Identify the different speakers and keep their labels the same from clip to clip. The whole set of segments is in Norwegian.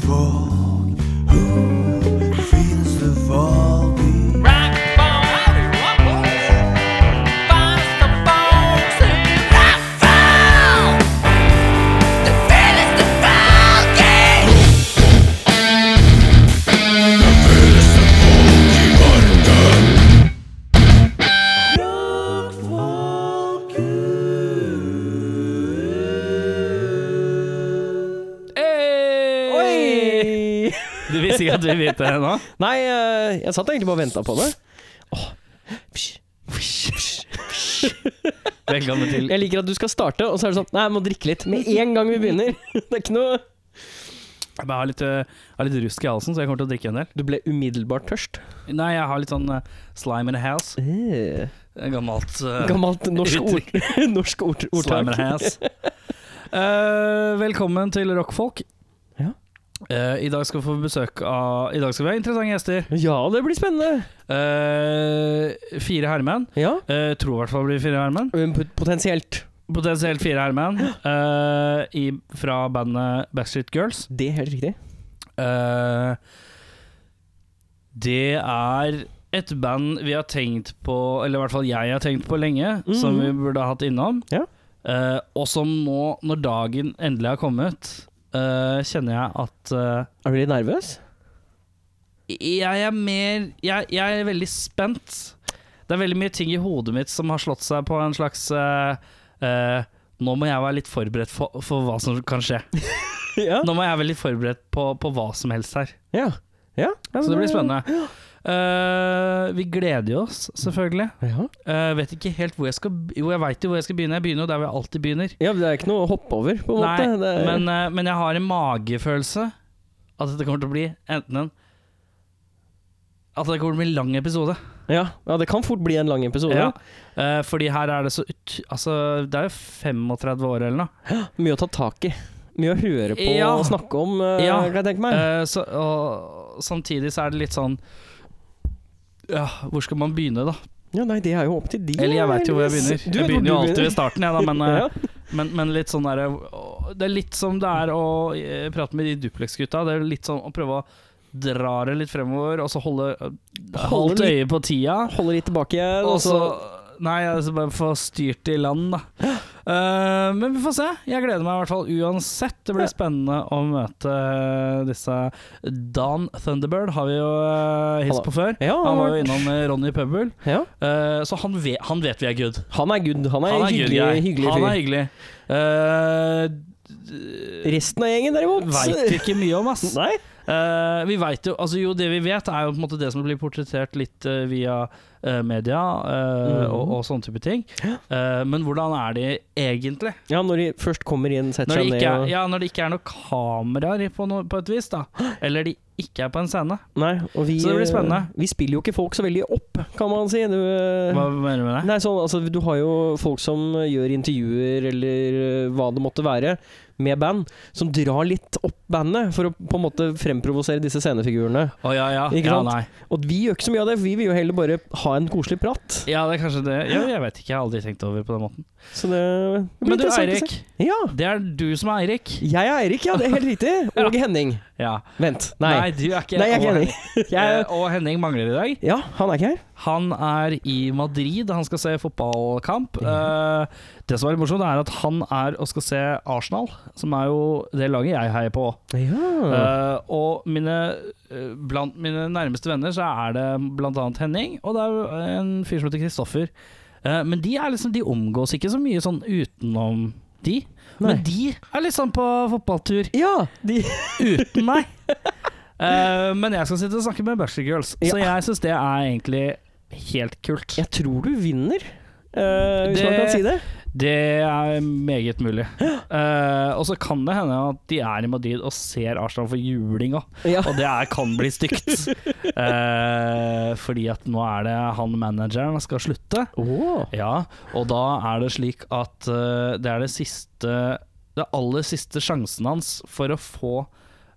Speaker 1: folk? Who feels the Volbeat?
Speaker 2: Oi!
Speaker 3: Du visste ikke at vi vet det nå?
Speaker 2: Nei, eh, jeg satt egentlig bare og venta på det.
Speaker 3: Velkommen til
Speaker 2: Jeg liker at du skal starte, og så er det sånn Nei, jeg må drikke litt. Med en gang vi begynner. Det er ikke noe
Speaker 3: Jeg bare har litt, øh, har litt rusk i halsen, så jeg kommer til å drikke en del.
Speaker 2: Du ble umiddelbart tørst.
Speaker 3: Nei, jeg har litt sånn øh, slime in a house.
Speaker 2: Eh,
Speaker 3: Gammelt øh,
Speaker 2: Gammelt norsk, ord, norsk ord,
Speaker 3: Slime in a
Speaker 2: ordtak.
Speaker 3: house. Eh, velkommen til Rockfolk.
Speaker 2: Ja.
Speaker 3: Eh, I dag skal vi få besøk av I dag skal vi ha interessante gjester.
Speaker 2: Ja, det blir spennende.
Speaker 3: Eh, fire herremenn.
Speaker 2: Ja.
Speaker 3: Eh, tror i hvert fall det blir fire herremenn.
Speaker 2: Um, pot- Potensielt.
Speaker 3: Potensielt fire herremenn eh, i- fra bandet Backstreet Girls.
Speaker 2: Det er helt riktig.
Speaker 3: Eh, det er et band vi har tenkt på, eller i hvert fall jeg har tenkt på lenge,
Speaker 2: Mhm.
Speaker 3: som vi burde ha hatt innom.
Speaker 2: Ja.
Speaker 3: Eh, og som nå, når dagen endelig har kommet, eh, kjenner jeg at eh,
Speaker 2: Er du litt nervøs?
Speaker 3: jeg er mer jeg, jeg er veldig spent. Det er veldig mye ting i hodet mitt som har slått seg på en slags eh, eh, Nå må jeg være litt forberedt for, for hva som kan skje.
Speaker 2: Ja.
Speaker 3: Nå må jeg være litt forberedt på, på hva som helst her.
Speaker 2: Ja. ja.
Speaker 3: Så det blir spennende. Eh, vi gleder jo oss, selvfølgelig.
Speaker 2: Ja.
Speaker 3: Eh, vet ikke helt hvor jeg skal be- Jo, jeg veit jo hvor jeg skal begynne. Jeg begynner jo der hvor jeg alltid begynner.
Speaker 2: ja, det er ikke noe å hoppe over, på en
Speaker 3: Nei,
Speaker 2: måte. Det er,
Speaker 3: men, eh, men jeg har en magefølelse at dette kommer til å bli enten en At det kommer til å bli en lang episode.
Speaker 2: ja. ja, det kan fort bli en lang episode.
Speaker 3: Ja. Eh, fordi her er det så ut... Altså, det er jo 35 år eller noe.
Speaker 2: Mye å ta tak i. Mye å høre på
Speaker 3: Ja.
Speaker 2: og snakke om, eh,
Speaker 3: Ja.
Speaker 2: kan jeg tenke meg.
Speaker 3: Eh, så, og samtidig så er det litt sånn ja, Hvor skal man begynne, da?
Speaker 2: Ja, nei, det er jo opp til de.
Speaker 3: Eller jeg veit jo hvor jeg
Speaker 2: heldigvis.
Speaker 3: begynner.
Speaker 2: Du
Speaker 3: Jeg
Speaker 2: vet hvor
Speaker 3: begynner jo
Speaker 2: du
Speaker 3: alltid ved starten, jeg, da, men eh,
Speaker 2: Ja.
Speaker 3: Men, men litt sånn der, å, Det er litt som det er å eh, prate med de Duplex-gutta. Det er litt sånn å prøve å dra det litt fremover, og så holde
Speaker 2: Holde
Speaker 3: Holdt
Speaker 2: litt-
Speaker 3: øye på tida.
Speaker 2: Holder litt tilbake igjen,
Speaker 3: Og
Speaker 2: og
Speaker 3: så Nei, altså bare få styrt det i land, da. Eh, men vi får se. Jeg gleder meg i hvert fall uansett. Det blir spennende å møte eh, disse Dan Thunderbird har vi jo eh, hilst på før.
Speaker 2: Ja,
Speaker 3: Han var jo
Speaker 2: vært-
Speaker 3: innom eh, Ronny Pøbel.
Speaker 2: ja.
Speaker 3: Eh, så han vet, han vet vi er good.
Speaker 2: Han er good. Han er,
Speaker 3: Han er
Speaker 2: hyggelig,
Speaker 3: good guy.
Speaker 2: hyggelig
Speaker 3: Han
Speaker 2: fyr.
Speaker 3: er hyggelig. Eh,
Speaker 2: Resten av gjengen, derimot
Speaker 3: Veit ikke mye om, ass.
Speaker 2: Nei?
Speaker 3: Eh, vi vet jo, altså jo, det vi vet, er jo på en måte det som blir portrettert litt eh, via eh, media eh,
Speaker 2: Mhm.
Speaker 3: og, og sånne type ting. Eh, men hvordan er de egentlig?
Speaker 2: Ja, når de først kommer inn, setter
Speaker 3: Når
Speaker 2: seg
Speaker 3: det
Speaker 2: ned
Speaker 3: ikke er,
Speaker 2: og
Speaker 3: ja, når det ikke er noen kameraer på, noe, på et vis, da. Eller de ikke er på en scene.
Speaker 2: Nei, og vi,
Speaker 3: Så det blir
Speaker 2: eh,
Speaker 3: spennende.
Speaker 2: Vi spiller jo ikke folk så veldig opp, kan man si. Du, eh,
Speaker 3: Hva mener du med det?
Speaker 2: Nei, sånn, altså, du har jo folk som eh, gjør intervjuer, eller eh, hva det måtte være, med band, som drar litt opp bandet for å på en måte fremprovosere disse scenefigurene.
Speaker 3: Å ja, ja.
Speaker 2: Ikke
Speaker 3: ja,
Speaker 2: sant?
Speaker 3: nei.
Speaker 2: Og vi gjør ikke så mye av det, for vi vil jo heller bare ha en koselig prat.
Speaker 3: Ja, det er kanskje det. Ja, jeg vet ikke, jeg har aldri tenkt over det på den måten.
Speaker 2: Så det, det blir
Speaker 3: Men du,
Speaker 2: interessant å se.
Speaker 3: Eirik.
Speaker 2: Ja.
Speaker 3: Det er du som er Eirik.
Speaker 2: Jeg er Eirik, ja. Det er helt riktig. Og Henning.
Speaker 3: Ja.
Speaker 2: Vent. Nei. Nei,
Speaker 3: du er ikke
Speaker 2: jeg er ikke Henning.
Speaker 3: Og,
Speaker 2: Jeg,
Speaker 3: Eh, og Henning mangler i dag.
Speaker 2: ja, han er ikke her.
Speaker 3: Han er i Madrid, han skal se fotballkamp.
Speaker 2: Mhm.
Speaker 3: Eh, det som er litt morsomt, er at han er og skal se Arsenal, som er jo det laget jeg heier på.
Speaker 2: Ja.
Speaker 3: Eh, og mine, eh, blant mine nærmeste venner så er det bl.a. Henning, og det er jo en fyr som heter Kristoffer. Eh, men de, er liksom, de omgås ikke så mye sånn utenom de.
Speaker 2: Nei.
Speaker 3: Men de er liksom på fotballtur
Speaker 2: ja. De,
Speaker 3: uten meg. Eh, men jeg skal sitte og snakke med Bachelor Girls, så jeg syns det er egentlig helt kult.
Speaker 2: jeg tror du vinner, eh, hvis
Speaker 3: Det-
Speaker 2: man kan si det.
Speaker 3: Det er meget mulig. Eh, og så kan det hende at de er i Madrid og ser Arsenal for juling òg.
Speaker 2: Ja.
Speaker 3: Og det er, kan bli stygt. Eh, fordi at nå er det han manageren skal slutte.
Speaker 2: Åh.
Speaker 3: Ja, og da er det slik at eh, det er det siste Det aller siste sjansen hans for å få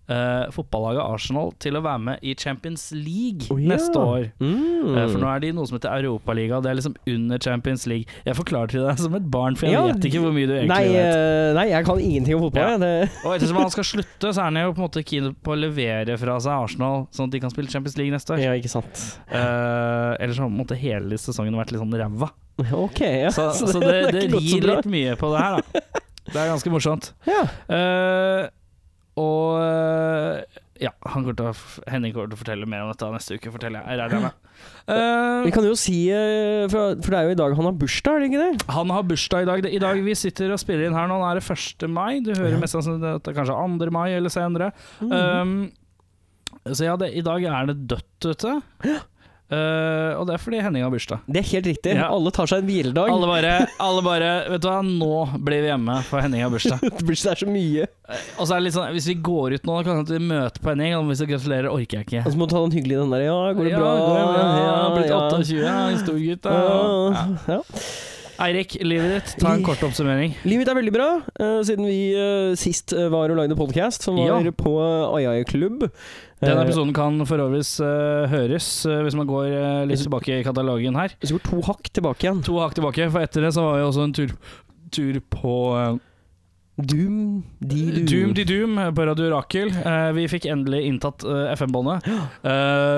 Speaker 3: eh, fotballaget Arsenal til å være med i Champions League
Speaker 2: Å, Oh, ja.
Speaker 3: neste år.
Speaker 2: Mm.
Speaker 3: Eh, For nå er de i noe som heter Europaliga, og det er liksom under Champions League. Jeg forklarer til deg som et barn, for jeg
Speaker 2: Ja,
Speaker 3: vet ikke hvor mye du egentlig
Speaker 2: nei,
Speaker 3: vet.
Speaker 2: eh, nei, jeg kan ingenting om fotball.
Speaker 3: Ja.
Speaker 2: jeg. Det-
Speaker 3: Og ettersom han skal slutte, så er han jo på en måte keen på å levere fra seg Arsenal, sånn at de kan spille Champions League neste år.
Speaker 2: Ja, ikke sant.
Speaker 3: Eh, ellers har på en måte hele sesongen vært litt sånn ræva.
Speaker 2: Ok, ja.
Speaker 3: Så,
Speaker 2: Så
Speaker 3: så det,
Speaker 2: har
Speaker 3: det
Speaker 2: ikke gått så
Speaker 3: rir
Speaker 2: bra.
Speaker 3: litt mye på det her, da. Det er ganske morsomt.
Speaker 2: Ja.
Speaker 3: Eh, og eh, ja, han kommer til å, f- Henning kommer til å fortelle mer om dette neste uke, forteller jeg. regner jeg med. Eh,
Speaker 2: Vi kan jo si eh, for, for det er jo i dag han har bursdag, er det ikke det?
Speaker 3: Han har bursdag i dag. Det- I dag vi sitter og spiller inn her nå, nå er det 1. mai. Du
Speaker 2: Ja.
Speaker 3: hører
Speaker 2: Mm.
Speaker 3: mest sannsynlig at det er kanskje 2. mai eller senere. Um, så ja, det, i dag er det dødt ute. Uh, og det er fordi Henning har bursdag.
Speaker 2: Det er helt riktig.
Speaker 3: Ja.
Speaker 2: Alle tar seg en hviledag.
Speaker 3: Alle bare, alle bare Vet du hva, nå blir vi hjemme, for Henning har bursdag.
Speaker 2: Det blir- det er så mye.
Speaker 3: Og så er det litt sånn, hvis vi går ut nå, kan det hende vi møter på Henning, og hvis vi gratulerer, orker jeg ikke.
Speaker 2: Og så må du ta den hyggelige den der Ja, Altså, går det
Speaker 3: ja,
Speaker 2: bra?
Speaker 3: går det bra? Ja, blitt
Speaker 2: ja.
Speaker 3: 28, ja, en stor gutt. da. Ja.
Speaker 2: Ja. Ja.
Speaker 3: Eirik, livet ditt, ta en kort oppsummering.
Speaker 2: Livet mitt er veldig bra, eh, siden vi eh, sist eh, var og lagde podkast, som var
Speaker 3: Ja.
Speaker 2: på AI Klubb.
Speaker 3: Denne
Speaker 2: Eh,
Speaker 3: episoden kan for øvrig eh, høres eh, hvis man går eh, litt tilbake i katalogen her.
Speaker 2: Hvis vi går to hakk tilbake igjen
Speaker 3: To hakk tilbake, for etter det så var vi også en tur, tur på eh,
Speaker 2: Doom, de doom.
Speaker 3: Doom to Doom eh, på Radio Rakel. Eh, vi fikk endelig inntatt eh, FM-båndet. Eh,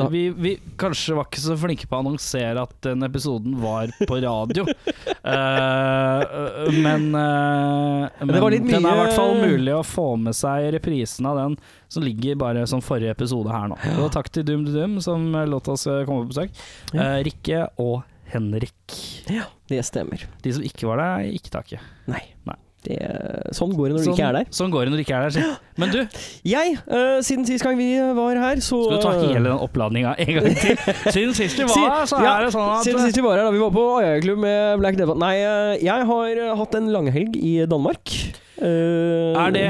Speaker 2: Da-
Speaker 3: vi, vi kanskje var ikke så flinke på å annonsere at den episoden var på radio. Eh, men, eh, men
Speaker 2: var litt
Speaker 3: den er i
Speaker 2: mye-
Speaker 3: hvert fall mulig å få med seg reprisen av den som ligger bare som forrige episode her nå. Og takk til Doom to Doom som eh, lot oss eh, komme på besøk.
Speaker 2: Ja.
Speaker 3: Eh, Rikke og Henrik.
Speaker 2: Ja, det stemmer.
Speaker 3: De som ikke var der, gikk taket.
Speaker 2: Nei.
Speaker 3: Nei.
Speaker 2: Det, sånn går det når du ikke er der.
Speaker 3: Sånn går det når du ikke er der. sier. Men du,
Speaker 2: Jeg, eh, siden sist gang vi var her, så
Speaker 3: Skal du ta hele den oppladninga en gang til? Siden sist vi var her, så
Speaker 2: Ja,
Speaker 3: er det sånn at
Speaker 2: Siden sist vi var her, da vi var på Ajax-klubb med Black Devil Nei, eh, jeg har eh, hatt en langhelg i Danmark. Eh,
Speaker 3: er det,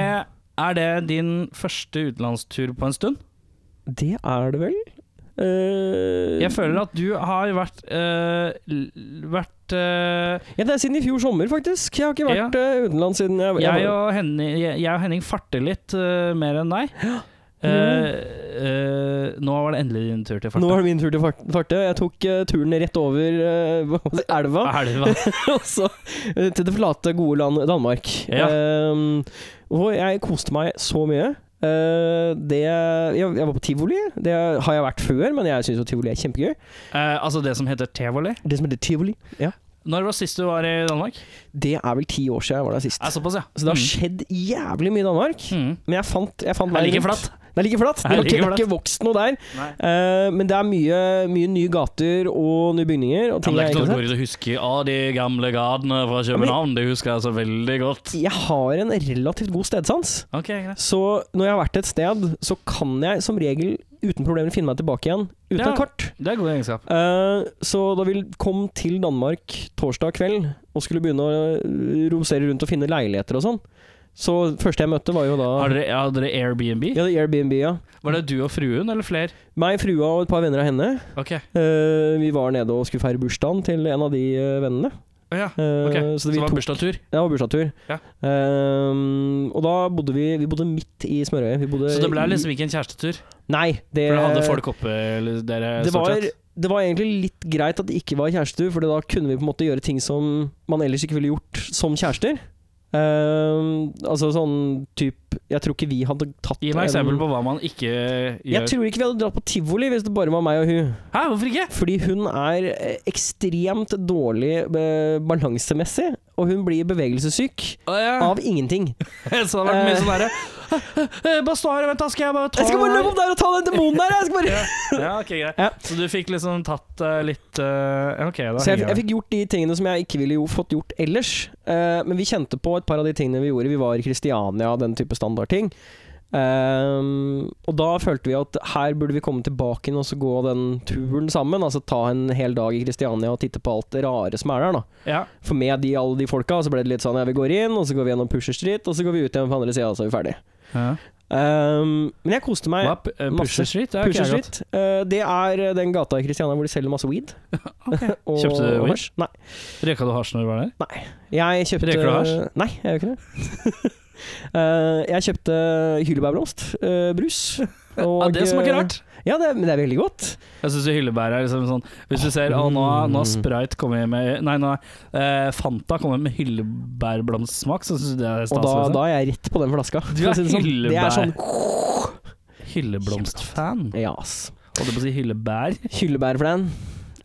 Speaker 3: er det din første utenlandstur på en stund?
Speaker 2: Det er det vel. Eh,
Speaker 3: Jeg føler at du har vært øh, l- Vært øh,
Speaker 2: ja, Det er siden i fjor sommer, faktisk. Jeg har ikke vært eh, utenlands siden jeg, jeg,
Speaker 3: jeg, og Henning, jeg, jeg og Henning farter litt øh, mer enn deg. Eh, eh, nå var det endelig din tur til
Speaker 2: Mm. Nå
Speaker 3: farta.
Speaker 2: er det min tur til å fart- farte. Jeg tok eh, turen rett over eh, hva skal jeg si, elva.
Speaker 3: Elva.
Speaker 2: Og så eh, til det flate, gode land Danmark.
Speaker 3: Ja.
Speaker 2: Ehm, og jeg koste meg så mye. Eh, det jeg, jeg var på tivoli. Det har jeg vært før, men jeg syns jo tivoli er kjempegøy.
Speaker 3: Eh, altså det som heter tivoli.
Speaker 2: Det som heter tivoli, ja.
Speaker 3: Når var sist du var i Danmark?
Speaker 2: det er vel ti år siden jeg var der sist.
Speaker 3: Eh, såpass, ja.
Speaker 2: så det har skjedd jævlig mye i Danmark.
Speaker 3: mm. Mm.
Speaker 2: Men jeg fant, jeg fant
Speaker 3: Det er
Speaker 2: veien
Speaker 3: like
Speaker 2: rundt.
Speaker 3: flatt.
Speaker 2: Det er like flatt. Det
Speaker 3: Det er
Speaker 2: har ikke,
Speaker 3: like
Speaker 2: det har ikke vokst noe der.
Speaker 3: Nei.
Speaker 2: Eh, men det er mye, mye nye gater og nye bygninger. Og
Speaker 3: Ja,
Speaker 2: ting
Speaker 3: men det er
Speaker 2: jeg
Speaker 3: ikke
Speaker 2: ikke har
Speaker 3: noe du
Speaker 2: sett.
Speaker 3: går ut og husker av de gamle gardene fra København. Det husker jeg så veldig godt.
Speaker 2: Jeg har en relativt god stedsans.
Speaker 3: Ok, greit.
Speaker 2: Så når jeg har vært et sted, så kan jeg som regel uten problemer finne meg tilbake igjen uten
Speaker 3: Ja.
Speaker 2: et kart.
Speaker 3: Det er god egenskap.
Speaker 2: Eh, så da vi kom til Danmark torsdag kveld og skulle begynne å eh, romsere rundt og finne leiligheter og sånn, så første jeg møtte, var jo da
Speaker 3: Har dere, har dere Airbnb?
Speaker 2: ja, det er Airbnb, ja.
Speaker 3: Var det du og fruen, eller flere?
Speaker 2: Meg, frua og et par venner av henne.
Speaker 3: Ok.
Speaker 2: Eh, vi var nede og skulle feire bursdagen til en av de eh, vennene.
Speaker 3: Å ja.
Speaker 2: Eh,
Speaker 3: ok.
Speaker 2: Så
Speaker 3: Så
Speaker 2: vi
Speaker 3: det var
Speaker 2: tok
Speaker 3: bursdagstur.
Speaker 2: Det var bursdagstur.
Speaker 3: Ja.
Speaker 2: Ehm, og da bodde vi Vi bodde midt i smørøyet. Vi bodde
Speaker 3: Så det ble
Speaker 2: i-
Speaker 3: liksom ikke en kjærestetur?
Speaker 2: Nei, det
Speaker 3: For da hadde folk oppe, eller dere
Speaker 2: det
Speaker 3: stort
Speaker 2: var,
Speaker 3: sett?
Speaker 2: det var egentlig litt greit at det ikke var kjærestetur, for da kunne vi på en måte gjøre ting som man ellers ikke ville gjort som kjærester. Ehm, altså sånn type Jeg tror ikke vi hadde tatt
Speaker 3: Gi meg
Speaker 2: en-
Speaker 3: eksempel på hva man ikke
Speaker 2: Jeg
Speaker 3: gjør.
Speaker 2: tror ikke vi hadde dratt på tivoli hvis det bare var meg og hun.
Speaker 3: Hæ, hvorfor ikke?
Speaker 2: Fordi hun er eh, ekstremt dårlig eh, balansemessig, og hun blir bevegelsessyk
Speaker 3: Å, ja.
Speaker 2: av ingenting.
Speaker 3: Så det har vært mye
Speaker 2: Eh.
Speaker 3: sånn derre «Eh, Bare stå her, vent, da skal jeg bare ta
Speaker 2: Jeg skal bare
Speaker 3: den her».
Speaker 2: løpe opp der og ta den demonen der! Jeg skal bare
Speaker 3: Ja, ja, ok, greit.
Speaker 2: Ja.
Speaker 3: Så du fikk liksom tatt eh, litt eh, Ok, da
Speaker 2: Så jeg,
Speaker 3: henger
Speaker 2: jeg fikk gjort de tingene som jeg ikke ville jo fått gjort ellers. Eh, men vi kjente på et par av de tingene vi gjorde. Vi var i Kristiania, den type standardting. Ehm, og da følte vi at her burde vi komme tilbake inn og så gå den turen sammen. Altså ta en hel dag i Kristiania og titte på alt det rare som er der. da
Speaker 3: Ja.
Speaker 2: For med de, alle de folka så ble det litt sånn ja, vi går inn, og så går vi gjennom Pusher Street, og så går vi ut igjen på andre sida, og så er vi ferdig.
Speaker 3: Ja.
Speaker 2: Ehm, men jeg koste meg.
Speaker 3: Hva? P- eh,
Speaker 2: masse.
Speaker 3: Pusher Street? Det har ikke
Speaker 2: Pusher
Speaker 3: jeg gått.
Speaker 2: Street. eh, det er eh, den gata i Kristiania hvor de selger masse weed. og
Speaker 3: Kjøpte du weed?
Speaker 2: hasj. Nei.
Speaker 3: Røyka du hasj når du var der?
Speaker 2: Jeg kjøpte
Speaker 3: Røyker du hasj?
Speaker 2: Nei, jeg gjør ikke det. Eh, jeg kjøpte eh, hyllebærblomstbrus.
Speaker 3: Ja, det smaker rart.
Speaker 2: eh, Ja, det, men det er veldig godt.
Speaker 3: Jeg syns hyllebær er liksom sånn Hvis du ser Å, nå nå
Speaker 2: Mm.
Speaker 3: har Sprite kommet med Nei, nå har eh, Fanta kommet med hyllebærblomstsmak, så syns du det er stas?
Speaker 2: Og da,
Speaker 3: liksom?
Speaker 2: da er jeg rett på den flaska.
Speaker 3: Du
Speaker 2: for å
Speaker 3: er
Speaker 2: si det sånn. Det er sånn
Speaker 3: Hylleblomstfan.
Speaker 2: Ja, ass.
Speaker 3: Holdt på å si hyllebær.
Speaker 2: Hyllebærflan.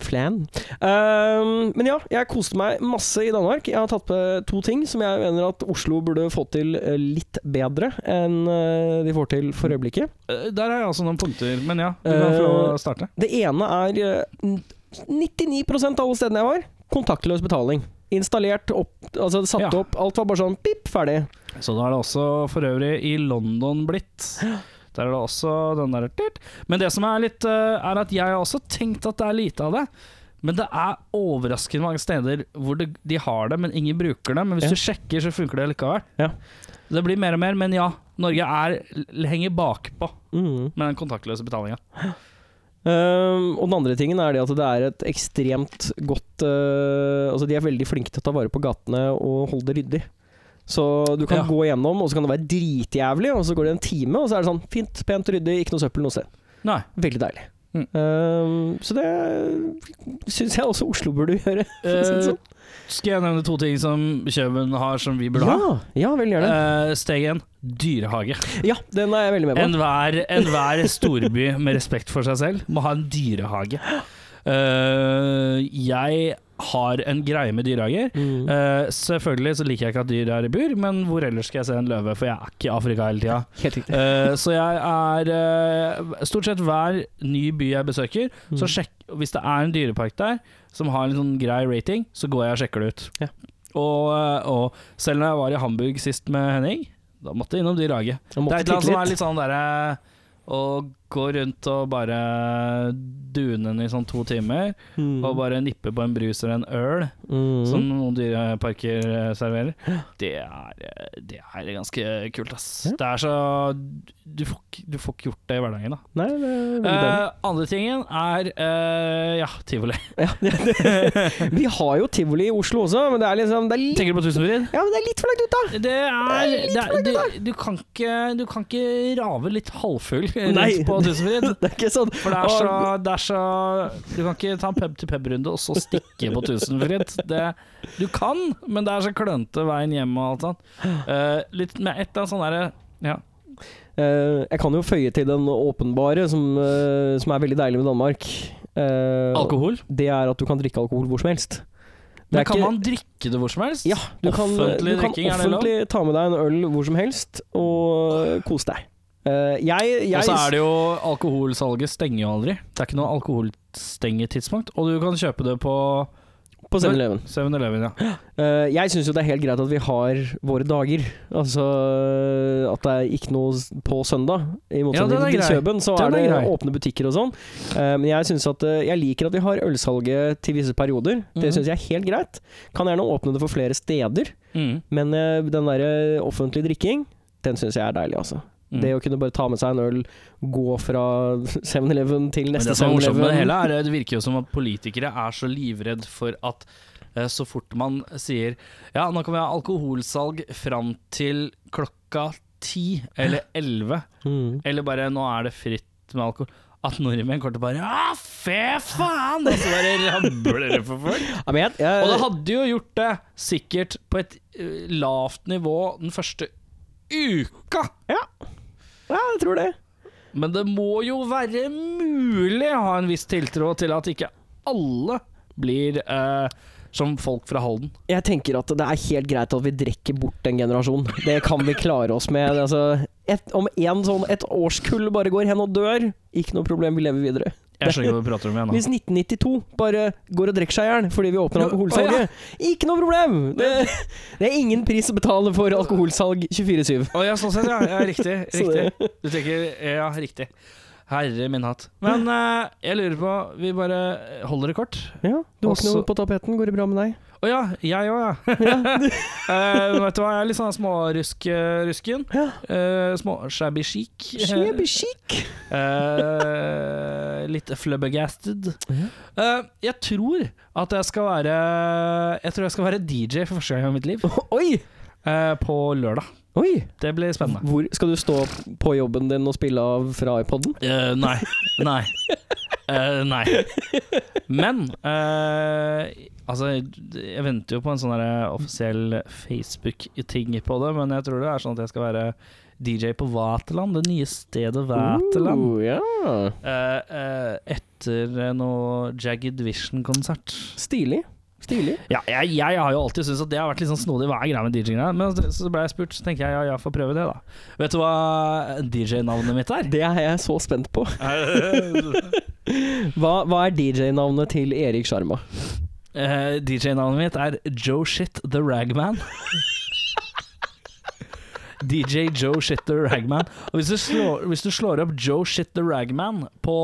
Speaker 2: Flan. Ehm, men ja, jeg koste meg masse i Danmark. Jeg har tatt med to ting som jeg mener at Oslo burde få til eh, litt bedre enn eh, de får til for øyeblikket.
Speaker 3: Eh, Der har jeg også noen punkter, men ja. Du
Speaker 2: Eh,
Speaker 3: kan få lov å starte.
Speaker 2: Det ene er eh, n- 99 av alle stedene jeg var, kontaktløs betaling. Installert opp, altså satt
Speaker 3: Ja.
Speaker 2: opp, alt var bare sånn pip, ferdig.
Speaker 3: Så da er det også for øvrig i London blitt. Der er det også den der tut. Men det som er litt eh, Er at jeg har også tenkt at det er lite av det. Men det er overraskende mange steder hvor det, de har det, men ingen bruker det. Men hvis
Speaker 2: Ja.
Speaker 3: du sjekker, så funker det likevel.
Speaker 2: Ja.
Speaker 3: Det blir mer og mer, men ja. Norge er, l- henger bakpå
Speaker 2: Mm.
Speaker 3: med den kontaktløse betalinga.
Speaker 2: Ehm, og den andre tingen er det at det er et ekstremt godt eh, Altså, de er veldig flinke til å ta vare på gatene og holde det ryddig. Så du kan
Speaker 3: Ja.
Speaker 2: gå gjennom, og så kan det være dritjævlig, og så går det en time, og så er det sånn fint, pent, ryddig, ikke noe søppel noe sted.
Speaker 3: Nei.
Speaker 2: Veldig deilig.
Speaker 3: Mm.
Speaker 2: Ehm, så det syns jeg også Oslo burde gjøre. for å si det
Speaker 3: Eh,
Speaker 2: sånn.
Speaker 3: skal jeg nevne to ting som Kjøben har som vi burde
Speaker 2: ja,
Speaker 3: ha?
Speaker 2: ja, veldig gjerne.
Speaker 3: Eh, steg én dyrehage.
Speaker 2: Ja, den er jeg veldig med på.
Speaker 3: Enhver enhver storby med respekt for seg selv må ha en dyrehage. Eh, jeg har en greie med dyrehager.
Speaker 2: Mm.
Speaker 3: Eh, selvfølgelig så liker jeg ikke at dyr er i bur, men hvor ellers skal jeg se en løve? For jeg er ikke i Afrika hele tida.
Speaker 2: Helt riktig.
Speaker 3: Eh, så jeg er eh, Stort sett hver ny by jeg besøker, så
Speaker 2: Mm.
Speaker 3: sjekk Hvis det er en dyrepark der som har en sånn grei rating, så går jeg og sjekker det ut.
Speaker 2: Ja.
Speaker 3: Og, eh, og selv når jeg var i Hamburg sist med Henning, da måtte jeg innom dyrehage.
Speaker 2: Jeg måtte
Speaker 3: Det er et eller annet som
Speaker 2: titte
Speaker 3: er
Speaker 2: litt.
Speaker 3: litt sånn derre å gå rundt og bare dune den i sånn to timer,
Speaker 2: Mm.
Speaker 3: og bare nippe på en brus eller en øl,
Speaker 2: Mm.
Speaker 3: som noen dyreparker eh, serverer, det er, eh, det er ganske kult, ass.
Speaker 2: Ja.
Speaker 3: Det er så du får, ikke- du får ikke gjort det i hverdagen, da.
Speaker 2: Nei, det er veldig deilig.
Speaker 3: Eh, andre tingen er eh, ja, tivoli. Eh.
Speaker 2: Vi har jo tivoli i Oslo også, men det er liksom det er litt,
Speaker 3: Tenker du på Tusenfryd?
Speaker 2: Ja, men det er litt for langt ut, da!
Speaker 3: Det er, det er du, du, kan ikke, du kan ikke rave litt halvfull
Speaker 2: Nei.
Speaker 3: rundt på Tusenfryd.
Speaker 2: Det er ikke sånn.
Speaker 3: For det er, så, det er så Du kan ikke ta en pub-til-pub-runde og så stikke på Tusenfryd. Det- Du kan, men det er så klønete veien hjem og alt sånt. Eh, litt med et eller annet sånn derre ja.
Speaker 2: Eh, jeg kan jo føye til den åpenbare, som, eh, som er veldig deilig med Danmark. Eh,
Speaker 3: Alkohol.
Speaker 2: Det er at du kan drikke alkohol hvor som helst. Det
Speaker 3: Men
Speaker 2: er
Speaker 3: kan
Speaker 2: ikke-
Speaker 3: man drikke det hvor som helst?
Speaker 2: Ja, du kan,
Speaker 3: Offentlig
Speaker 2: du kan
Speaker 3: drikking, er det lov?
Speaker 2: offentlig ta med deg en øl hvor som helst og kose deg. Eh, jeg, jeg
Speaker 3: Og så er det jo Alkoholsalget stenger jo aldri. Det er ikke noe alkoholstengetidspunkt. Og du kan kjøpe det på
Speaker 2: på 7-Eleven.
Speaker 3: 7-Eleven, ja.
Speaker 2: Eh, jeg syns jo det er helt greit at vi har våre dager. Altså eh, at det er ikke noe s- på søndag. I
Speaker 3: den
Speaker 2: motsetning
Speaker 3: er
Speaker 2: til
Speaker 3: grei.
Speaker 2: Kjøben, så
Speaker 3: Den
Speaker 2: er det
Speaker 3: er grei.
Speaker 2: åpne butikker og sånn. Eh, men jeg synes at eh, Jeg liker at vi har ølsalget til visse perioder. Det
Speaker 3: Mhm.
Speaker 2: syns jeg er helt greit. Kan gjerne åpne det for flere steder,
Speaker 3: Mm.
Speaker 2: men eh, den derre offentlige drikking, den syns jeg er deilig, altså.
Speaker 3: Mm.
Speaker 2: Det å kunne bare ta med seg en øl, gå fra 7-Eleven til
Speaker 3: Men det
Speaker 2: neste
Speaker 3: som er morsomt med det
Speaker 2: 7-Eleven.
Speaker 3: hele, er at det virker jo som at politikere er så livredd for at eh, så fort man sier ja, nå kan vi ha alkoholsalg fram til klokka ti eller elleve,
Speaker 2: Mm.
Speaker 3: eller bare nå er det fritt med alkohol. At nordmenn kommer til å bare Ja, fy faen! Og så bare rabler det for folk.
Speaker 2: Ja, men jeg, jeg,
Speaker 3: Og det hadde jo gjort det sikkert på et eh, lavt nivå den første uka.
Speaker 2: ja, jeg tror det.
Speaker 3: Men det må jo være mulig å ha en viss tiltro til at ikke alle blir eh, som folk fra Halden.
Speaker 2: Jeg tenker at det er helt greit at vi drekker bort en generasjon. Det kan vi klare oss med. Altså, et, om en sånn, et årskull bare går hen og dør, ikke noe problem, vi lever videre.
Speaker 3: Jeg skjønner ikke hva du prater om igjen nå.
Speaker 2: Hvis 1992 bare går og drikker seg i hjel fordi vi åpner
Speaker 3: Ja, å, ja.
Speaker 2: alkoholsalget, ikke noe problem! Det, det er ingen pris å betale for alkoholsalg 24-7.
Speaker 3: Å ja, sånn sett, ja. ja riktig.
Speaker 2: Så det-
Speaker 3: riktig. Du tenker Ja, riktig. Herre min hatt. Men eh, jeg lurer på Vi bare holder det kort.
Speaker 2: Ja, du har ikke
Speaker 3: Også-
Speaker 2: noe på tapeten, går det bra med deg?
Speaker 3: Å ja, jeg òg, ja. Eh, vet du hva, jeg er litt sånn smårusk-rusken.
Speaker 2: Ja.
Speaker 3: Uh, små shabby chic.
Speaker 2: Shabby chic.
Speaker 3: Eh, litt flubbergasted.
Speaker 2: Ja.
Speaker 3: Eh, jeg tror at jeg skal være Jeg tror jeg skal være DJ for første gang i mitt liv.
Speaker 2: Oi!
Speaker 3: eh, på lørdag.
Speaker 2: Oi!
Speaker 3: Det blir spennende.
Speaker 2: Hvor skal du stå på jobben din og spille av fra iPoden?
Speaker 3: Eh, nei. Nei. Eh, nei. Men eh, Altså, jeg venter jo på en sånn der offisiell Facebook-ting på det, men jeg tror det er sånn at jeg skal være DJ på Vaterland, det nye stedet Vaterland.
Speaker 2: Uh, ja.
Speaker 3: Eh, eh, etter eh, noe Jagged Vision-konsert.
Speaker 2: Stilig. Stilig.
Speaker 3: Ja, jeg, jeg har jo alltid syntes at det har vært litt sånn snodig. Hva er greia med DJ-ing? da? Men så ble jeg spurt, så tenker jeg ja, jeg får prøve det, da. Vet du hva DJ-navnet mitt er?
Speaker 2: Det er jeg så spent på. Hva, hva er DJ-navnet til Erik Sjarma?
Speaker 3: Eh, DJ-navnet mitt er Joe Shit The Ragman. DJ Joe Shit The Ragman. Og hvis du, slår, hvis du slår opp Joe Shit The Ragman på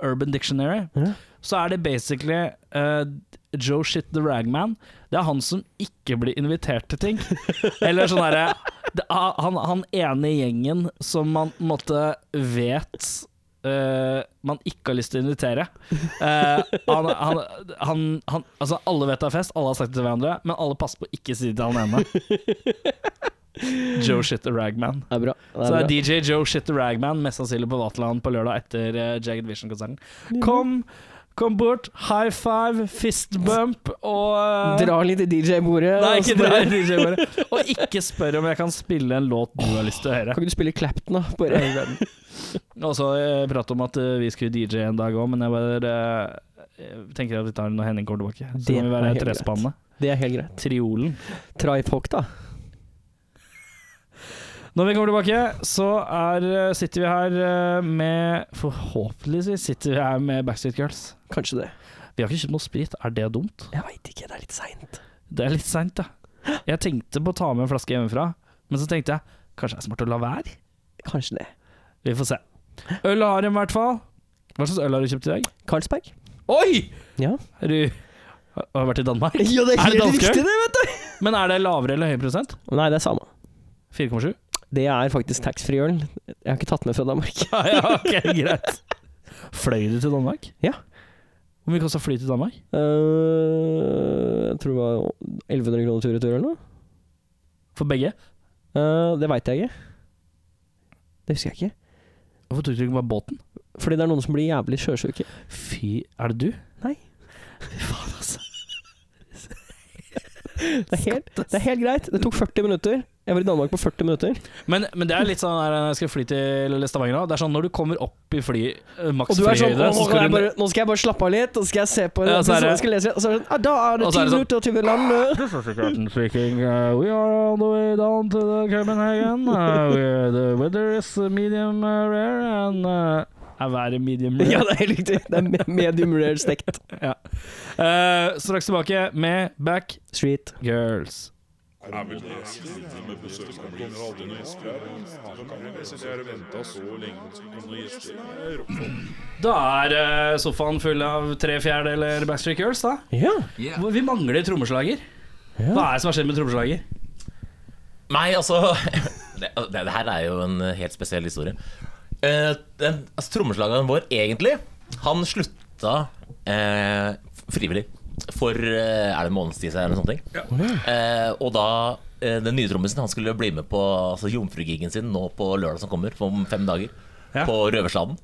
Speaker 3: Urban Dictionary,
Speaker 2: Ja.
Speaker 3: så er det basically eh, Joe Shit The Ragman. Det er han som ikke blir invitert til ting. Eller sånn herre det er han, han ene i gjengen som man på en måte vet eh, man ikke har lyst til å invitere. Eh, han, han, han, han, altså alle vet det er fest, alle har sagt det til hverandre, men alle passer på å ikke si det til han ene. Joe Shit the Ragman.
Speaker 2: Det er bra. Det
Speaker 3: Så
Speaker 2: er
Speaker 3: det er
Speaker 2: bra.
Speaker 3: DJ Joe Shit the Ragman, mest sannsynlig på Vaterland på lørdag etter eh, Jagged Vision-konserten. Kom, kom bort, high five, fist bump og eh,
Speaker 2: Dra litt i DJ-bordet.
Speaker 3: Nei,
Speaker 2: og så
Speaker 3: ikke dra
Speaker 2: bare-
Speaker 3: i DJ, bare. Og ikke spør om jeg kan spille en låt du har lyst til å høre.
Speaker 2: Kan ikke du spille Clapton, da? Bare.
Speaker 3: Og så eh, prate om at eh, vi skulle DJ en dag òg, men jeg bare eh, jeg tenker at vi tar den når Henning kommer tilbake. Så
Speaker 2: Det
Speaker 3: kan
Speaker 2: er
Speaker 3: vi være
Speaker 2: helt
Speaker 3: trespannet.
Speaker 2: Det er helt greit.
Speaker 3: Triolen.
Speaker 2: Trifolk, da.
Speaker 3: Når vi kommer tilbake, så er, eh, sitter vi her eh, med Forhåpentligvis sitter vi her med Backstreet Girls.
Speaker 2: Kanskje det.
Speaker 3: Vi har ikke kjøpt noe sprit, er det dumt?
Speaker 2: Jeg veit ikke, det er litt seint.
Speaker 3: Det er litt seint, da. Jeg tenkte på å ta med en flaske hjemmefra, men så tenkte jeg kanskje det er smart å la være?
Speaker 2: Kanskje det.
Speaker 3: Vi får se. Øl har de i hvert fall. Hva slags øl har du kjøpt i dag?
Speaker 2: Carlsberg?
Speaker 3: Oi!
Speaker 2: Ja.
Speaker 3: Har du har du vært i Danmark?
Speaker 2: Jo, det
Speaker 3: er helt riktig
Speaker 2: det, vet du!
Speaker 3: Men er det lavere eller høy prosent?
Speaker 2: Nei, det er samme.
Speaker 3: 4,7?
Speaker 2: Det er faktisk taxfree-øl. Jeg har ikke tatt med fra Danmark.
Speaker 3: Ja, ja, ok, greit. Fløy du til Danmark?
Speaker 2: Ja.
Speaker 3: Hvor mye kosta fly til Danmark?
Speaker 2: Øh, jeg tror det var 1100 kroner tur-retur eller noe.
Speaker 3: For begge?
Speaker 2: Øh, det veit jeg ikke. Det husker jeg ikke.
Speaker 3: Hvorfor tok du ikke bare båten?
Speaker 2: Fordi det er noen som blir jævlig sjøsjuke.
Speaker 3: Fy, er det du?
Speaker 2: Nei.
Speaker 3: Fy faen, altså.
Speaker 2: Det er, helt, det er helt greit. Det tok 40 minutter. Jeg var i Danmark på 40 minutter.
Speaker 3: Men, men det er litt sånn her, når jeg skal fly til Stavanger nå, det er sånn når du kommer opp i fly, eh, maks
Speaker 2: Og du er sånn
Speaker 3: flyhøyde,
Speaker 2: «Å, nå, skal
Speaker 3: så skal
Speaker 2: jeg
Speaker 3: du
Speaker 2: bare, nå skal jeg bare slappe av litt, og så skal jeg se på
Speaker 3: Ja,
Speaker 2: det,
Speaker 3: så er det-
Speaker 2: så skal jeg lese, og så er det sånn, ah, Da er det
Speaker 3: Og så
Speaker 2: ti
Speaker 3: er det sånn-
Speaker 2: minutter til vi lander.
Speaker 3: Speaking, uh, we are on the way down to the Copenhagen. Uh, we- the weather is medium uh, rare and uh, Er været medium rare?
Speaker 2: Ja, det er helt riktig. Det er me- medium rare stekt.
Speaker 3: Eh, straks tilbake med Back
Speaker 2: Street.
Speaker 3: Girls. Da er eh, sofaen full av tre fjerdedeler Backstreet Girls, da.
Speaker 2: Ja.
Speaker 3: Hvor- Vi mangler trommeslager. Hva er det som har skjedd med trommeslager?
Speaker 4: Nei, altså det, det, det her er jo en eh, helt spesiell historie. Eh, den, altså, trommeslageren vår, egentlig, han slutta eh, frivillig for eh, Er det en måneds tid siden, eller noe sånt? Eh, og da eh, den nye trommisen han skulle bli med på altså, jomfrugigen sin nå på lørdag som kommer, om fem dager.
Speaker 3: Ja.
Speaker 4: På Røverstaden.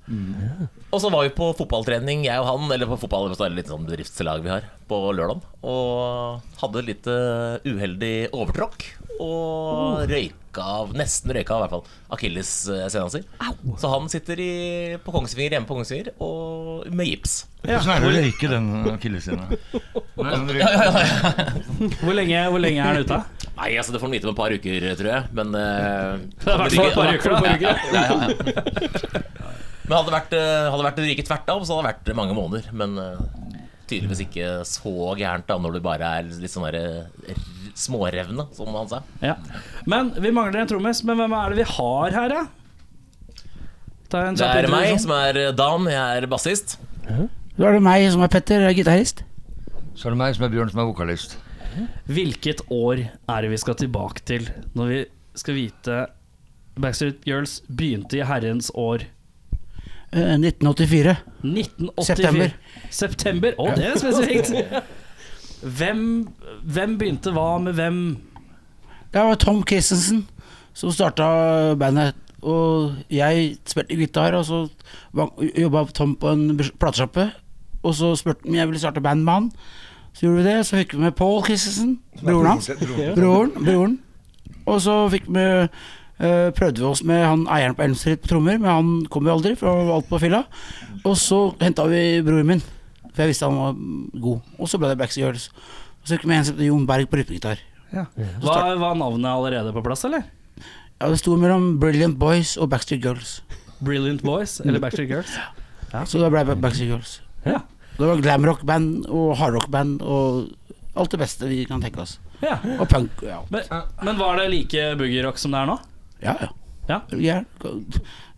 Speaker 4: Og så var vi på fotballtrening, jeg og han, eller på fotball, det er litt sånn bedriftslag vi har, på lørdag. Og hadde litt eh, uheldig overtråkk.
Speaker 3: Oh.
Speaker 4: Og røyka av, nesten røyka av i hvert fall akillesscenen sin. Så han sitter i, på Kongsvinger, hjemme på Kongsvinger og med gips.
Speaker 5: Hvordan er det å røyke den eh, akillesscena?
Speaker 3: Hvor lenge, hvor lenge er han ute?
Speaker 4: Nei, altså det får han vite om et par uker, tror jeg. Men eh,
Speaker 3: er i hvert fall et par uker, da.
Speaker 4: Ja, ja, ja, ja, ja. Men hadde det vært, eh, hadde det vært riket tvert av, så hadde det vært mange måneder. Men eh, tydeligvis ikke så gærent da når du bare er litt sånn der, eh, smårevne, som han sa.
Speaker 3: Ja. Men vi mangler en trommis. Men hvem er det vi har her, da? Ta en
Speaker 4: Det
Speaker 3: kjapp
Speaker 4: er meg
Speaker 3: introduksjon.
Speaker 4: som er eh, Dan, jeg er bassist.
Speaker 6: Da er det meg som er Petter, jeg er gitarist.
Speaker 5: Så er det meg som er Bjørn, som er vokalist.
Speaker 3: Hvilket år er det vi skal tilbake til når vi skal vite Backstreet Girls begynte i herrens år
Speaker 6: Eh, 1984.
Speaker 3: 1984.
Speaker 6: September.
Speaker 3: September. Å, det er spesifikt. Hvem, hvem begynte hva med hvem?
Speaker 6: Det Ja, det var Tom Christensen som starta bandet. Og jeg spilte gitar, og så var- jobba Tom på en bus- platesjappe. Og så spurte han om jeg ville starte band med han. Så gjorde vi det, så fikk vi med Paul Christensen, broren hans. Broren, broren. Og så fikk vi eh, prøvde vi oss med han eieren på Elm Street på trommer, men han kom jo aldri, for han var alt på fylla. Og så henta vi broren min, for jeg visste han var god. Og så ble det Backstreet Girls. Og så fikk vi med en som het Jon Berg på rytmegitar.
Speaker 3: Var, var navnet allerede på plass, eller?
Speaker 6: Ja, det sto mellom Brilliant Boys og Backstreet Girls.
Speaker 3: Brilliant Boys eller Backstreet Girls?
Speaker 6: Så da ble det Backstreet Girls.
Speaker 3: Ja.
Speaker 6: Det var glamrock-band og hardrock-band og alt det beste vi kan tenke oss.
Speaker 3: Ja.
Speaker 6: Og punk. Ja,
Speaker 3: Men, men var det like boogie-rock som det er nå?
Speaker 6: ja. ja.
Speaker 3: Ja.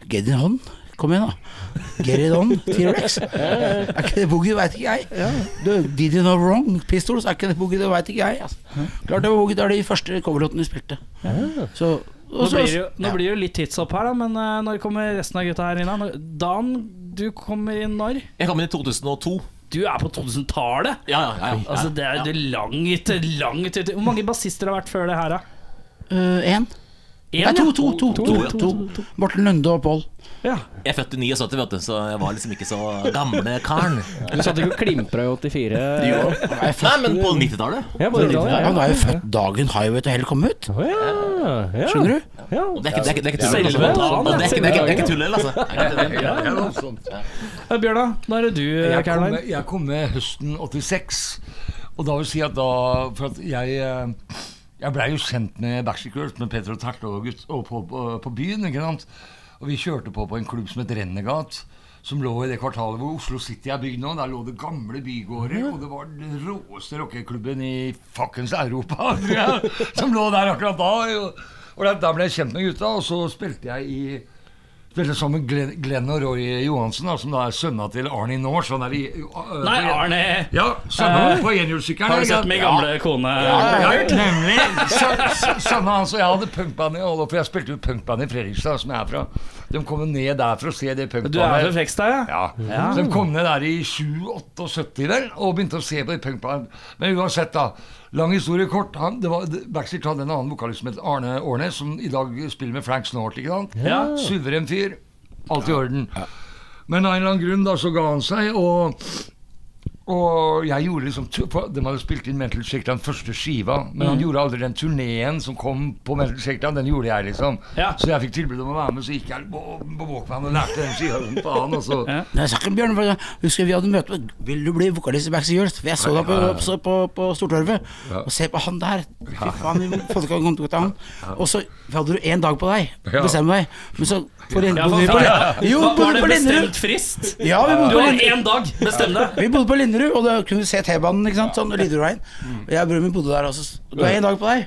Speaker 6: Get in on. Kom igjen, da. Get it on, T-rex. Er ikke det boogie, veit ikke jeg. Du, Did you know wrong? Pistols, er ikke det boogie, det veit ikke jeg. Altså. Klart det var boogie, det er de første coverlåtene vi spilte. Så,
Speaker 3: Nå
Speaker 6: og så-
Speaker 3: blir det jo, nå
Speaker 6: ja.
Speaker 3: blir det jo litt tidshopp her, da, men eh, når kommer resten av gutta her inn? da? Når- Dan, du kommer inn når?
Speaker 4: Jeg kom inn i 2002.
Speaker 3: Du er på 2000-tallet!
Speaker 4: Ja, ja, ja, ja.
Speaker 3: Altså, det er det er langt, langt ut Hvor mange bassister har vært før det her, da?
Speaker 6: Øh, En?
Speaker 3: En,
Speaker 6: Nei, to,
Speaker 3: ja.
Speaker 6: to, to, to,
Speaker 4: to,
Speaker 6: to. Morten Lunde og Pål.
Speaker 3: Ja.
Speaker 4: Jeg er født i 79, vet du, så jeg var liksom ikke så gamle karen.
Speaker 2: Du satt ikke og klimpra i 84?
Speaker 6: Jeg er født-
Speaker 4: Nei, men på 90-tallet.
Speaker 2: Ja, på det, ja,
Speaker 6: Han
Speaker 2: ja.
Speaker 6: er jo født dagen Highway til Hell kom ut,
Speaker 2: Å, ja, ja.
Speaker 6: skjønner du?
Speaker 4: Det er
Speaker 2: Ja.
Speaker 4: ikke- det er ikke- det er ikke tull.
Speaker 3: Selve dagen,
Speaker 4: Det er ikke- det er ikke- det er ikke
Speaker 2: dagen,
Speaker 4: tull heller, altså. Det er ikke tull.
Speaker 3: Eh, Bjørn, da? Nå er det du,
Speaker 5: Jeg kom,
Speaker 3: Eh, Caroline.
Speaker 5: jeg kom med høsten 86, og da vil si at da For at jeg eh, Jeg blei jo kjent med Backstreet Girls, med Peter og Terte og, gutt, og på, på, på byen, ikke sant. Og vi kjørte på på en klubb som het Rennegat. Som lå i det kvartalet hvor Oslo City er bygd nå. Der lå det gamle bygårder. Og det var den råeste rockeklubben i fuckings Europa, tror jeg, som lå der akkurat da. Og, og da, da ble jeg kjent med gutta, og så spilte jeg i Spilte sammen med Glenn, Glenn og Roy Johansen, da, som da er sønna til Arnie Naars. Han er i øh,
Speaker 3: Nei,
Speaker 5: på-
Speaker 3: Arne!
Speaker 5: Ja, sønna
Speaker 3: Eh,
Speaker 5: på enhjulssykkelen.
Speaker 3: Har du
Speaker 5: ikke
Speaker 3: sett
Speaker 5: sant?
Speaker 3: min gamle kone?
Speaker 5: Ja, ja, nemlig. Sø- sø- Sønna hans og jeg hadde punkband i alle år, for jeg spilte jo punkband i Fredrikstad, som jeg er fra. De kom jo ned der for å se det
Speaker 3: Du er fra
Speaker 5: punkbandet.
Speaker 3: Frekstad, ja?
Speaker 5: Ja.
Speaker 3: Ja.
Speaker 5: Så de kom ned der i 7-78 vel, og begynte å se på de punkband. Men uansett, da. Lang historie kort. Han, det var, Backstreet hadde en annen vokalist som het Arne Årnes, som i dag spiller med Frank Snort. ikke sant?
Speaker 3: Ja.
Speaker 5: Suveren fyr. Alt i orden. Men av en eller annen grunn da så ga han seg, og og jeg gjorde liksom tu- for De hadde spilt inn Mental Shakedown, første skiva, men
Speaker 3: Mm.
Speaker 5: han gjorde aldri den turneen som kom på Mental Shakedown. Den gjorde jeg, liksom.
Speaker 3: Ja.
Speaker 5: Så jeg fikk tilbud om å være med, så gikk jeg på, på Walkman og lærte den skiva som faen. Og så
Speaker 3: Ja.
Speaker 6: Nei, jeg sa ikke Bjørn, for jeg husker vi hadde møte med Vil du bli vokalist i Backstreet Girls? For jeg så deg på, på, på, på Stortorvet. Og se på han der. Fy faen, vi må få til å komme til han. Og så hadde du én dag på deg.
Speaker 5: Ja.
Speaker 6: Bestem deg. Men så for en,
Speaker 3: Ja, for
Speaker 6: bodde vi på,
Speaker 3: faen, ja.
Speaker 6: Jo,
Speaker 3: Hva- Var
Speaker 6: bodde
Speaker 3: det
Speaker 6: på Linderud.
Speaker 3: bestemt frist?
Speaker 6: Ja, vi bodde
Speaker 3: Du
Speaker 6: på
Speaker 3: har
Speaker 6: Linderud.
Speaker 3: én dag, bestem deg.
Speaker 6: Vi bodde på Linderud, og da kunne vi se T-banen. ikke sant, sånn, og Liderudveien.
Speaker 3: Mm.
Speaker 6: Og jeg og broren min bodde der. Og så, du har én dag på deg.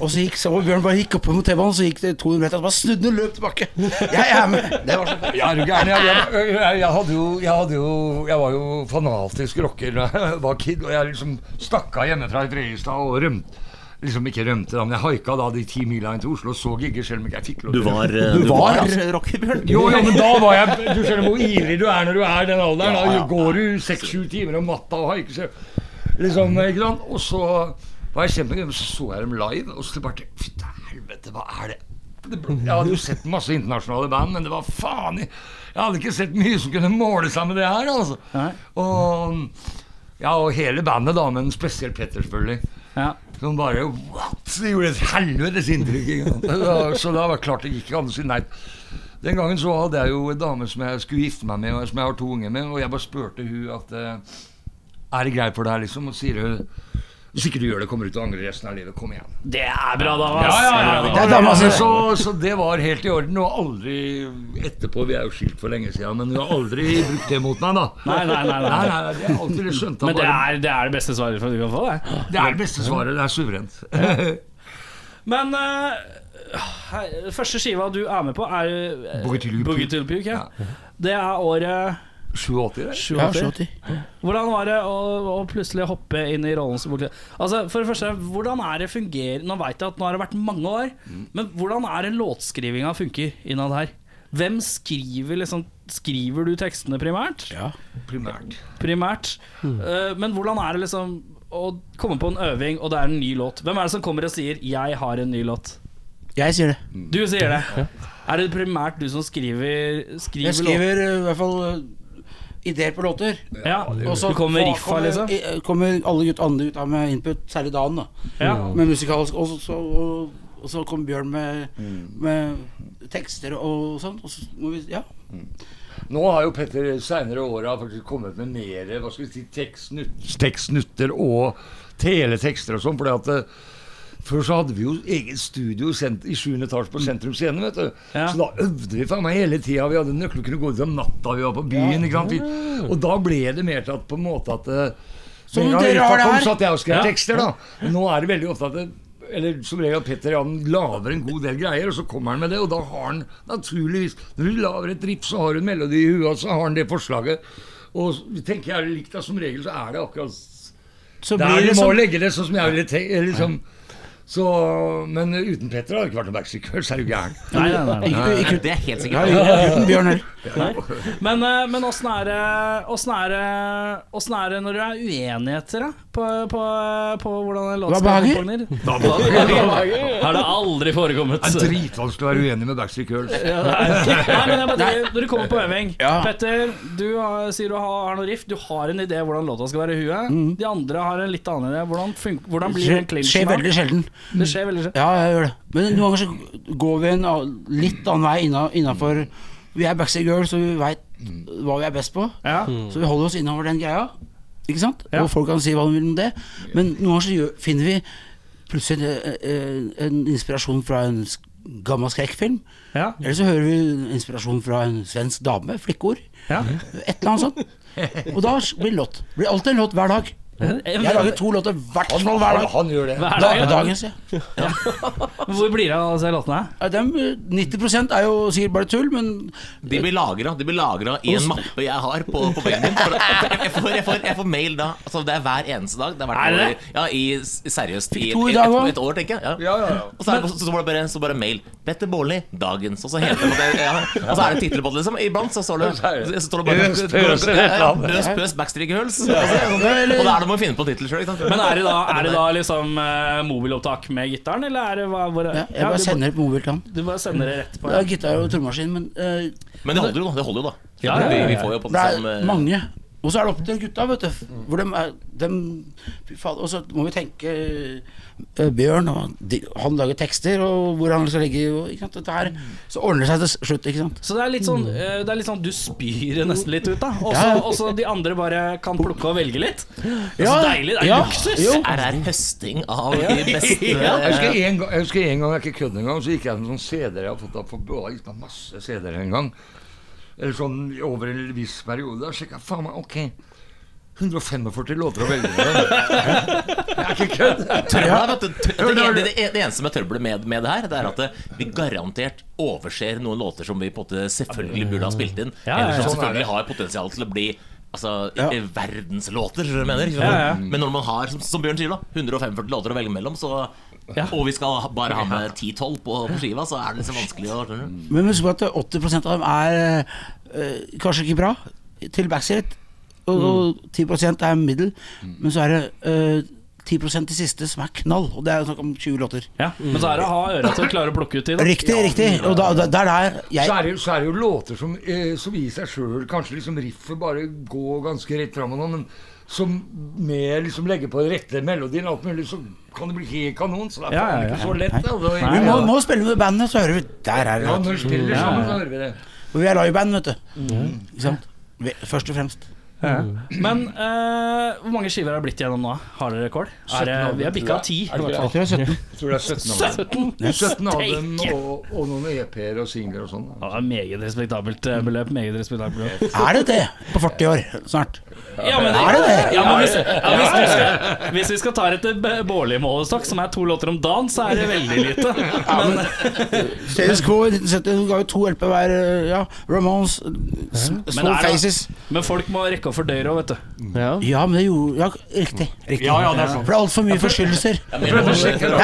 Speaker 6: Og så gikk så Bjørn bare gikk opp mot T-banen, så gikk det 200 meter, og så bare snudde han og løp tilbake. Jeg er med. Det var så
Speaker 5: Ja, er du gæren? Jeg, jeg, jeg, jeg hadde jo Jeg hadde jo Jeg var jo fanatisk rocker da jeg var kid, og jeg liksom stakk av hjemmefra i Fredrikstad og rømte. Liksom ikke rømte, da, men jeg haika da de ti milene til Oslo og så gigger, selv om ikke jeg fikk lov
Speaker 4: Du
Speaker 5: til det.
Speaker 4: var, eh, du var
Speaker 6: altså, rocker, Bjørn.
Speaker 5: Jo, jo, men da var jeg Du skjønner hvor ivrig du er når du er i den alderen. Da går du seks-sju timer om natta og haiker seg liksom, ikke sant? Og så var jeg kjent med dem, så så jeg dem live, og så bare tenkte jeg, Fy til helvete, hva er det? det ble, jeg hadde jo sett masse internasjonale band, men det var faen i Jeg hadde ikke sett mye som kunne måle seg med det her, altså. Og, ja, og hele bandet, da, men spesielt Petter, selvfølgelig.
Speaker 3: Ja.
Speaker 5: Som bare What?! Det gjorde et helvetes inntrykk. ikke sant? Da- Så da var det klart det gikk ikke an å si nei. Den gangen så hadde jeg jo en dame som jeg skulle gifte meg med, og som jeg har to unger med, og jeg bare spurte hun at eh, Er det greit for deg, liksom? Og sier hun Hvis ikke du gjør det, kommer du til å angre resten av livet. Kom igjen.
Speaker 3: Det er bra, da.
Speaker 5: Ja,
Speaker 3: ass.
Speaker 5: ja, ja,
Speaker 3: Det er bra, da.
Speaker 5: ja, altså,
Speaker 6: Det er dama si.
Speaker 5: Så, så det var helt i orden. Og aldri etterpå Vi er jo skilt for lenge siden, men hun har aldri brukt det mot meg, da.
Speaker 3: Nei, nei, nei, nei.
Speaker 5: nei, nei, nei det er alltid det skjønte
Speaker 3: Men
Speaker 5: jeg
Speaker 3: det
Speaker 5: bare.
Speaker 3: er det, er det beste svaret for du kan få, det.
Speaker 5: Det er det beste svaret. Det er suverent.
Speaker 3: Men eh, her- første skiva du er med på, er eh,
Speaker 5: Boogie Till You
Speaker 3: Boogie
Speaker 5: Puke.
Speaker 3: Till You Puke, ja. Det er året
Speaker 5: 87, det.
Speaker 6: Ja,
Speaker 3: 87.
Speaker 6: 70.
Speaker 3: Hvordan var det å, å plutselig hoppe inn i rollen som vokalist? Altså, for det første, hvordan er det fungerer Nå vet jeg at nå har det vært mange år,
Speaker 6: Mm.
Speaker 3: men hvordan er det låtskrivinga funker innad her? Hvem skriver liksom Skriver du tekstene primært?
Speaker 5: Primært.
Speaker 6: Hmm.
Speaker 3: Primært. Eh, men hvordan er det liksom å komme på en øving, og det er en ny låt. Hvem er det som kommer og sier 'jeg har en ny låt'?
Speaker 6: Jeg sier det.
Speaker 3: Du sier det. Er det primært du som skriver, skriver,
Speaker 6: Jeg skriver eh, i hvert fall eh, ideer på låter.
Speaker 3: låter? Ja.
Speaker 6: Og så
Speaker 3: Du kommer
Speaker 6: fa-
Speaker 3: riffa, liksom?
Speaker 6: i- eh, kommer alle gut, andre gutta med input, særlig Dan, da.
Speaker 3: Ja.
Speaker 6: Med musikalsk Og så- så, og, og så kom Bjørn med, med tekster og sånn. Og så må vi Ja.
Speaker 5: Nå har jo Petter seinere åra faktisk kommet med mer hva skal vi si, tekstnut- tekstnutter og teletekster og sånn. fordi at eh, før så hadde vi jo eget studio sent, i 7. etasje på Sentrum Scene. vet du.
Speaker 3: Ja.
Speaker 5: Så da øvde vi faen meg hele tida. Vi hadde nøkler kunne gå ut om natta vi var på byen. ikke sant? Vi, og da ble det mer til at på en måte at eh,
Speaker 6: Som
Speaker 5: med en gang
Speaker 6: dere har
Speaker 5: Riffa kom,
Speaker 6: det her.
Speaker 5: Så at jeg og skrev
Speaker 3: Ja.
Speaker 5: tekster, da. Men nå er det veldig ofte at det, eller som regel at Petter Jan lager en god del greier, og så kommer han med det, og da har han naturligvis Når du lager et riff, så har du en melodi i huet, og så har han det forslaget. Og så tenker jeg er det likt, da. Som regel så er det akkurat s-
Speaker 6: Så
Speaker 5: der
Speaker 6: blir
Speaker 5: du
Speaker 6: det
Speaker 5: må
Speaker 6: som
Speaker 5: legge det, sånn som jeg ville tenkt. Liksom. Så, men uten Petter hadde det ikke vært noen Backstreet Girls, er du gæren.
Speaker 3: Nei, nei, nei, nei.
Speaker 6: ikke, ikke,
Speaker 4: Det er helt
Speaker 6: ja,
Speaker 4: sikkert.
Speaker 6: uten Bjørn heller.
Speaker 3: Men, eh, men åssen er det Åssen er det Åssen er det når du er uenigheter, da? På, på, på hvordan en låt
Speaker 6: Hva
Speaker 3: skal
Speaker 6: behager?
Speaker 3: komponeres? Har det aldri forekommet?
Speaker 5: Det er dritvanskelig å være uenig med Backstreet Girls.
Speaker 3: Ja, Nei, Nei, men jeg bare tenker, når du kommer på øving
Speaker 6: Ja.
Speaker 3: Petter, du har, sier du har, har noe riff. Du har en idé hvordan låta skal være i huet.
Speaker 6: Mm.
Speaker 3: De andre har en litt annen idé. Hvordan, fun- hvordan blir den
Speaker 6: Skjer,
Speaker 3: clinchen?
Speaker 6: skjer
Speaker 3: da?
Speaker 6: veldig sjelden.
Speaker 3: Det skjer veldig
Speaker 6: Ja, jeg gjør det. Men noen ganger så går vi en annen- litt annen vei inna- innafor Vi er backstage girls, så vi veit hva vi er best på.
Speaker 3: ja.
Speaker 6: Så vi holder oss innover den greia. Ikke sant?
Speaker 3: Ja.
Speaker 6: Og folk kan si hva de vil om det. Men noen ganger så gjør, finner vi plutselig en, en- en inspirasjon fra en sk- gammel skrekkfilm.
Speaker 3: Ja.
Speaker 6: Eller så hører vi inspirasjon fra en svensk dame, flikkeord.
Speaker 3: Ja.
Speaker 6: Et eller annet sånt. Og da blir det låt. Det blir alltid en låt hver dag. Jeg lager to låter i hvert fall hver dag.
Speaker 5: Han gjør det.
Speaker 3: Hver
Speaker 6: Da,
Speaker 3: dag, ja.
Speaker 6: dagens, ja.
Speaker 3: Hvor blir det av disse låtene?
Speaker 6: Ja, dem, eh, 90 er jo sikkert bare tull, men
Speaker 4: De blir lagra de blir lagret i en mappe jeg har på, på veggen min. For jeg, får, jeg, får, jeg får mail da. Altså, det er hver eneste dag. Det har vært
Speaker 3: Er det
Speaker 4: over- ja, i, s- seriøst i
Speaker 6: Fikk
Speaker 4: et,
Speaker 6: to i
Speaker 4: et,
Speaker 6: dag
Speaker 4: et,
Speaker 6: også?
Speaker 4: et år, tenker jeg. Ja.
Speaker 5: Ja, ja, ja.
Speaker 4: Og så, er det, så, så, var det bare, så bare mail. Petter Baarli, dagens. Og så, heter det, ja, og så er det titler på det, liksom. Iblant så står det, så står det bare
Speaker 5: Øs, pøs, eller et eller annet.
Speaker 4: Øs Pøs Backstreet Girls. Og, så, og da er det må finne på tittel sjøl.
Speaker 3: Men er det da, er det da liksom eh, mobilopptak med gitaren, eller er det hva hvor,
Speaker 6: ja, jeg
Speaker 3: Ja,
Speaker 6: bare
Speaker 3: du,
Speaker 6: sender det på mobil til han.
Speaker 3: Du bare sender det rett på?
Speaker 6: Ja, gitar og trommaskin, men eh,
Speaker 4: Men det holder jo, da. Det holder jo, da.
Speaker 3: Ja, ja, ja, ja.
Speaker 4: Vi, vi får jo på
Speaker 6: det
Speaker 4: det eh,
Speaker 6: er
Speaker 4: samme
Speaker 6: mange. Og så er det opp til gutta, vet du. Hvor dem er, dem- fy faen, og så må vi tenke eh, Bjørn, og de, han lager tekster, og hvor han skal legge og, ikke sant, dette her. Så ordner det seg til slutt, ikke sant.
Speaker 3: Så det er litt sånn, eh, det er litt sånn du spyr nesten litt ut, da. Og så-
Speaker 6: Mm. Ja.
Speaker 3: Og så de andre bare kan plukke og velge litt. Det er så
Speaker 6: Ja,
Speaker 3: deilig. Det er
Speaker 6: ja,
Speaker 3: luksus.
Speaker 6: jo.
Speaker 4: Er det høsting av de beste
Speaker 5: Jeg husker, en gang, jeg husker en gang, jeg er ikke kødder engang, så gikk jeg med sånn CD-er jeg har fått opp for det var gitt meg masse CD-er en gang. Eller sånn over en viss periode. Da sjekka jeg faen meg Ok. 145 låter å velge mellom. Jeg er ikke kødd!
Speaker 4: Trøbbelet, vet du, tø-
Speaker 5: Ja,
Speaker 4: det,
Speaker 5: det er
Speaker 4: det, det, det eneste med trøbbelet med, med det her, det er at det, vi garantert overser noen låter som vi på en måte selvfølgelig burde ha spilt inn.
Speaker 3: Ja, ja, ja.
Speaker 4: Eller som
Speaker 5: Sånn er det.
Speaker 4: selvfølgelig har potensial til å bli Altså,
Speaker 6: Ja.
Speaker 4: i- verdenslåter, skjønner du hva jeg mener.
Speaker 3: Ja, ja.
Speaker 4: Men når man har, som, som Bjørn sier, da 145 låter å velge mellom, så og vi skal ha- bare ha med 10-12 på, på skiva, så er det liksom vanskelig å skjønner du?
Speaker 6: Men husk på at 80 av dem er eh, kanskje ikke bra til backseat, og, og 10 er middel, men så er det eh, 10 til siste som er knall, og det er snakk om 20 låter.
Speaker 3: Ja, Men så er det å ha øra til å klare å plukke ut i. Da.
Speaker 6: Riktig, riktig. Og da, da, der er
Speaker 5: Så
Speaker 6: jeg
Speaker 5: er det, jo- så er det jo låter som, eh, som i seg sjøl kanskje liksom riffet bare går ganske rett fram og noe, men som med liksom legge på den rette melodien og alt mulig, så kan det bli helt kanon. Så det er
Speaker 3: Ja,
Speaker 5: faen
Speaker 3: ja,
Speaker 5: ikke
Speaker 3: ja.
Speaker 5: så lett. Da. Det
Speaker 6: Vi
Speaker 5: er-
Speaker 6: må, må spille med bandet, så hører vi Der er det.
Speaker 5: Ja,
Speaker 6: låter.
Speaker 5: når vi spiller sammen, så hører vi det.
Speaker 6: For vi er liveband, vet du. Ikke sant? Vi, først og fremst.
Speaker 3: Men eh, hvor mange skiver har det blitt gjennom nå? Har dere rekord? Er det, vi har bikka ti, i hvert fall.
Speaker 6: Jeg tror det er 17.
Speaker 5: Jeg tror det er 17 av dem. 17 av dem og, og noen EP-er og singler og sånn. da.
Speaker 3: Ja, det er meget respektabelt eh, beløp. Meget respektabelt beløp.
Speaker 6: Er det det? På 40 år snart.
Speaker 3: Ja, men,
Speaker 6: Er det det?
Speaker 3: Ja, men hvis, ja, hvis, du skal, hvis vi skal ta eh, det etter Bårli-målestokk, som er to låter om dagen, så er det veldig lite. Men,
Speaker 6: Status Quo i 1970 ga jo to LP hver. eh, Ja, Ramones, S- Small
Speaker 3: er det-
Speaker 6: Faces.
Speaker 3: men folk må rekke å fordøye òg, vet du.
Speaker 2: Ja.
Speaker 6: Ja, men det gjorde Ja, riktig. riktig.
Speaker 5: Ja, ja, det er sånn.
Speaker 6: For det er altfor mye forstyrrelser.
Speaker 5: Har du sjekket-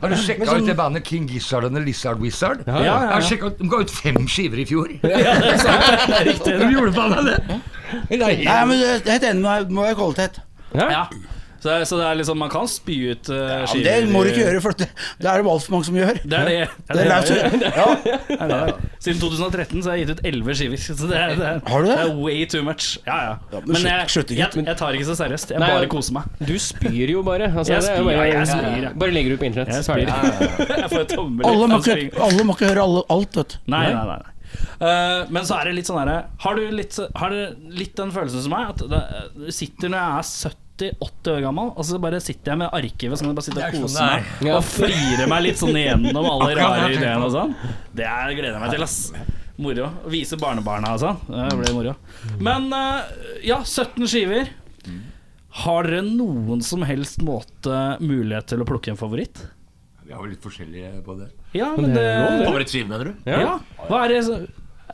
Speaker 5: Har du sjekka ut det bandet King Gizzard and the Lizard Wizard?
Speaker 3: sånn- ja, ja.
Speaker 5: Jeg har sjekket ut, De ga ut fem skiver i fjor.
Speaker 3: Det er riktig.
Speaker 5: De gjorde faen meg det!
Speaker 6: Nei, men jeg er helt enig med deg. Det må være kvalitet.
Speaker 2: Ja.
Speaker 3: Ja. Så det er, så det er liksom, man kan spy ut uh,
Speaker 6: Ja, men
Speaker 3: skiver.
Speaker 6: det må du ikke
Speaker 3: i-
Speaker 6: gjøre, for det, det er det altfor mange som gjør.
Speaker 3: Det er det.
Speaker 6: Det er
Speaker 3: jeg gjør.
Speaker 6: laus- ja.
Speaker 3: Det er det jeg gjør. Siden 2013 så har jeg gitt ut 11 skiver. Så det er, det er,
Speaker 6: Har du det?
Speaker 3: er way too much. Ja, ja.
Speaker 6: Ja, men
Speaker 3: Men
Speaker 6: slutt-
Speaker 3: jeg,
Speaker 6: slutt, gutt.
Speaker 3: jeg, jeg tar ikke så seriøst. Jeg
Speaker 2: Nei,
Speaker 3: bare
Speaker 2: jeg-
Speaker 3: koser meg.
Speaker 2: Du spyr jo bare. Altså,
Speaker 3: Jeg
Speaker 2: det er jo
Speaker 3: spyr,
Speaker 2: bare,
Speaker 3: ja, jeg spyr, ja.
Speaker 2: bare legger ut på internett.
Speaker 3: Jeg
Speaker 2: Ferdig.
Speaker 3: spyr. Jeg får et tommel. altså,
Speaker 6: Alle må,
Speaker 3: Jeg springer.
Speaker 6: ikke, alle må ikke høre alle, alt, vet du.
Speaker 3: Nei, nei, nei, nei. Eh, men så er det litt sånn herre Har du litt, har du litt den følelsen som meg? At det- eh, du sitter når jeg er 70-80 år gammel, og så bare sitter jeg med arkivet Sånn at jeg bare sitter og
Speaker 5: Det er
Speaker 3: koser
Speaker 5: sånn
Speaker 3: meg
Speaker 5: det
Speaker 2: Ja.
Speaker 3: og frier meg litt sånn gjennom alle
Speaker 5: Akkurat
Speaker 3: rare
Speaker 5: det jeg tenkte
Speaker 3: ideene
Speaker 5: på.
Speaker 3: og sånn. Det er, gleder jeg meg til, ass. Moro. Å vise barnebarna og sånn. Det blir moro. Men eh, ja, 17 skiver. Har dere noen som helst måte mulighet til å plukke en favoritt?
Speaker 5: Vi er jo litt forskjellige på det.
Speaker 3: Ja, men det
Speaker 4: Favorittskive, mener du?
Speaker 2: Ja.
Speaker 3: ja. Hva er det som-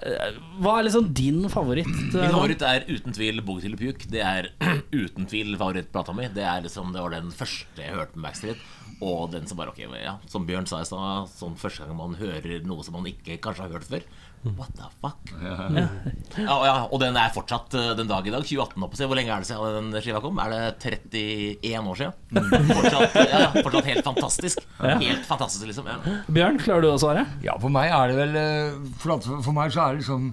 Speaker 3: eh, Hva er liksom din favoritt? eh,
Speaker 4: Min favoritt er uten tvil Boogie Till Puke. Det er uten tvil favorittplata mi. Det er liksom, det var den første jeg hørte med Backstreet. Og den som bare ok, ja, som Bjørn sa i stad, sånn første gang man hører noe som man ikke kanskje har hørt før. What the fuck? Ja, og ja, og den er fortsatt eh, den dag i dag. 2018, oppe, Hvor lenge er det siden den skiva kom? Er det 31 år siden? Fortsatt, ja, ja, fortsatt helt fantastisk. Helt fantastisk, liksom. Ja.
Speaker 3: Bjørn, klarer du å svare?
Speaker 5: Ja, for meg er det vel eh, For, at, for meg så er det liksom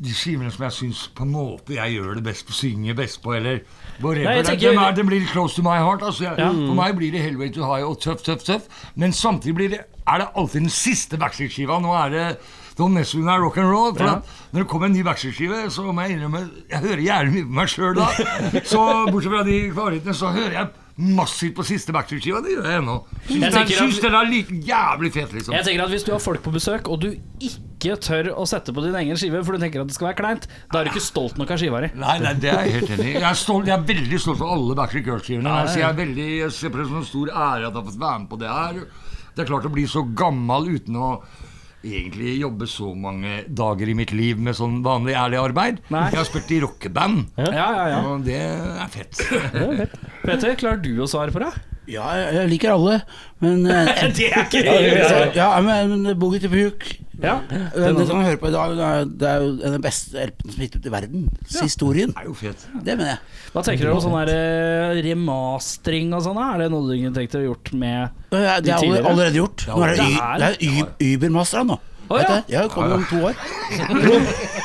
Speaker 5: de skivene som jeg syns på en måte jeg gjør det best på, synger best på, eller whatever.
Speaker 3: Nei, jeg
Speaker 5: Den-
Speaker 3: tenker- Mm.
Speaker 5: den, er, den blir close to my heart. Altså jeg, For meg blir det Hellway to High og tøff, tøff, tøff. Men samtidig blir det, er det alltid den siste Backstreet-skiva. Nå er det Don't Mess With Me er rock and roll. For at når det kommer en ny Backstreet-skive, så må jeg innrømme Jeg hører jævlig mye på meg sjøl da. Så bortsett fra de favorittene, så hører jeg massivt på siste Backstreet-skiva. Det gjør jeg ennå. Syns
Speaker 3: Jeg
Speaker 5: den-
Speaker 3: tenker at-
Speaker 5: syns den er like jævlig fet, liksom.
Speaker 3: Jeg tenker at Hvis du har folk på besøk, og du ikke tør å sette på din egen skive, for du tenker at det skal være kleint, da er du ikke stolt nok av skiva di.
Speaker 5: Nei, nei, det er jeg helt enig i. Jeg er, stolt, jeg er veldig stolt av alle Backstreet Girls-skivene. Altså, jeg, er veldig, jeg ser på det som en stor ære at jeg har fått være med på det her. Det er klart å bli så gammel uten å egentlig jobbe så mange dager i mitt liv med sånn vanlig ærlig arbeid.
Speaker 3: Nei.
Speaker 5: Jeg har spilt i rockeband,
Speaker 3: Ja, ja, ja.
Speaker 5: og det er fett.
Speaker 3: Peter, klarer du å svare på det?
Speaker 6: Ja, jeg, jeg liker alle, men eh,
Speaker 3: Det er ikke
Speaker 6: ja, men, men Boogie til Puke
Speaker 3: Ja.
Speaker 6: Den som man hører på i dag, det er- det er jo en av de beste LP-ene som er gitt ut i verden. Historien.
Speaker 5: Det er jo fett.
Speaker 6: Det mener jeg.
Speaker 3: Hva tenker dere om sånn her, eh, remastering og sånn? da? Er det noe du kunne tenkt deg å gjort med
Speaker 6: Og jeg- Det er alle-
Speaker 3: tidligere?
Speaker 6: allerede gjort. Nå er det,
Speaker 3: det
Speaker 6: y,
Speaker 3: er-
Speaker 6: det er y- Ubermasteren nå.
Speaker 3: Å,
Speaker 6: Vet
Speaker 3: ja.
Speaker 6: du? Ja, det kommer om to år.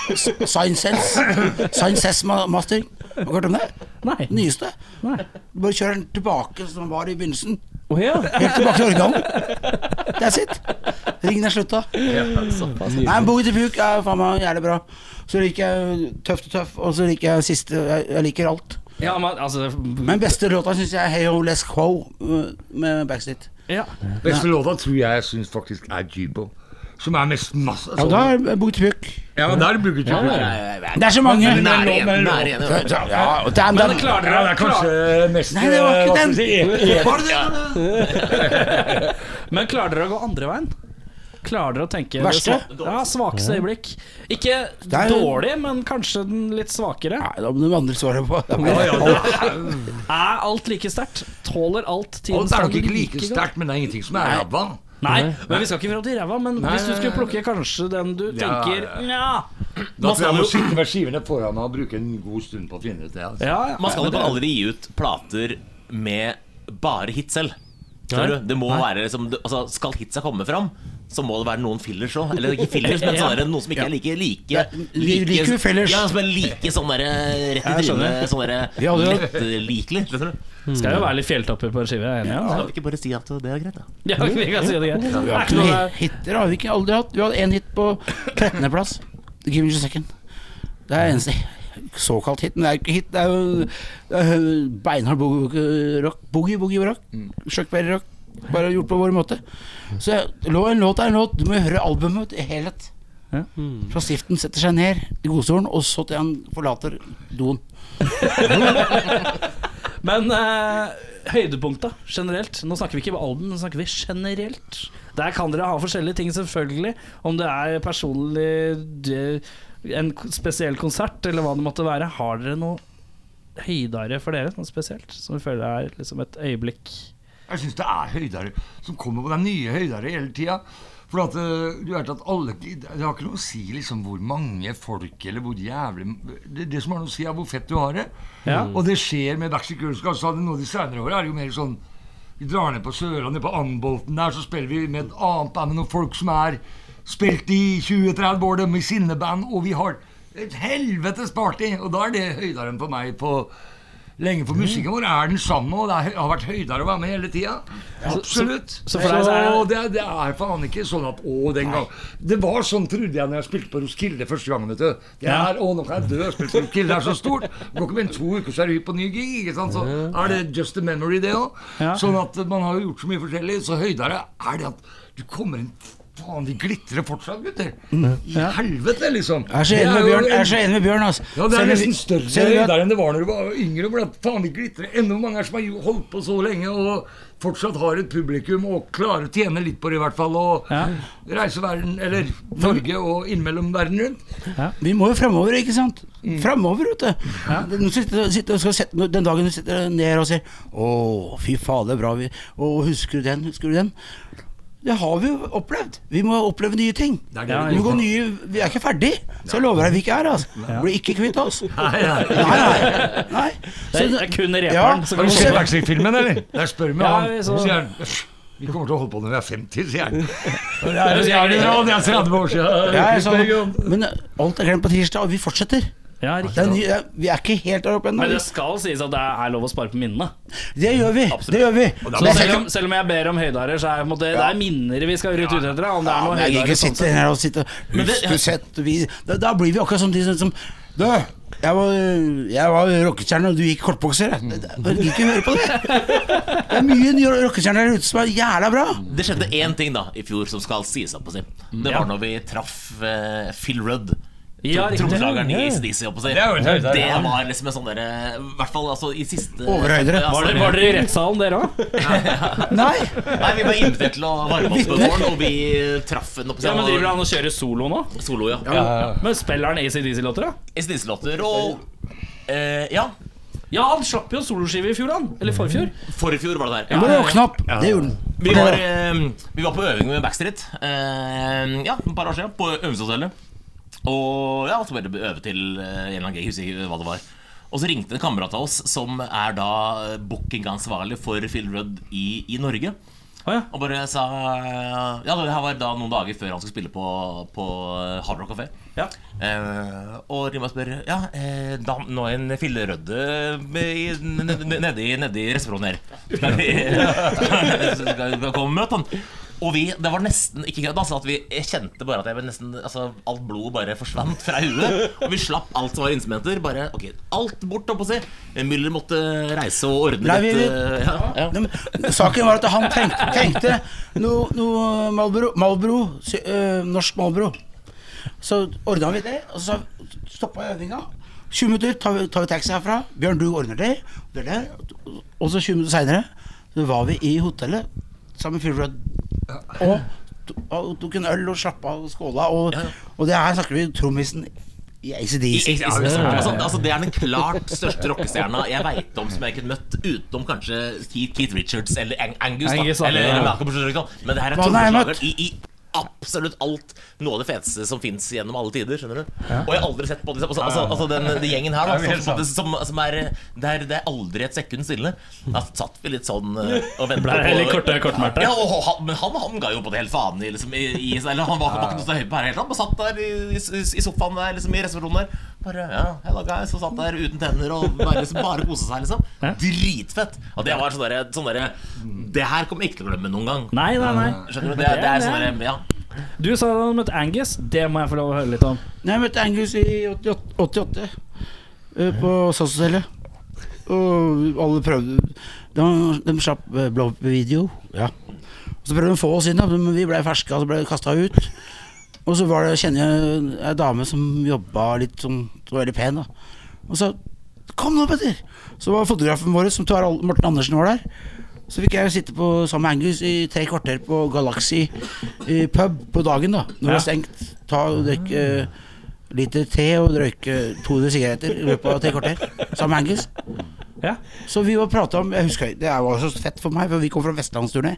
Speaker 6: S- Science Sense. Science Sense ma- Mastering. Har du hørt om det?
Speaker 3: Nei.
Speaker 6: Nyeste.
Speaker 3: Nei.
Speaker 6: Bare kjør den tilbake som den var i begynnelsen.
Speaker 2: Å ja.
Speaker 6: Helt tilbake til originalen. That's it. Ringen er slutta. Nei, men Boogie til Puke er faen meg jævlig bra. Så liker jeg Tøft og Tøff, og så liker jeg siste Jeg, jeg liker alt.
Speaker 3: Ja, men altså
Speaker 6: Men beste låta syns jeg er Hey Ho Les Quo uh, med Backstreet.
Speaker 3: ja.
Speaker 5: Beste låta tror jeg jeg syns faktisk er Jibo. Som er mest masse
Speaker 6: Ja, da er Boogie til Puke.
Speaker 5: Ja, da er det Booger Jibo.
Speaker 6: Det er så mange.
Speaker 4: Men Nære igjen, nære igjen.
Speaker 6: Ja, ja, og Dan, Dan.
Speaker 3: Men klarer
Speaker 5: Ja, det
Speaker 3: dere,
Speaker 5: er kanskje mest eh,
Speaker 6: Nei, det var ikke den. Var det den?
Speaker 3: Men klarer dere å gå andre veien? Klarer dere å tenke det
Speaker 6: Verste?
Speaker 3: sva- Ja, svakeste øyeblikk. Ikke
Speaker 6: er-
Speaker 3: dårlig, men kanskje den litt svakere.
Speaker 6: Nei, da må den andre svare på.
Speaker 3: Er alt like sterkt? Tåler alt
Speaker 5: Og
Speaker 3: tidens
Speaker 5: det er nok
Speaker 3: tanker
Speaker 5: ikke like
Speaker 3: godt?
Speaker 5: sterkt, men det er ingenting som er ræva.
Speaker 3: Nei, men vi skal ikke fram til ræva. Men
Speaker 5: Nei,
Speaker 3: hvis du
Speaker 5: nei,
Speaker 3: skulle
Speaker 5: nei.
Speaker 3: plukke kanskje den du
Speaker 5: Ja,
Speaker 3: tenker
Speaker 5: ja.
Speaker 3: Nja.
Speaker 5: Da
Speaker 3: Man
Speaker 5: tror jeg jeg
Speaker 3: skal
Speaker 5: må
Speaker 3: jo
Speaker 5: sitte med skivene foran meg og bruke en god stund på å finne ut det. Altså.
Speaker 3: ja, ja.
Speaker 4: Man skal jo bare aldri gi ut plater med bare hit selv. Skjønner du? Det må være liksom, det- altså, Skal hitsa komme fram, så må det være noen fillers òg. Eller ikke fillers, men sånne, der- noen som ikke er like like,
Speaker 6: li- liker jo fillers.
Speaker 4: Ja, som er like sånn derre rett i trynet. Sånn derre
Speaker 6: Ja, det-
Speaker 4: lettlikelig. Skjønner du?
Speaker 3: Skal jo være litt fjelltopper på en skive. Jeg er enig.
Speaker 4: Kan
Speaker 3: altså.
Speaker 4: vi ikke bare si at det er greit, da?
Speaker 3: Ja, vi kan si det greit. Det er ikke noe-
Speaker 6: Hitter har vi ikke aldri hatt. Vi hadde én hit på 13. plass. Give me just a second. Det er eneste såkalt hit, men det er jo ikke hit. Det er jo det er jo beinhard boogie-rock. Boogie-boogie-rock.
Speaker 5: Mm.
Speaker 6: Chuckberry-rock. Bare gjort på vår måte. Så jeg- lå- en låt er en låt. Du må høre albumet i helhet.
Speaker 3: Ja.
Speaker 6: Fra stiften setter seg ned i godstolen, og så til han forlater doen.
Speaker 3: Men eh, høydepunkta generelt. Nå snakker vi ikke om album, nå snakker vi generelt. Der kan dere ha forskjellige ting, selvfølgelig. Om det er personlig det, En k- spesiell konsert, eller hva det måtte være. Har dere noe høydere for dere, noe spesielt? Som vi føler er liksom et øyeblikk
Speaker 5: Jeg syns det er høydere som kommer på. Det er nye høydere hele tida. For For at, eh, du vet at alle, Det har ikke noe å si liksom hvor mange folk eller hvor jævlig Det, det som har noe å si, er hvor fett du har det.
Speaker 3: Ja.
Speaker 5: Og det skjer med Backstreet Girls. Altså, nå de senere åra er det jo mer sånn Vi drar ned på Sørlandet, på Anbolten der, så spiller vi med et annet band med noen folk som er spilt i 20-30 år, dømme i sinneband, og vi har et helvetes party! Og da er det høydaren for meg på lenge, for musikken vår er den samme, og det er, hø- har vært høydere å være med hele tida. Absolutt.
Speaker 2: så for deg så er-
Speaker 5: det, det er faen ikke sånn at å, den gang Det var sånn, trodde jeg, når jeg spilte på Roskilde første gang, vet du. Det er, å, nå kan jeg dø, jeg spilte på Roskilde, det er så stort. Det går ikke mer enn to uker, så er det på ny gig, ikke sant. Så er det just a memory, det òg.
Speaker 3: Ja.
Speaker 5: Sånn at man har jo gjort så mye forskjellig. Så høydere er det at du kommer inn Faen, de glitrer fortsatt, gutter. I helvete, liksom.
Speaker 6: Jeg er så
Speaker 5: Det
Speaker 6: enig med
Speaker 5: jo
Speaker 6: Bjørn. Jeg
Speaker 5: en-
Speaker 6: er så enig med Bjørn altså.
Speaker 5: ja, det er
Speaker 6: Selv om vi-
Speaker 5: nesten større
Speaker 6: selv om vi-
Speaker 5: der enn det var når du var yngre. For at faen, vi glitrer enda mange her som har jo holdt på så lenge og fortsatt har et publikum og klarer å tjene litt på det, i hvert fall. Og
Speaker 3: Ja.
Speaker 5: reise verden, eller Norge og innimellom verden rundt.
Speaker 6: Vi må jo framover, ikke sant? Framover, vet du. Den, sitter, sitter, og skal sette, når- den dagen du sitter ned og sier 'Å, fy fader, bra vi Å, husker du den? Husker du den?' Det har vi jo opplevd. Vi må oppleve nye ting.
Speaker 5: Det er det
Speaker 6: vi,
Speaker 5: vi
Speaker 6: må gå nye, vi er ikke ferdig, så jeg lover deg vi ikke er. Altså. Blir ikke kvitt oss. Nei, nei. nei.
Speaker 3: Det er- det er kun reperen
Speaker 6: Ja,
Speaker 3: som
Speaker 5: Har
Speaker 3: kan komme.
Speaker 5: du sett Backstreet-filmen, eller? Der spør vi
Speaker 3: Ja,
Speaker 5: han.
Speaker 3: vi så-
Speaker 5: Så sier han vi kommer til å holde på når vi er 50, sier han. Og Det er, det er, det er, det er 30 år siden.
Speaker 6: Ja, sånn. jeg sa- men eh, alt er glemt på tirsdag, og vi fortsetter.
Speaker 3: Ja,
Speaker 6: Det er
Speaker 3: riktig.
Speaker 6: ny, vi er ikke helt der oppe
Speaker 3: Men
Speaker 6: ennå.
Speaker 3: det skal sies at det er lov å spare på minnene.
Speaker 6: Det gjør vi. Det gjør vi.
Speaker 5: da
Speaker 3: Så
Speaker 5: må-
Speaker 3: selv om, selv om jeg ber om høydarer, så er på en måte, det er minner vi skal rydde ut etter. da, Om det er noe
Speaker 6: Men jeg gidder
Speaker 3: høydarer
Speaker 6: ikke
Speaker 3: sånn
Speaker 6: sitte
Speaker 3: sett.
Speaker 6: her og sitte
Speaker 4: Men det-
Speaker 6: Husk du sett vi, da, da blir vi akkurat som de som, som Du, jeg var, jeg var rockestjerne, og du gikk kortbokser. Jeg Det-
Speaker 3: Mm.
Speaker 6: det- jeg gidder ikke høre på det. Det er mye nye rockestjerner der ute som er jævla bra.
Speaker 4: Det skjedde én ting da i fjor som skal sies opp å si. Det var når vi traff eh, Phil Rudd.
Speaker 3: Ja,
Speaker 4: Tro-
Speaker 3: riktig.
Speaker 4: Trommeslageren i ACDC. opp å si.
Speaker 5: Det er jo et høyde,
Speaker 4: Det
Speaker 5: ja.
Speaker 4: var liksom en sånn derre I hvert fall altså, i siste
Speaker 6: Overhøydere.
Speaker 4: Ja,
Speaker 3: sånn. Var dere, var dere i rettssalen, dere òg?
Speaker 6: Nei.
Speaker 4: Nei, vi ble invitert til å varme opp på gården, og vi traff en opp å si.
Speaker 3: Ja, men driver han og kjører solo nå?
Speaker 4: solo, ja.
Speaker 3: Men spiller han ACDC-låter, da?
Speaker 4: ACDC-låter og eh, Ja,
Speaker 3: Ja, han slapp jo soloskive i fjor, han. Eller forfjor.
Speaker 4: forrige fjor var det der.
Speaker 6: Du må våkne opp. Det gjorde den.
Speaker 4: Vi var, eh, vi var på øving med Backstreet eh, Ja, et par år siden, på øvingshotellet. Og ja, så ble det øve til eh, en eller annen gig, jeg husker ikke hva det var. Og så ringte en kamerat av oss som er da bookingansvarlig for Phil Rudd i, i Norge.
Speaker 3: Å ja.
Speaker 4: Og bare sa Ja, det her var da noen dager før han skulle spille på, på Hard Rock Café.
Speaker 3: Ja.
Speaker 4: Eh, og Rima spør Ja, eh, da, nå er en fillerødde i- ned- ned- nedi nedi restauranten her. Skal vi skal vi komme og møte han? Og vi, det var nesten ikke kødd, altså, at vi jeg kjente bare at jeg ble nesten, altså, alt blod bare forsvant fra huet. Og vi slapp alt som var instrumenter. Bare ok, alt bort, oppå si. Müller måtte reise og ordne
Speaker 6: Nei, vi-
Speaker 4: litt. eh, ja, ja.
Speaker 6: De- Saken var at han tenkte, tenkte noe, noe Malbro, Malbro sy- øh, norsk Malbro. Så ordna vi det, og så stoppa øvinga. 20 minutter tar vi, tar vi taxi herfra. Bjørn, du ordner det. det, er det. Og så 20 minutter seinere var vi i hotellet sammen med Fyrbrød. Og, to- og tok en øl og slappa av og skåla. Og,
Speaker 4: ja.
Speaker 6: og det her snakker vi trommisen i ACDC.
Speaker 4: I- i- altså, altså, det er den klart største rockestjerna jeg veit om som jeg kunne møtt, utenom kanskje Keith, Keith Richards eller Ang Angus.
Speaker 3: Angus,
Speaker 4: Da,
Speaker 3: da,
Speaker 4: eller
Speaker 3: ja.
Speaker 4: Malcolm Schurrick. Men det her er
Speaker 6: Hva har jeg
Speaker 4: trommeslageren i, i absolutt alt. Noe av det feteste som fins gjennom alle tider. skjønner du? Og jeg har aldri sett på disse Altså, altså, altså den, den gjengen her, da,
Speaker 5: Det er jo helt
Speaker 4: som, som, som er det, er det er aldri et sekund stille. Da satt vi litt sånn eh, og venta
Speaker 3: Ble det litt korte- kortmørte?
Speaker 4: Ja, og han, men han, han ga jo på det helt faen i, liksom, i, i Eller han var var ikke noe så høy på her helt Han bare satt der i, i, i sofaen der, liksom, i resepsjonen der Bare, ja, hello guys Og satt der uten tenner og bare, liksom, bare koset seg liksom Dritfett Og det var sånn der, sånn derre, Det her kommer jeg ikke til å glemme noen gang
Speaker 3: Nei, nei, nei.
Speaker 4: Skjønner du? Det, det er sånn der, ja
Speaker 3: Du sa du hadde møtt Angus. Det må jeg få lov å høre litt om.
Speaker 6: Nei, jeg møtte Angus i 88, 88 eh, på SAS-hotellet. Og alle prøvde De, de slapp eh, blow-up-video. Ja. Og så prøvde de å få oss inn, da, men vi ble ferska og ble kasta ut. Og så var det, kjenner jeg ei dame som jobba litt sånn Som var veldig pen. da Og sa 'Kom nå, Petter!' Så var fotografen vår, som tar all- Morten Andersen, var der. Så fikk jeg sitte på sammen med Angus i tre kvarter på Galaxy eh, pub på dagen, da. Når det var stengt. Ta og drikke eh, liter te og røyke 200 sigaretter i løpet av tre kvarter. Sammen med Angus.
Speaker 3: Ja.
Speaker 6: Så vi var prata om Jeg husker det var så fett for meg, for vi kom fra vestlandsturné.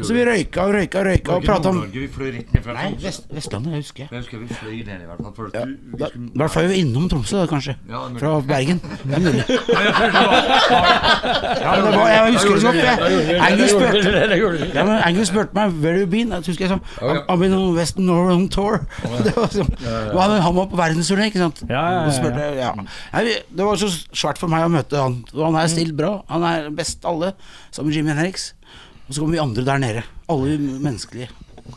Speaker 6: Så vi røyka og røyka og røyka og prata om
Speaker 5: Norge, vi fløy rett ned fra
Speaker 6: Nei,
Speaker 5: Tromsø.
Speaker 6: Vest, Vestlandet, jeg husker jeg.
Speaker 5: Jeg husker vi fløy ned i hvert fall. For at du, vi
Speaker 6: Da,
Speaker 5: skulle-
Speaker 6: da fløy vi innom Tromsø, da, kanskje.
Speaker 5: Ja, men-
Speaker 6: Fra Bergen. Det er mulig. Ja, men det var,
Speaker 5: Da
Speaker 6: jeg husker det
Speaker 5: gjorde
Speaker 6: godt.
Speaker 5: vi det, da gjorde vi
Speaker 6: jeg.
Speaker 5: det,
Speaker 6: Angus spurte ja, men Angus spurte meg where you been. Jeg husker jeg sa
Speaker 5: ja.
Speaker 6: I've been on West Norway on tour. Det var sånn, og han, han var på verdensturné, ikke sant.
Speaker 3: Ja, ja, ja,
Speaker 6: Og så spurte jeg, ja. Nei, vi- det var så svært for meg å møte han. Og han er stilt bra. Han er best av alle, sammen med Jimmy Henriks. Og så kommer vi andre der nede. Alle vi menneskelige.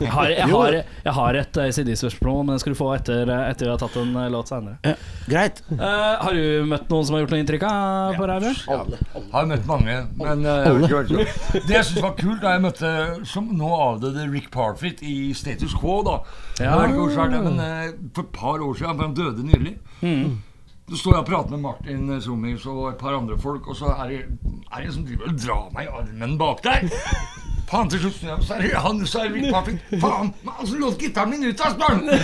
Speaker 3: Jeg har, jeg har, jeg har et eh, ACD-spørsmål, men det skal du få etter, etter vi har tatt en eh, låt seinere.
Speaker 6: Ja, greit.
Speaker 3: Eh, har du møtt noen som har gjort noe inntrykk eh, på deg, Bjørn?
Speaker 5: Alle. Har møtt mange, men eh, Det jeg syns var kult, da jeg møtte som nå avdøde Rick Parfitt i Status Quo, da
Speaker 3: Ja.
Speaker 5: Jeg vet ikke hvor svært det er, men eh, For et par år siden, for han døde nylig Så står jeg og prater med Martin Sommings og et par andre folk, og så er det er det en som driver og drar meg i armen bak der. Faen, til slutt snur jeg meg, så er det han så er det Rick Parfitt. Faen! men Altså, låt gitaren min ut av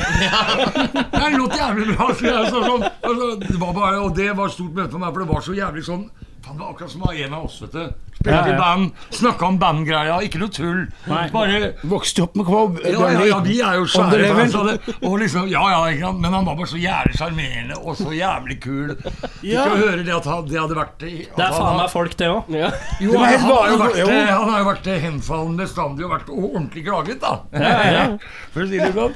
Speaker 5: sparen! Det låt jævlig bra! Så jeg sa sånn, altså, det var bare, og det var et stort møte for meg, for det var så jævlig sånn Faen, det var akkurat som det var en av oss, vet du. Spilte
Speaker 3: Ja, ja.
Speaker 5: i band, snakka om bandgreia, ikke noe tull. Bare
Speaker 6: Vokste jo opp med Kvob.
Speaker 5: ja, ja, ja, vi er jo
Speaker 6: On the
Speaker 5: svære
Speaker 6: level.
Speaker 5: fans av det. Og liksom, ja, ja, ikke sant? Men han var bare så jævlig sjarmerende og så jævlig kul. Ikke
Speaker 6: Ja.
Speaker 5: å høre det at han, det hadde vært i- at
Speaker 3: Det er
Speaker 5: han-
Speaker 3: faen meg folk, det òg.
Speaker 2: Ja.
Speaker 5: Jo,
Speaker 6: Det var
Speaker 5: han,
Speaker 6: helt
Speaker 5: har jo
Speaker 6: vanlig,
Speaker 5: vært,
Speaker 6: jo.
Speaker 5: eh, han har jo vært eh, henfallen bestandig og vært ordentlig graget, da. For å si det sånn.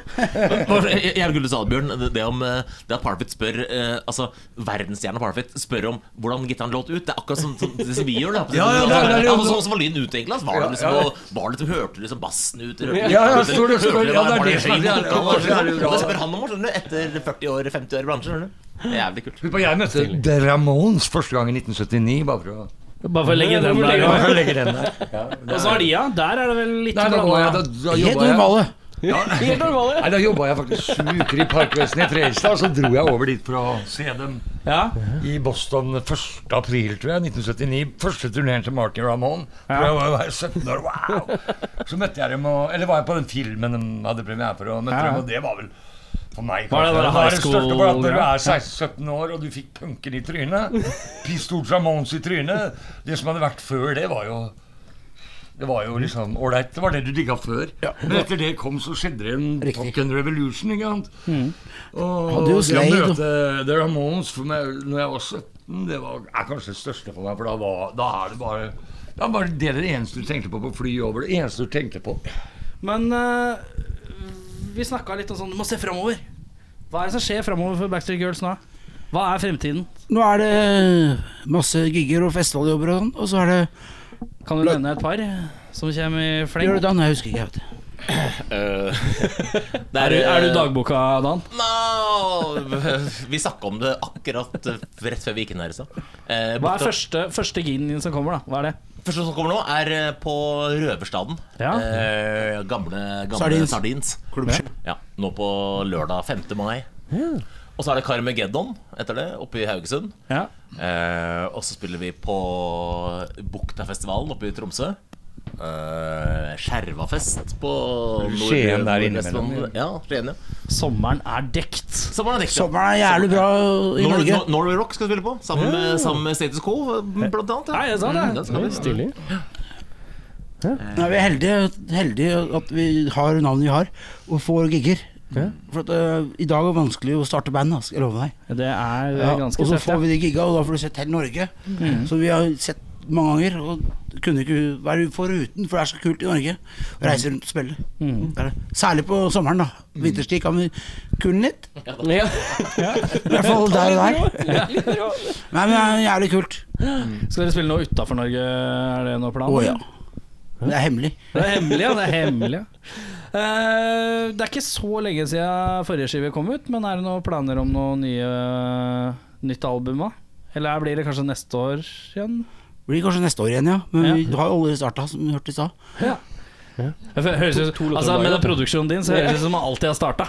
Speaker 4: For, jeg, jeg er gull til Salbjørn. Det, det, om, eh, det at Parfit spør eh, Altså, verdensstjerna Parfit spør om hvordan gitaren låt ut. Det er akkurat sånn som, som, det som vi gjør. Da.
Speaker 5: Ja, ja, det er- det er-
Speaker 4: men sånn som var lyden ut, egentlig. altså. Var det
Speaker 5: Ja,
Speaker 4: liksom,
Speaker 5: ja.
Speaker 4: og- var det liksom, hørte du liksom bassen ut? Hørte,
Speaker 5: Ja, ja,
Speaker 4: hørte-
Speaker 5: står det- står det- ja, det er
Speaker 4: var
Speaker 5: det som er-
Speaker 4: høy
Speaker 5: ja, det
Speaker 4: vokal,
Speaker 5: var så jævlig
Speaker 4: liksom?
Speaker 5: bra.
Speaker 4: Og det spør han om, skjønner du. Etter 40 år, 50 år i bransjen. skjønner du. Det er Jævlig kult.
Speaker 5: Husk på, jeg møtte The Ramones første gang i 1979. Bare for å
Speaker 3: Bare for å legge den der.
Speaker 5: Bare
Speaker 3: ja.
Speaker 5: for å legge den der.
Speaker 3: Og så har de, ja. Der er det vel litt
Speaker 5: Nei, da var jeg, da, da jobba
Speaker 6: Helt
Speaker 5: jeg.
Speaker 6: normale.
Speaker 2: Helt normale.
Speaker 5: Nei, da jobba jeg faktisk sju uker i Parkvesenet i Fredrikstad, så dro jeg over dit for å se dem.
Speaker 3: Ja.
Speaker 5: i Boston 1. april, tror jeg, 1979. Første turneen til Martin Ramon. For Jeg var jo bare 17 år, wow! Så møtte jeg dem, og, eller var jeg på den filmen de hadde premiere for, og møtte
Speaker 3: Ja, ja.
Speaker 5: dem, og det var vel for meg,
Speaker 3: Var det
Speaker 5: kanskje.
Speaker 3: bare
Speaker 5: Det var
Speaker 3: high
Speaker 5: det største, bare at når du
Speaker 3: school-greia?
Speaker 5: er 16-17 år, og du fikk punken i trynet, Pistol Ramons i trynet Det som hadde vært før, det var jo det var jo liksom ålreit. Det var det du digga før. Men etter det kom, så skjedde det en fucking revolution. ikke sant? Og
Speaker 6: Hadde jo
Speaker 5: det å
Speaker 6: Slade.
Speaker 5: møte The Ramones for meg når jeg var 17, det var, er kanskje det største for meg. For da, var, da er det bare det er bare det det eneste du tenkte på på fly over. Det eneste du tenkte på.
Speaker 3: Men eh, vi snakka litt om sånn Du må se framover. Hva er det som skjer framover for Backstreet Girls nå? Hva er fremtiden?
Speaker 6: Nå er det masse gigger og festivaljobber og sånn, og så er det
Speaker 3: Kan du nevne et par som kommer i fleng?
Speaker 6: Gjør det da? Nei, jeg husker ikke. jeg vet det.
Speaker 4: Det
Speaker 3: Er, du- er du
Speaker 4: eh,
Speaker 3: dagboka, Dan?
Speaker 4: No! Vi snakka om det akkurat eh, rett før vi gikk inn her. Så. Eh,
Speaker 3: Hva
Speaker 4: borte-
Speaker 3: er første, første gigen din som kommer, da? Hva er det?
Speaker 4: Første som kommer nå, er eh, på Røverstaden.
Speaker 3: Ja.
Speaker 4: Eh, gamle gamle
Speaker 6: Sardins.
Speaker 4: Sardins. Ja, nå på lørdag 5. mai. Og så er det Carmageddon etter det, oppe i Haugesund.
Speaker 3: Ja.
Speaker 4: Eh, og så spiller vi på Buktafestivalen oppe i Tromsø. Eh, Skjervafest på
Speaker 5: Skien der
Speaker 4: Nord-
Speaker 5: innimellom,
Speaker 4: Nordvestlandet. Ja, Skien, ja.
Speaker 3: Sommeren er dekt.
Speaker 4: Sommeren er dekket.
Speaker 6: Sommeren er jævlig bra i
Speaker 4: Nor-
Speaker 6: Norge.
Speaker 4: Nor- Norway Rock skal spille på, sammen med, sammen med Status Quo, blant annet. Mm,
Speaker 3: Nei, det er sant, det.
Speaker 4: den skal vi.
Speaker 2: Stilig.
Speaker 6: Nei, vi er heldige, heldige at vi har navnet vi har, og får gigger. For at, øh, I dag er det vanskelig å starte band, ass, skal jeg love deg.
Speaker 3: Det er
Speaker 6: Ja,
Speaker 3: eh,
Speaker 6: og
Speaker 3: ganske
Speaker 6: så
Speaker 3: tøft.
Speaker 6: får
Speaker 3: Ja. Mm.
Speaker 6: vi de gigga, og da får du sett hele Norge. Så vi har sett mange ganger, og kunne ikke være foruten, for det er så kult i Norge å reise rundt og spille.
Speaker 3: Mm.
Speaker 6: Det er det. Særlig på sommeren, da. Vinterstid kan vi kunne litt.
Speaker 2: Ja.
Speaker 6: I hvert fall der og der. Nei, men det er jævlig kult.
Speaker 3: Skal dere spille noe utafor Norge? Er det noe plan?
Speaker 6: Å ja. Det er hemmelig.
Speaker 3: Det er hemmelig, ja. Det er hemmelig. ja. Eh, det er ikke så lenge siden forrige skive kom ut, men er det noen planer om noe nye, eh, nytt album? da? Eller blir det kanskje neste år igjen?
Speaker 6: Blir kanskje neste år igjen, ja. Men
Speaker 3: Ja.
Speaker 6: vi har jo allerede starta, som vi hørte i stad.
Speaker 3: Det Høres ut,
Speaker 2: To- to låter
Speaker 3: altså,
Speaker 2: om
Speaker 3: med
Speaker 2: dagen.
Speaker 3: den produksjonen din så høres det ut som man alltid har starta.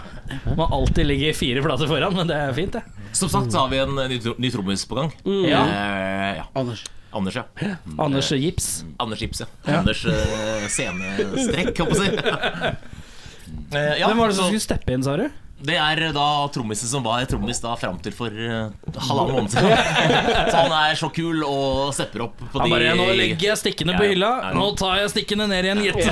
Speaker 3: Man alltid ligger fire flater foran, men det er fint, det.
Speaker 4: Som sagt så har vi en eh, ny, tro- ny trommis på gang.
Speaker 3: Mm. Ja.
Speaker 4: Eh, ja.
Speaker 6: Anders.
Speaker 4: Anders, ja.
Speaker 3: Mm. Anders Gips.
Speaker 4: Anders Gips, ja. Anders eh, scenestrekk, holdt jeg på å si. Eh, ja,
Speaker 3: Hvem var det som
Speaker 4: så-
Speaker 3: skulle steppe inn, sa du?
Speaker 4: Det er eh, da trommisen som var trommis da fram til for eh, halvannen måned siden. Så han er så kul og stepper opp på
Speaker 3: Han
Speaker 4: de
Speaker 3: bare, nå legger jeg stikkene
Speaker 4: Ja,
Speaker 3: på
Speaker 4: ja.
Speaker 3: hylla,
Speaker 4: Ja, ja.
Speaker 3: nå tar jeg stikkene ned igjen, gitt.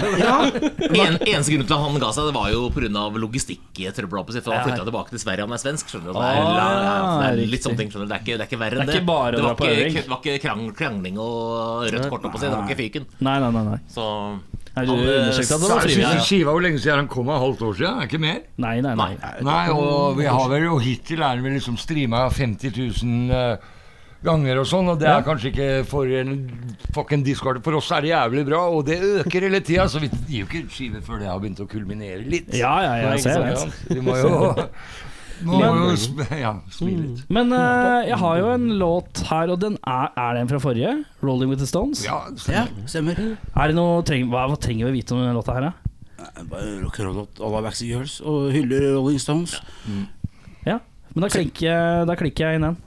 Speaker 4: en, Eneste grunn til at han ga seg, Det var jo pga. logistikktrøbbelet sitt. For han flytta tilbake til Sverige, han er svensk. Skjønner du så Det er,
Speaker 3: Ah,
Speaker 4: det er litt
Speaker 3: riktig.
Speaker 4: sånne ting, skjønner du. Det er ikke, det er ikke verre
Speaker 3: Det er
Speaker 4: enn det.
Speaker 3: ikke bare å
Speaker 4: det
Speaker 3: dra
Speaker 4: var
Speaker 3: på øving.
Speaker 4: ikke, det var ikke krang, krangling og rødt kort, opp på seg. Det var ikke fyken.
Speaker 3: Nei, nei, nei. nei.
Speaker 4: Så
Speaker 3: Er du
Speaker 4: Han, eh,
Speaker 3: undersøkt at
Speaker 4: sa-
Speaker 3: det var frivillig?
Speaker 5: Siste skiva, hvor lenge siden han kom? Et halvt år siden? Er ikke mer?
Speaker 3: Nei, nei, nei.
Speaker 4: Nei.
Speaker 5: Nei, og vi har vel, og hittil er den vel liksom streama 50 000 eh, ganger og sånn, og det er kanskje ikke for en fucking discord. For oss er det jævlig bra, og det øker hele tida, så vi gir jo ikke ut skiver før det har begynt å kulminere litt.
Speaker 3: Ja, ja, ja, jeg ser det.
Speaker 5: Ikke sant? Vi må jo, må jo sm ja, smile litt.
Speaker 3: Men eh, jeg har jo en låt her, og den er, er det en fra forrige? 'Rolling With The Stones'?
Speaker 5: Ja,
Speaker 6: Ja, stemmer.
Speaker 3: Er det noe, treng, hva, hva trenger vi vite om denne låta her, da?
Speaker 6: Bare rock'n'roll at alle er Backstreet Girls og hyller Rolling Stones.
Speaker 3: Ja. Men da klikker, jeg- da klikker jeg inn den.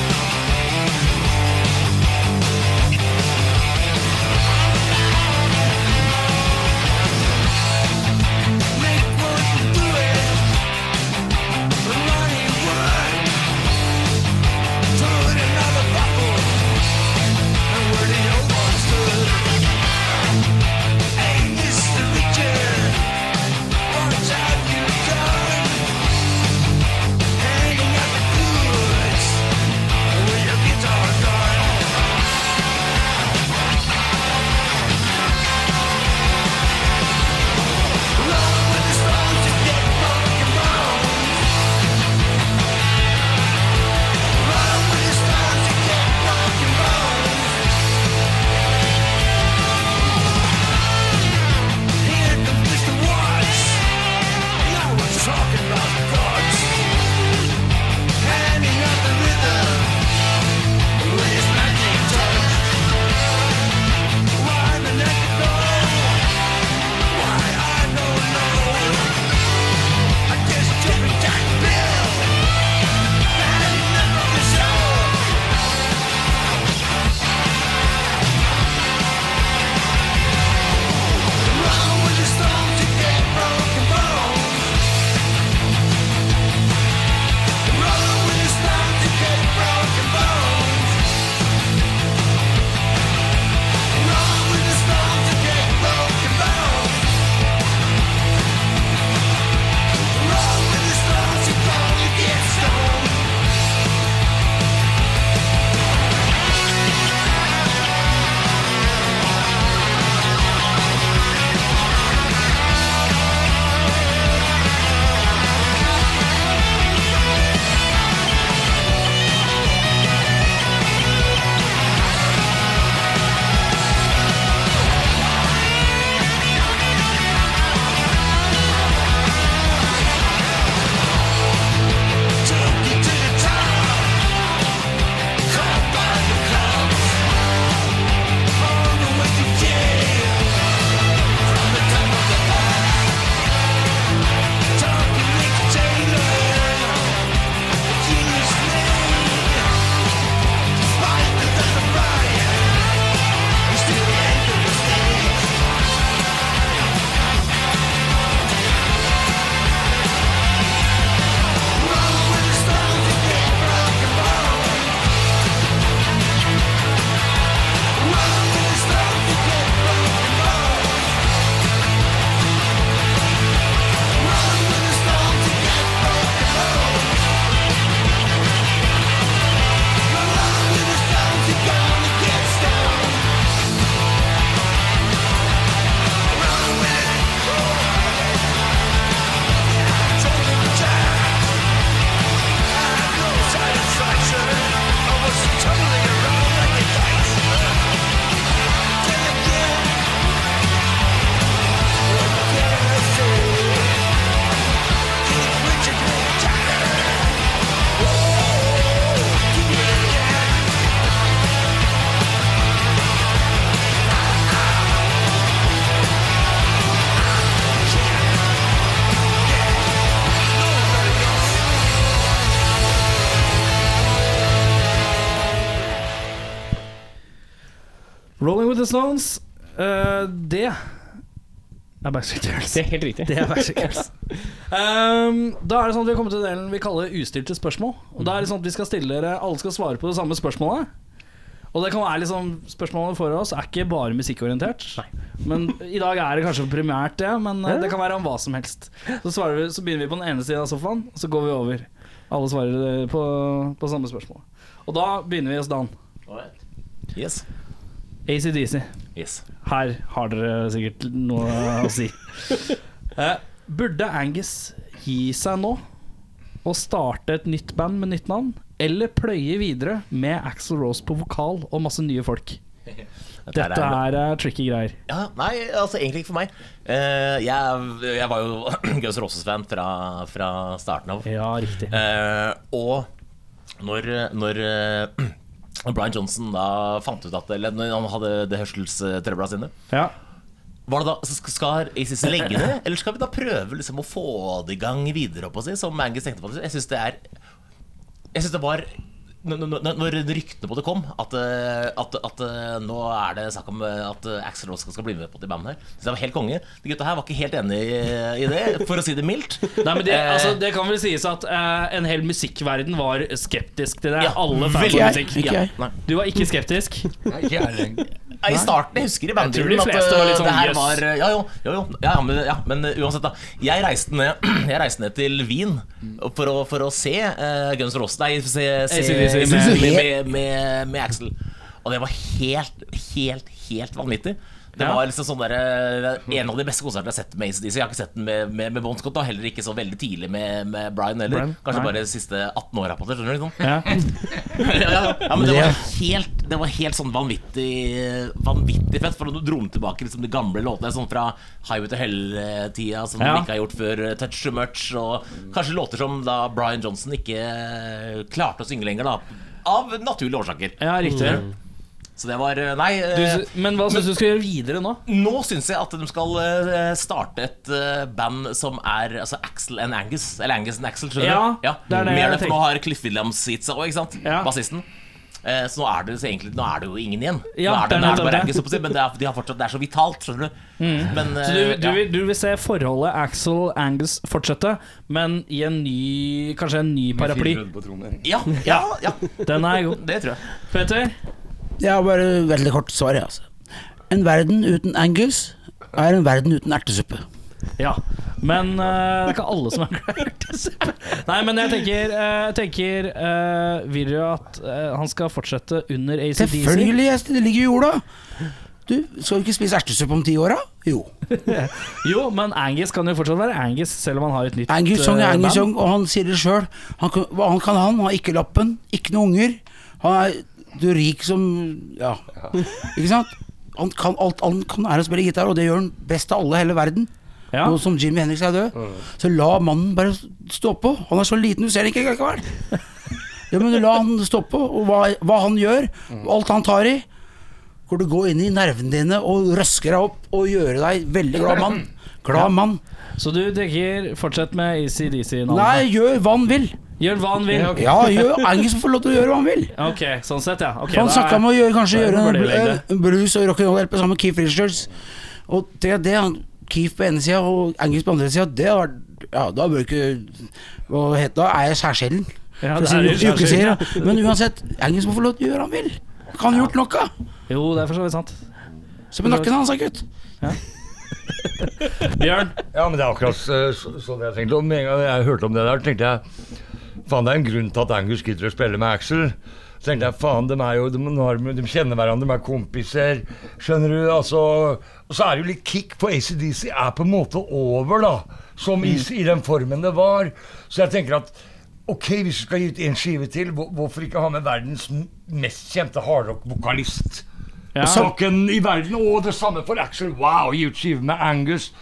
Speaker 7: Rolling
Speaker 3: Rolling with the Stones, eh, det er Backstreet Girls.
Speaker 2: Det er helt riktig.
Speaker 3: Det er Backstreet Girls. Ehm, da er det sånn at vi har kommet til delen vi kaller ustilte spørsmål. Og da er det sånn at vi skal stille dere Alle skal svare på det samme spørsmålet. Og det kan være liksom spørsmålene for oss er ikke bare musikkorientert. Men I dag er det kanskje primært det, men eh, det kan være om hva som helst. Så, svarer vi, så begynner vi på den ene siden av sofaen, og så går vi over. Alle svarer eh, på, på samme spørsmål. Og da begynner vi hos Dan.
Speaker 4: Yes.
Speaker 3: ACDC.
Speaker 4: yes.
Speaker 3: Her har dere sikkert noe å si. Eh, burde Angus gi seg nå og starte et nytt band med nytt navn? Eller pløye videre med Axel Rose på vokal og masse nye folk? Dette er eh, tricky greier.
Speaker 4: Ja, nei, altså egentlig ikke for meg. Eh, jeg, jeg var jo Gaus Roses-fan fra, fra starten av.
Speaker 3: Ja, riktig.
Speaker 4: Eh, og når, når eh, Brian Johnson da fant ut at Eller når han hadde det hørselstrøbla sine
Speaker 3: Eh, Ja.
Speaker 4: var det da, så skal- Skal ACC legge det, eller skal vi da prøve liksom å få det i gang videre? Opp, og si, som Angus tenkte på det. Jeg syns det er Jeg synes det var når, når, når ryktene på det kom, at, eh, at, at eh, nå er det snakk om eh, at Axel Rose skal bli med på det bandet her. Så det var helt konge. De gutta her var ikke helt enig i, i det, for å si det mildt.
Speaker 3: Nei, men det,
Speaker 4: Eh,
Speaker 3: altså, det kan vel sies at eh, en hel musikkverden var skeptisk til det.
Speaker 4: Ja,
Speaker 3: Alle fans
Speaker 4: veldig.
Speaker 3: av
Speaker 6: Jeg,
Speaker 3: musikk.
Speaker 6: ikke jeg.
Speaker 4: nei.
Speaker 3: Du var ikke skeptisk?
Speaker 5: Nei, ikke jeg lenger.
Speaker 4: Nei, I starten, jeg husker i
Speaker 3: Jeg tror de
Speaker 4: bandtiden at
Speaker 3: fleste var litt
Speaker 4: øh,
Speaker 3: sånn,
Speaker 4: det her
Speaker 3: «Jøss».
Speaker 4: var øh, Ja, jo, jo, jo. Ja, ja, men, ja, men øh, uansett, da. Jeg reiste ned, jeg reiste ned til Wien for å, for å se øh, Guns N' Roses Nei, se, se
Speaker 3: AC/DC.
Speaker 4: med, med, med, med, med Axel. Og det var helt, helt, helt vanvittig. Det
Speaker 3: Ja.
Speaker 4: var liksom sånn der, øh, En av de beste konsertene jeg har sett med ACDC. Jeg har ikke sett den med, med, med Bon Scott, og heller ikke så veldig tidlig med, med Brian heller.
Speaker 3: Brian,
Speaker 4: Kanskje
Speaker 3: nei.
Speaker 4: bare de siste 18 åra på det. skjønner du sånn?
Speaker 3: Ja.
Speaker 4: ja, ja, ja, men det var helt, det var helt sånn vanvittig Vanvittig fett. For du dro med tilbake liksom, de gamle låtene sånn fra Highway to Hell-tida, som
Speaker 3: Ja.
Speaker 4: de ikke har gjort før. eh, Touch Too Much, og kanskje låter som da Brian Johnson ikke eh, klarte å synge lenger, da. Av naturlige årsaker.
Speaker 3: ja, riktig.
Speaker 4: Så det var eh, Nei.
Speaker 3: Du,
Speaker 4: eh,
Speaker 3: sy- men hva syns du skal gjøre videre nå?
Speaker 4: nå syns jeg at de skal eh, starte et eh, band som er altså, Axel and Angus. Eller Angus and Axel, skjønner
Speaker 3: Ja,
Speaker 4: du? Ja,
Speaker 3: det er det
Speaker 4: Mer
Speaker 3: jeg
Speaker 4: det, for nå har Cliff Williams gitt seg òg, ikke sant?
Speaker 3: Ja.
Speaker 4: Bassisten. Eh, så nå er det så egentlig Nå er det jo ingen igjen.
Speaker 3: Ja,
Speaker 4: nå er det,
Speaker 3: det er
Speaker 4: nå er det
Speaker 3: nettopp
Speaker 4: bare
Speaker 3: det. Mm.
Speaker 4: Angus, oppå seg, men det er, de har fortsatt, det er så vitalt, skjønner du. Men,
Speaker 3: Så du,
Speaker 4: eh,
Speaker 3: du,
Speaker 4: ja.
Speaker 3: vil, du vil se forholdet Axel Angus fortsette, men i en ny Kanskje en ny paraply.
Speaker 4: ja, ja, ja,
Speaker 3: Den er god.
Speaker 4: det tror jeg.
Speaker 3: Peter?
Speaker 6: Jeg har bare veldig kort svar, jeg, altså. En verden uten Angus er en verden uten ertesuppe.
Speaker 3: Ja. Men eh, det er ikke alle som er klart. Nei, men jeg tenker, eh, jeg tenker eh, Vil du at eh, han skal fortsette under ACDC?
Speaker 6: Selvfølgelig, jeg, det ligger i jorda. Du, skal du ikke spise ertesuppe om ti år, da? Jo.
Speaker 3: Jo, men Angus kan jo fortsatt være Angus, selv om han har et nytt
Speaker 6: Angus Song
Speaker 3: eh,
Speaker 6: er
Speaker 3: band.
Speaker 6: Angus Song, og han sier det sjøl. Han, kan- hva han kan han, han har ikke lappen, ikke noen unger. Han er du er rik som Ja. Ikke sant? Han kan alt han kan er å spille gitar, og det gjør han best av alle i hele verden.
Speaker 3: Ja. Mm.
Speaker 6: Nå som Jimmy Henrik er død, så la mannen bare stå på. Han er så liten, du ser det ikke likevel. Ja, men la han stå på, og hva, hva han gjør,
Speaker 3: Mm.
Speaker 6: og alt han tar i. Hvor du går inn i nervene dine og røsker deg opp og gjør deg veldig glad mann. Glad mann.
Speaker 3: Så du tenker fortsett med ACDC-navnet?
Speaker 6: Nei, gjør hva han vil.
Speaker 3: Gjør hva han vil. ok.
Speaker 6: Ja, gjør Angus får lov til å gjøre hva han vil.
Speaker 3: Ok, sånn sett, ja. Ok,
Speaker 6: han
Speaker 3: da
Speaker 6: snakka
Speaker 3: er-
Speaker 6: om å gjøre, kanskje
Speaker 3: da er det
Speaker 6: gjøre en,
Speaker 3: fordel i det.
Speaker 6: bl- en blues- og rock'n'roll-LP sammen med Keith Richards. Og det, det han- Keith på ene sida og Angus på andre sida, det har vært Ja, da bør du ikke Hva heter det? Er jeg særskillen?
Speaker 3: Ja,
Speaker 6: For å
Speaker 3: det er
Speaker 6: si
Speaker 3: jo
Speaker 6: det du ikke
Speaker 3: særskillen,
Speaker 6: sier, da. Men uansett, Angus må få lov til å gjøre hva han vil. Han Kan ha gjort nok av.
Speaker 3: Jo, det er for så vidt sant.
Speaker 6: Se på nakken hans, da, gutt.
Speaker 3: Bjørn?
Speaker 5: Ja, men det er akkurat eh, så- sånn jeg tenkte. Og med en gang jeg hørte om det der, tenkte jeg faen, det er en grunn til at Angus gidder å spille med Axel. Så tenkte jeg faen, de, er jo, de, nå har de, de kjenner hverandre, de er kompiser. Skjønner du? Altså, og så er det jo litt kick på ACDC er på en måte over, da. Som i, i den formen det var. Så jeg tenker at Ok, hvis vi skal gi ut en skive til, hvor- hvorfor ikke ha med verdens m- mest kjente hardrock-vokalist?
Speaker 3: Ja.
Speaker 5: Saken i verden, og det samme for Axel. Wow, gi ut skive med Angus.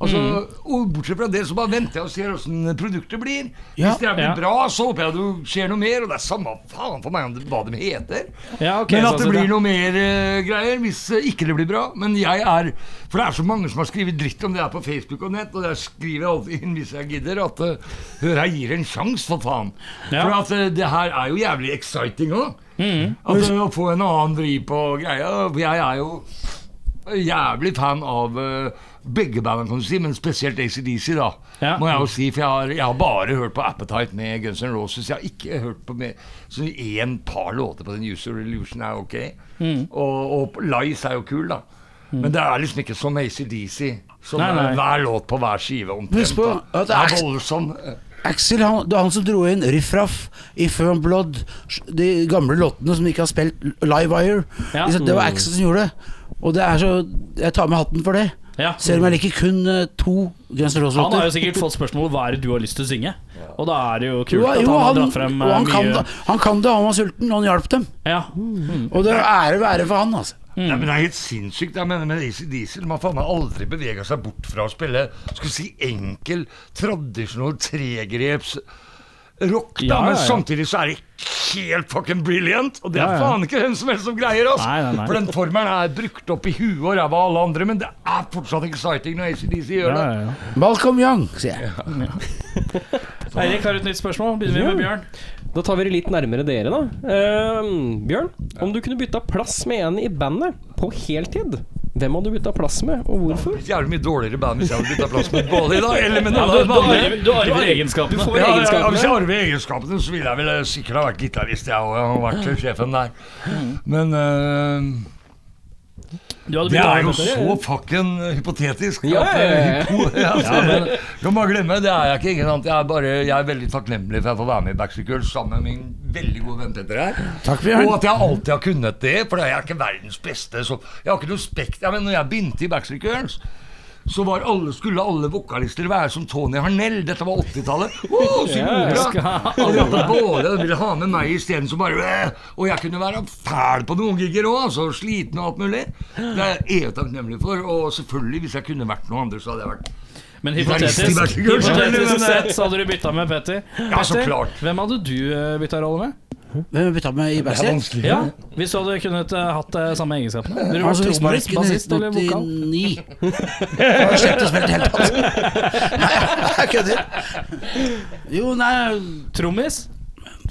Speaker 5: Altså,
Speaker 3: Mm.
Speaker 5: Og bortsett fra det, så bare venter jeg og ser åssen produktet blir.
Speaker 6: Ja.
Speaker 5: Hvis det blir
Speaker 3: Ja.
Speaker 5: bra, så håper jeg det skjer noe mer. Og det er samme faen for meg om det, hva de heter.
Speaker 3: Ja, ok,
Speaker 5: men
Speaker 3: sånn
Speaker 5: at det
Speaker 3: sett, ja.
Speaker 5: blir noe mer eh, greier hvis eh, ikke det blir bra. Men jeg er For det er så mange som har skrevet dritt om det her på Facebook og nett, og der skriver jeg alltid inn hvis jeg gidder at eh, Hør her, gir en sjanse, for faen.
Speaker 3: Ja. Mm.
Speaker 5: For at eh, det her er jo jævlig exciting òg. At eh, Å få en annen vri på greia. For jeg er jo jævlig fan av eh, begge bandene, kan du si, men spesielt ACDC, da.
Speaker 3: Ja.
Speaker 5: Må jeg jo si, for jeg har, jeg har bare hørt på Appetite med Guns N' Roses. Jeg har ikke hørt på mer Så én par låter på den User Illusion er ok.
Speaker 3: Mm.
Speaker 5: Og, og Lies er jo kul, da. Men det er liksom ikke som ACDC. Som
Speaker 3: Nei, nei.
Speaker 5: er hver låt på hver skive, omtrent.
Speaker 6: Husk på
Speaker 5: da.
Speaker 6: at
Speaker 5: Det er
Speaker 6: Ax-
Speaker 5: voldsom eh,
Speaker 6: Axel, han, det var han som dro inn Riff Raff, If I'm Blood, de gamle låtene som ikke har spilt Live Wire.
Speaker 3: Ja.
Speaker 6: Ikke sant? Det var Axel som gjorde det. Og det er så Jeg tar med hatten for det.
Speaker 3: Ja.
Speaker 6: Selv om jeg liker kun eh, to Guns
Speaker 3: Han har
Speaker 6: N'
Speaker 3: jo
Speaker 6: Roses-låter.
Speaker 3: sikkert fått spørsmål hva er det du har lyst til å synge. Og da er det jo
Speaker 6: Jo,
Speaker 3: kult at
Speaker 6: jo,
Speaker 3: han har
Speaker 6: han,
Speaker 3: dratt frem
Speaker 6: og
Speaker 3: eh,
Speaker 6: han, kan
Speaker 3: mye Mm.
Speaker 6: det, han kan det, han var sulten, og han hjalp dem.
Speaker 3: ja.
Speaker 6: Og det er ære være for han, altså.
Speaker 3: Mm.
Speaker 5: Nei, men Det er helt sinnssykt. Jeg mener, men ACDC de har faen meg aldri bevega seg bort fra å spille skal vi si, enkel, tradisjonell tregreps rock. Da,
Speaker 3: Ja,
Speaker 5: men
Speaker 3: ja, ja.
Speaker 5: samtidig så er det helt fucking brilliant. Og det er
Speaker 3: Ja, ja.
Speaker 5: faen ikke hvem som helst som greier oss.
Speaker 3: Nei, nei, nei.
Speaker 5: For den formelen er brukt opp i huet og ræva av alle andre, men det er fortsatt exciting når ACDC
Speaker 3: Ja,
Speaker 5: gjør det.
Speaker 3: ja, ja.
Speaker 6: Malcolm Young, sier jeg.
Speaker 3: Eirik har et nytt spørsmål. Begynner vi med Bjørn?
Speaker 2: Da tar vi det litt nærmere dere, da. Ehm, Bjørn, om du kunne bytta plass med en i bandet på heltid, hvem hadde du bytta plass med, og hvorfor?
Speaker 5: Jævlig mye dårligere band hvis jeg hadde bytta plass med Bolly, da. Eller med
Speaker 3: Du,
Speaker 5: noen av de andre.
Speaker 3: arver, du arver
Speaker 2: Du
Speaker 3: egenskapene.
Speaker 2: får
Speaker 5: Ja, ja, ja,
Speaker 2: egenskapene.
Speaker 5: hvis jeg arver egenskapene, så ville jeg vel eh, sikkert ha vært gitarist, jeg òg. Jeg har vært sjefen der.
Speaker 2: Mm.
Speaker 5: Men eh,
Speaker 3: Du hadde
Speaker 5: Det
Speaker 3: blitt
Speaker 5: er jo
Speaker 3: arvet etter.
Speaker 5: så fucking eh, hypotetisk.
Speaker 2: Ja,
Speaker 5: at,
Speaker 2: ja, ja, ja.
Speaker 5: eh, hypo- at, eh, Kan bare glemme, det er jeg ikke. ikke sant? Jeg er, bare, jeg er veldig takknemlig for at jeg får være med i Backstreet Girls sammen med min veldig gode venn Petter her.
Speaker 6: Takk, Bjørn.
Speaker 5: Og at jeg alltid har kunnet det, for jeg er ikke verdens beste. Så jeg har ikke noe spekt. Jeg mener, når jeg begynte i Backstreet Girls så var alle, skulle alle vokalister være som Tony Harnell. Dette var 80-tallet. Oh, så mora! Og de hadde både ville ha med meg isteden, så bare øh, Og jeg kunne være fæl på noen gigger òg, altså. Sliten og alt mulig. Det er jeg evig takknemlig for. Og selvfølgelig, hvis jeg kunne vært noe andre, så hadde jeg vært
Speaker 3: Men
Speaker 5: Gitarist i
Speaker 3: hypotetisk,
Speaker 5: Berkeley Girls.
Speaker 3: hypotetisk sett så hadde du bytta med Petter.
Speaker 5: Ja, så
Speaker 3: Petter,
Speaker 5: klart.
Speaker 3: Hvem hadde du eh, bytta rolle med?
Speaker 6: Hvem bytta med i Backstreet?
Speaker 5: vanskelig.
Speaker 3: Ja, Hvis du hadde kunnet eh, hatt de samme egenskapene? Ville du vært
Speaker 6: Altså, hvis man
Speaker 3: trommis,
Speaker 6: ikke
Speaker 3: bassist eller vokal?
Speaker 6: 1989 Jeg har slett å spille i det hele tatt. Nei, jeg kødder. Jo, nei
Speaker 3: Trommis?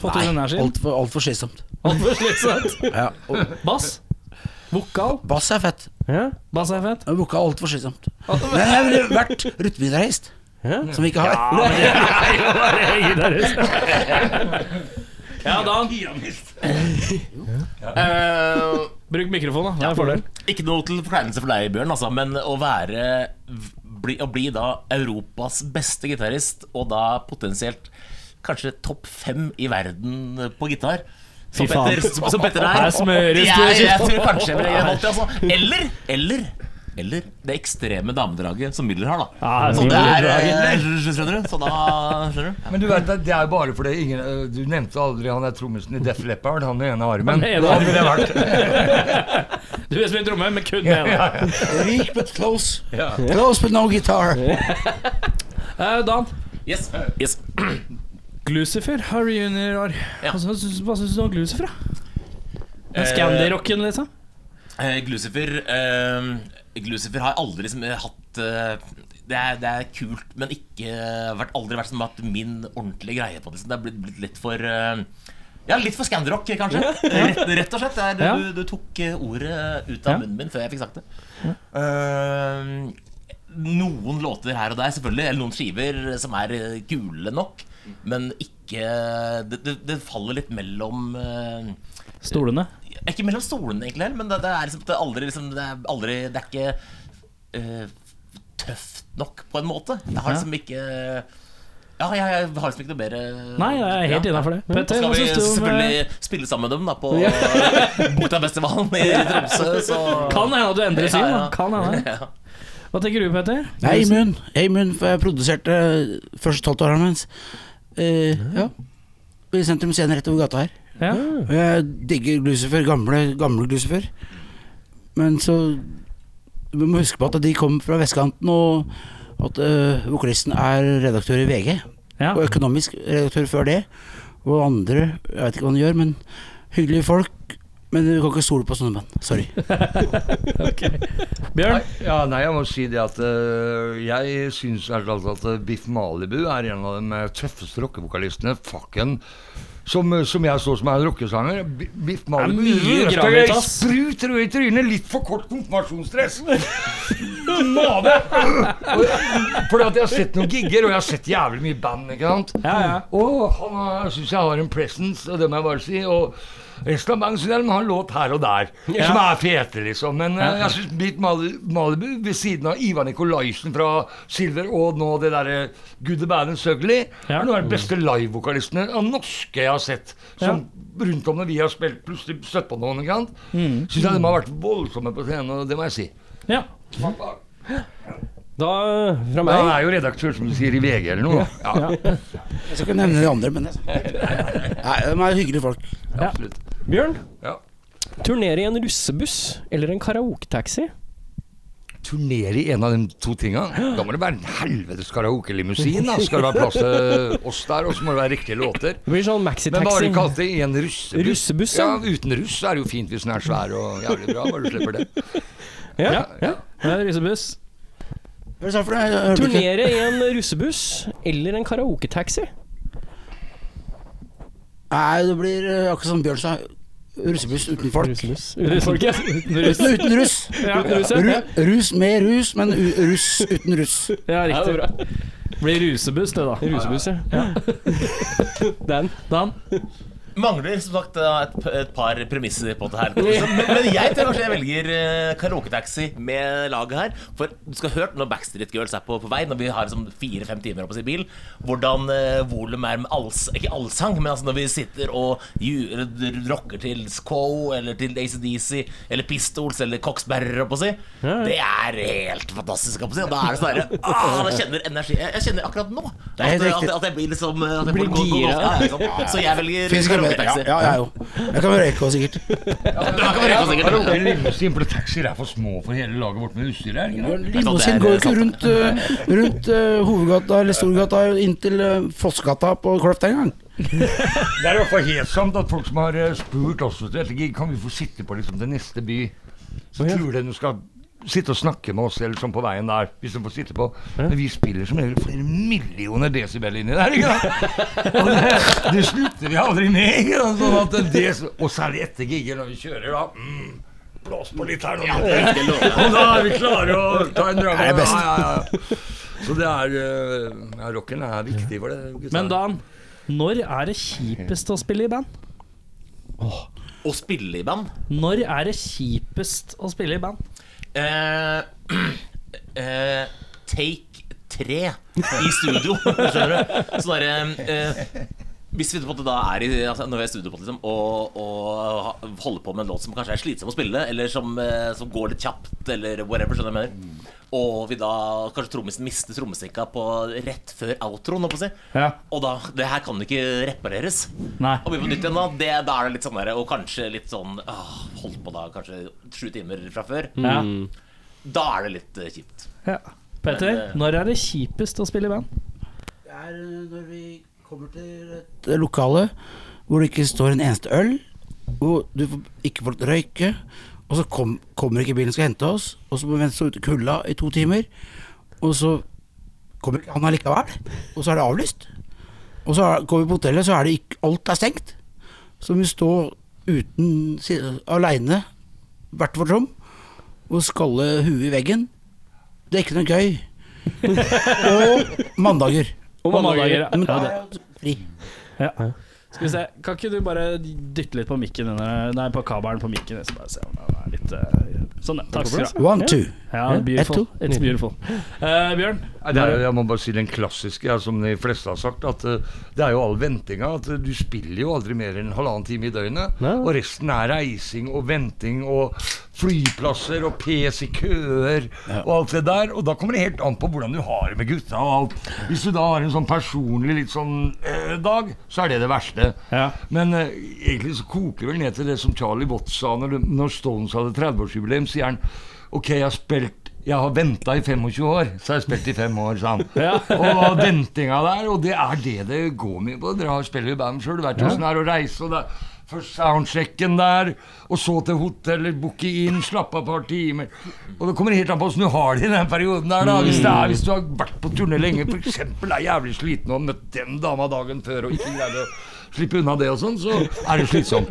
Speaker 3: Fått inn energi?
Speaker 6: Altfor alt for slitsomt.
Speaker 3: Altfor slitsomt.
Speaker 6: Ja, og
Speaker 3: Bass? Vokal?
Speaker 6: bass er fett.
Speaker 2: Ja.
Speaker 3: Bass er fett.
Speaker 6: Boka er altfor slitsomt. Men jeg ville vært rytmegitarist. Som vi ikke har.
Speaker 3: Ja, Dan.
Speaker 5: Pianist.
Speaker 4: Eh,
Speaker 3: Bruk mikrofon, da. Det er en fordel.
Speaker 4: Ikke noe til forkleinelse for deg, Bjørn, altså, men å være bli, Å bli da Europas beste gitarist, og da potensielt kanskje topp fem i verden på gitar Som
Speaker 3: Fy faen.
Speaker 4: Petter, som, som Petter er.
Speaker 3: Her smøres du.
Speaker 4: jeg, jeg tror kanskje jeg ville valgt det, altså. Eller, eller eller det ekstreme damedraget som Müller har, da.
Speaker 3: Ja,
Speaker 4: så
Speaker 3: det
Speaker 4: det er
Speaker 3: Müller-draget.
Speaker 4: eh, Skjønner du? Så da Skjønner du?
Speaker 5: Men du vet, det- det er jo bare fordi ingen øh, Du nevnte aldri han er trommisen i Def Leppard, han med ene armen.
Speaker 3: Han med ene
Speaker 5: Han ville vært
Speaker 3: Du vil spille tromme, men kun med én.
Speaker 6: Rik, but close. Close, but no guitar.
Speaker 3: Eh, Dan.
Speaker 4: Yes. yes.
Speaker 3: Glucifer har reunion i år.
Speaker 4: Ja.
Speaker 3: Hva syns hva syns du om Glucifer, da?
Speaker 4: Eh,
Speaker 3: Den Scandi-rocken, liksom?
Speaker 4: Eh, Glucifer eh, Glucifer har aldri liksom, eh, hatt eh, det, er, det er kult, men ikke eh, vært, aldri vært som at min ordentlige greie på det. Liksom. Det er blitt, blitt litt for eh, Ja, litt for scandirock, kanskje. Rett, rett og slett. Det er,
Speaker 3: Ja.
Speaker 4: du, du tok eh, ordet ut av
Speaker 3: Ja.
Speaker 4: munnen min før jeg fikk sagt det. Eh, noen låter her og der, selvfølgelig, eller noen skiver som er eh, kule nok, men ikke Det, det, det faller litt mellom eh,
Speaker 3: Stolene.
Speaker 4: ikke mellom stolene, egentlig, heller, men det, det er liksom det er aldri liksom, Det er, aldri, det er ikke eh, tøft nok, på en måte. Jeg har liksom ikke Ja, jeg, jeg har liksom ikke noe bedre
Speaker 3: Nei, jeg er helt
Speaker 4: Ja.
Speaker 3: innenfor det. Petter,
Speaker 4: Skal
Speaker 3: hva
Speaker 4: vi
Speaker 3: syns du om eh,
Speaker 4: selvfølgelig spille sammen med dem da på Buktafestivalen i Tromsø, så
Speaker 3: Kan hende at du endrer syn,
Speaker 4: Ja,
Speaker 3: da.
Speaker 4: ja.
Speaker 3: Kan hende.
Speaker 4: ja.
Speaker 3: Hva tenker du, Petter?
Speaker 6: Jeg er immun. Jeg er immun, for jeg produserte første tolvte årene mens. Eh, ja. I Sentrum Scene rett over gata her.
Speaker 3: Ja.
Speaker 6: Og jeg digger Glucifer, gamle, gamle Glucifer. Men så Vi må huske på at de kom fra vestkanten, og at øh, vokalisten er redaktør i VG,
Speaker 3: Ja.
Speaker 6: og økonomisk redaktør før det. Og andre Jeg vet ikke hva han gjør, men hyggelige folk. Men du kan ikke stole på sånne band. Sorry.
Speaker 3: Bjørn?
Speaker 5: Nei, ja, nei, jeg må si det at øh, jeg syns at, at eh, Biff Malibu er en av de eh, tøffeste rockevokalistene fucken, som, eh, som jeg så som er en rockesanger. Bi- Biff Malibu
Speaker 3: mye
Speaker 5: rød-
Speaker 3: gravitas.
Speaker 5: Sprut rød i trynet, litt for kort konfirmasjonsdress. Mave! Og- Fordi at jeg har sett noen gigger, og jeg har sett jævlig mye band. ikke sant?
Speaker 3: Ja, ja.
Speaker 5: Og han syns jeg har en presence, og det må jeg bare si. Og resten av bandet syns jeg de har en låt her og der, som er fete, liksom. Men eh, jeg syns Beat Mali- Malibu, ved siden av Ivar Nikolaisen fra Silver og nå det derre Good the Band and Sugly,
Speaker 3: Ja.
Speaker 5: er noen av de beste livevokalistene av norske jeg har sett. Som rundt om når vi har spilt, plutselig støtt på noen, ikke sant. Syns jeg de har vært voldsomme på scenen, og det må jeg si.
Speaker 3: ja.
Speaker 2: Da, fra
Speaker 5: Men han
Speaker 2: meg
Speaker 5: er jo redaktør, som du sier, i VG eller noe. Ja,
Speaker 6: Jeg skal ikke nevne de andre, men jeg, Nei, de er hyggelige folk.
Speaker 5: absolutt.
Speaker 2: Bjørn,
Speaker 5: Ja.
Speaker 2: turnere i en russebuss eller en karaoketaxi?
Speaker 5: turnere i en av de to tinga, da må det være en helvetes karaokelimusin. da. Skal det være plass til oss der, og så må det være riktige låter.
Speaker 2: Det blir sånn
Speaker 5: Men hva har
Speaker 2: maxitaxi.
Speaker 5: du kalt det? I en russebuss?
Speaker 2: Russebuss,
Speaker 5: ja.
Speaker 2: ja.
Speaker 5: Uten russ er det jo fint hvis den er svær og jævlig bra, bare du slipper det.
Speaker 2: Ja.
Speaker 5: ja.
Speaker 3: Det er Rusebuss.
Speaker 6: Hva sa du for noe? Jeg hørte ikke.
Speaker 2: Turnere i en russebuss eller en karaoketaxi?
Speaker 6: Nei, det blir eh, akkurat som Bjørn sa. Russebuss uten folk.
Speaker 2: Russebuss. Uten folket.
Speaker 6: Uten, uten russ.
Speaker 3: Ja,
Speaker 6: Ru, rus med rus, men u, russ uten russ.
Speaker 3: ja
Speaker 2: Ja, det er
Speaker 3: riktig.
Speaker 2: bra.
Speaker 3: Blir rusebuss, det, da.
Speaker 2: Russebuss, ja. Den.
Speaker 3: Dan?
Speaker 4: Mangler som sagt da, et, p- et par premisser på dette her. Så, men, men jeg tror kanskje jeg velger eh, karaoketaxi med laget her. For du skal ha hørt når Backstreet Girls er på, på vei, når vi har sånn fire-fem timer opp oss i bil, hvordan eh, volum er med alls, ikke allsang, men altså når vi sitter og ju- r- rocker til Sco eller til ACDC eller Pistols eller Coxberger, opp å si. Det er helt fantastisk, opp å si. Og da er det sånn herre ah, Jeg kjenner energi Jeg, jeg kjenner akkurat nå at,
Speaker 6: er helt
Speaker 4: at, at,
Speaker 6: riktig.
Speaker 4: jeg blir liksom eh, at jeg
Speaker 2: Blir
Speaker 4: får gå- gå- gå-
Speaker 2: gira.
Speaker 4: ja, ikke sant? Så jeg velger
Speaker 6: Fins ikke mer. Ja,
Speaker 4: karaoketaxi.
Speaker 6: ja, jeg òg. Jeg kan røyke også, sikkert.
Speaker 5: Limousin, for taxier er for små for hele laget vårt med utstyr her. ikke sant?
Speaker 6: Limousin går jo ikke rundt, eh, rundt eh, hovedgata eller Storgata inntil uh, Fossgata på Kløft engang.
Speaker 5: Det er i hvert fall helt sant at folk som har eh, spurt oss vet du, etter gig, kan vi få sitte på liksom, til neste by. Så tror de de skal sitte og snakke med oss eller sånn på veien der, hvis de får sitte på. Men vi spiller som regel flere millioner desibel inni der. ikke sant? Og det, det slutter vi aldri med. ikke sant? Sånn at det, og særlig etter gigger når vi kjører, da. Mm, blås på litt her nå. og da er vi klare å ta en drag.
Speaker 6: Det er best.
Speaker 5: ja. Så det er eh, ja, Rocken er viktig for det. gutta.
Speaker 3: Men Dan, når er det kjipest å spille i band?
Speaker 4: Å spille i band
Speaker 3: Når er det kjipest å spille i band?
Speaker 4: eh, eh, Take 3 i studio, skjønner du? Sånn derre eh, hvis vi på en måte da er i, altså når vi er i studio på det, liksom, og, og ha- holder på med en låt som kanskje er slitsom å spille, eller som, eh, som går litt kjapt, eller whatever, skjønner du hva jeg
Speaker 6: Mm.
Speaker 4: mener, og vi da kanskje trommisen mister trommestikka på rett før outroen, holdt på å si,
Speaker 3: Ja.
Speaker 4: og da Det her kan ikke repareres.
Speaker 3: Nei.
Speaker 4: Og begynne på nytt igjen, da. Det, da er det litt sånn der, og kanskje litt sånn åh, Holdt på da kanskje sju timer fra før.
Speaker 3: Mm. Ja.
Speaker 4: Da er det litt eh, kjipt.
Speaker 3: Ja.
Speaker 4: eh,
Speaker 3: Petter, når er det kjipest å spille i band?
Speaker 6: Det er eh, når vi kommer til et lokale hvor det ikke står en eneste øl, hvor du får- ikke får røyke, og så kom, kommer ikke bilen og skal hente oss, og så må vi vente så ute i kulda i to timer, og så kommer ikke han allikevel, og så er det avlyst. Og så er, går vi på hotellet, så er det ikke, alt er stengt. Så vi står uten si- aleine, hvert vårt rom, og skalle huet i veggen. Det er ikke noe gøy. og mandager.
Speaker 2: Og mandager.
Speaker 6: Men
Speaker 3: Ja,
Speaker 6: da
Speaker 3: det.
Speaker 6: er jeg fri.
Speaker 3: Ja. Skal vi se, Kan ikke du bare dytte litt på mikken under, Nei, på kabelen på mikken? Jeg skal bare se om den er litt eh, Sånn, ja. Takk skal du ha.
Speaker 6: One, two.
Speaker 3: Ja, beautiful.
Speaker 6: to.
Speaker 3: It's beautiful. Eh, Bjørn?
Speaker 5: Nei, Det er jo, jeg må bare si den klassiske, ja, som de fleste har sagt. At eh, det er jo all ventinga. At eh, du spiller jo aldri mer enn halvannen time i døgnet.
Speaker 2: Nei.
Speaker 5: Og resten er reising og venting og flyplasser og pes i køer og alt det der. Og da kommer det helt an på hvordan du har det med gutta og alt. Hvis du da har en sånn personlig litt sånn eh, dag, så er det det verste.
Speaker 3: Ja.
Speaker 5: Men eh, egentlig så koker det vel ned til det som Charlie Watts sa når, når Stones hadde 30-årsjubileum. sier han Ok, jeg har spilt 'Jeg har venta i 25 år, så har jeg spilt i fem år', sa han. og ventinga der, og det er det det går mye på. Dere har spiller i band sjøl, vet åssen det er å reise. og det er Først soundchecken der, og så til hotellet, booke inn, slappe av et par timer. Og det kommer helt an på åssen du har det i den perioden der, da. Hvis, det er, hvis du har vært på turné lenge, f.eks. er jævlig sliten og har møtt den dama dagen før og ikke greide å slippe unna det og sånn, så er det slitsomt.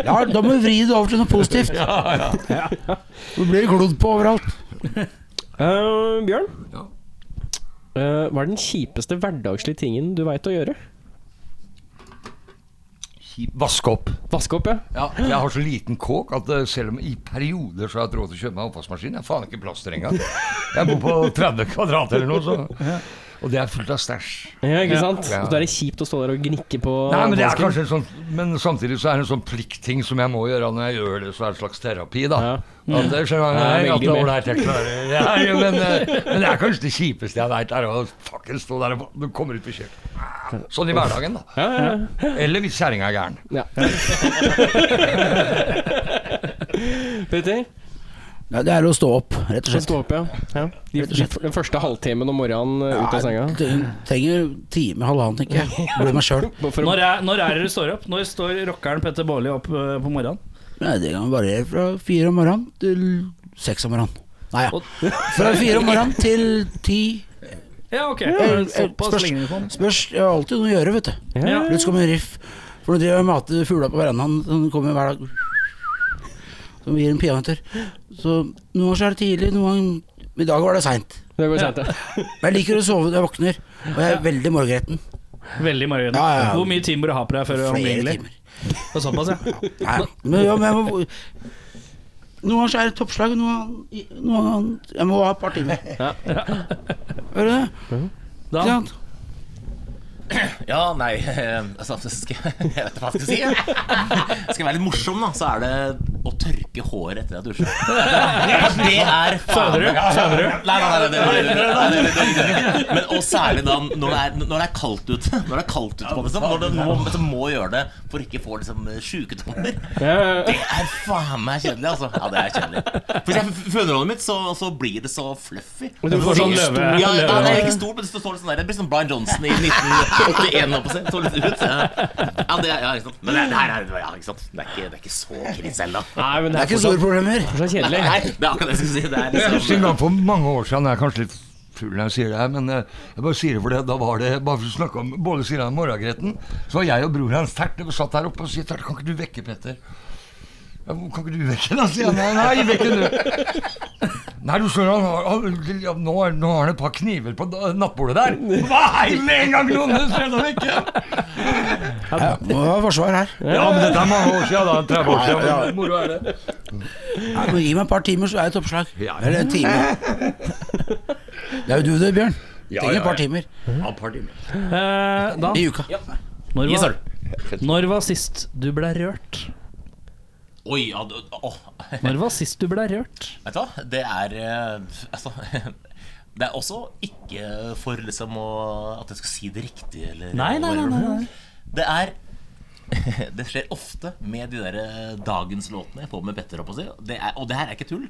Speaker 6: Ja, da må vi vri det over til noe positivt. Ja, Du blir glodd på overalt.
Speaker 2: Eh, Bjørn?
Speaker 5: Ja.
Speaker 2: Eh, hva er den kjipeste hverdagslige tingen du veit å gjøre?
Speaker 5: Vaske opp.
Speaker 2: Vaske opp, ja.
Speaker 5: Ja, jeg har så liten kåk at eh, selv om i perioder så har jeg hatt råd til å kjøpe meg oppvaskmaskin, jeg har faen ikke plass til det engang. Jeg bor på 30 kvadrat eller noe, så. Og det er fullt av stæsj.
Speaker 2: ja ikke sant?
Speaker 5: Ja.
Speaker 2: Så da er det kjipt å stå der og gnikke på
Speaker 5: Nei, men det er
Speaker 2: vasken.
Speaker 5: kanskje en sånn Men samtidig så er det en sånn pliktting som jeg må gjøre når jeg gjør det, så er det en slags terapi, da.
Speaker 2: Ja.
Speaker 5: At det skjønner jeg
Speaker 2: Ja, veldig
Speaker 5: at det er
Speaker 2: med.
Speaker 5: ålreit, jeg klarer det. Ja, jo, men, eh, men det er kanskje det kjipeste jeg veit, er å fucking stå der og du kommer ut på kjøkkenet. Sånn i hverdagen, da.
Speaker 2: Ja, ja, ja.
Speaker 5: Eller hvis kjerringa er gæren.
Speaker 2: Petter?
Speaker 6: Nei, det er å stå opp, rett og slett.
Speaker 2: Stå opp, ja. ja. De,
Speaker 6: Rett og slett.
Speaker 2: den første halvtimen om morgenen eh, ut av senga.
Speaker 6: Nei, t- Trenger en time, halvannen, tenker jeg. Blir meg sjøl.
Speaker 2: Bare For å,
Speaker 3: Når er, når er det du står opp? Når står rockeren Petter Baarli opp eh, på morgenen?
Speaker 6: Nei, Det kan variere fra fire om morgenen til seks om morgenen. Nei, ja. Fra fire om morgenen til ti.
Speaker 3: Ja, ok.
Speaker 6: Eh, eh,
Speaker 3: Såpass ligner vi på han.
Speaker 6: Spørs, jeg har alltid noe å gjøre, vet du.
Speaker 2: ja.
Speaker 3: Ja.
Speaker 6: Plutselig kommer en riff. For du driver og mater fugla på verandaen. Den kommer hver dag. Som gir en peanøtter. Så noen ganger så er det tidlig, noen ganger men I dag var det seint.
Speaker 2: Det går sent, ja.
Speaker 6: Men jeg liker å sove når jeg våkner. Og jeg er veldig morgengretten.
Speaker 3: Veldig mareritt.
Speaker 6: Ja, ja, ja.
Speaker 3: Hvor mye timer du har på deg før du er
Speaker 6: Flere
Speaker 3: omgjengelig?
Speaker 6: timer.
Speaker 3: Det er Såpass, ja.
Speaker 6: Nei, men, ja, men jeg må Noen ganger så er det toppslag, noen ganger noen ganger- Jeg må ha et par timer. Hører du det?
Speaker 3: Da,
Speaker 6: Ikke sant?
Speaker 4: Ja, nei eh, altså, skal, Jeg vet ikke hva jeg skal si. jeg. Skal jeg være litt morsom, da, så er det å tørke håret etter at jeg dusjer. Det er faen
Speaker 3: Søvner du? Søvner du?
Speaker 4: Nei, nei, nei, det- det- det- det- det- det- det- Men og særlig da når det er, når det er kaldt ute. Når det er kaldt ute på liksom, Når du må, liksom, må gjøre det for ikke å få liksom, sjuketommer. Det er faen meg kjedelig, altså. Ja, det er kjedelig. For hvis jeg f- fønerhåndet mitt, så, så blir det så fluffy.
Speaker 3: Du får sånn løve...
Speaker 4: Ja, ja, det er
Speaker 3: løve-
Speaker 4: ikke stort, men det står litt sånn der Det blir sånn Brian Johnson i 1981 holdt på å si. Så litt ut. Ja, det er, ja, ikke sant. Men det, det her er ja, ikke sant. Det er ikke, det er ikke så krise heller, da.
Speaker 2: Nei, men
Speaker 6: Det
Speaker 2: det
Speaker 6: er
Speaker 2: er
Speaker 6: ikke store problemer.
Speaker 2: fortsatt kjedelig.
Speaker 4: Nei, det er akkurat det jeg skulle si. Det er
Speaker 5: Jeg husker en
Speaker 4: liksom
Speaker 5: gang for mange år siden, jeg er kanskje litt full når jeg sier det her, men eh, jeg bare sier det for det, da var det bare for å snakke om Båle sier han morgengretten, så var jeg og broren hans Tert, vi satt der oppe og sier Tert, kan ikke du vekke Petter? «Ja, hvor- Kan ikke du vekke han? sier han. Nei, nei, vekk han du. Nei, du skjønner, han har, han- ja, nå, er- nå har han et par kniver på da- nattbordet der. Nei, med en gang, Lone! Skal jeg vekke?
Speaker 6: Ja, må ha forsvar her.
Speaker 5: Ja, men dette er mange år siden, da. 30 år siden.
Speaker 6: Ja, ja.
Speaker 5: Moro er det.
Speaker 6: Nei, men Gi meg et par timer, så er det et oppslag. Eller en time. Det er jo du det, Bjørn. Trenger
Speaker 5: ja,
Speaker 6: et par
Speaker 5: ja.
Speaker 6: timer
Speaker 5: Ja, et par timer.
Speaker 3: Eh, Dan,
Speaker 6: i uka.
Speaker 3: når
Speaker 4: Gi
Speaker 3: var,
Speaker 4: søren.
Speaker 3: når var sist du ble rørt?
Speaker 4: Oi, ja, du- åh.
Speaker 3: Når var sist du ble rørt?
Speaker 4: Vet du hva? Det er eh, Altså Det er også ikke for liksom å At jeg skal si det riktig, eller
Speaker 3: Nei, nei, nei, nei, nei.
Speaker 4: Det er det skjer ofte med de der dagenslåtene jeg får med Petter. opp å si. Det er, og det her er ikke tull.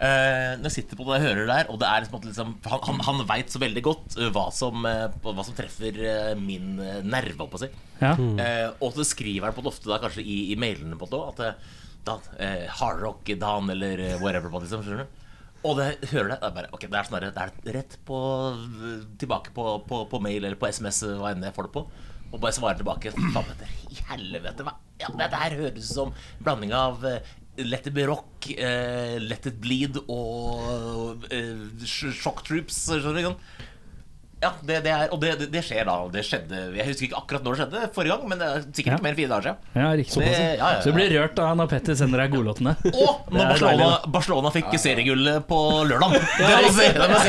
Speaker 4: Eh, når jeg sitter på det jeg hører det der, og det er liksom at liksom, han, han, han veit så veldig godt eh, hva som, eh, hva som treffer eh, min eh, nerve, opp å si.
Speaker 3: Ja.
Speaker 6: Mm.
Speaker 4: Eh, og så skriver han på det ofte da, kanskje i, i mailene på det også, at eh, Dan, eh, hardrock, Dan eller eh, whatever på det, liksom, skjønner du? Og det hører det, det er bare, ok, det er sånn der, det er rett på, tilbake på, på, på mail eller på sms, hva enn jeg får det på, og bare svarer tilbake, faen Petter, i helvete, hva? Ja, det her høres ut som en blanding av eh, Let it be rock, eh, Let it bleed og eh, Shock Troops, skjønner du? ikke sånn? sant? Ja, det, det er, og det, det, det skjer da. Det skjedde Jeg husker ikke akkurat når det skjedde forrige gang, men det er sikkert
Speaker 3: Ja.
Speaker 4: ikke mer enn fire dager siden.
Speaker 3: ja, riktig.
Speaker 4: Det- ja, ja, ja.
Speaker 3: Så du blir rørt da når Petter sender deg godlåtene?
Speaker 4: Og
Speaker 3: Det
Speaker 4: når
Speaker 3: er
Speaker 4: Barcelona,
Speaker 3: deilig,
Speaker 4: Barcelona fikk seriegullet på lørdag. Det må jeg si. Det må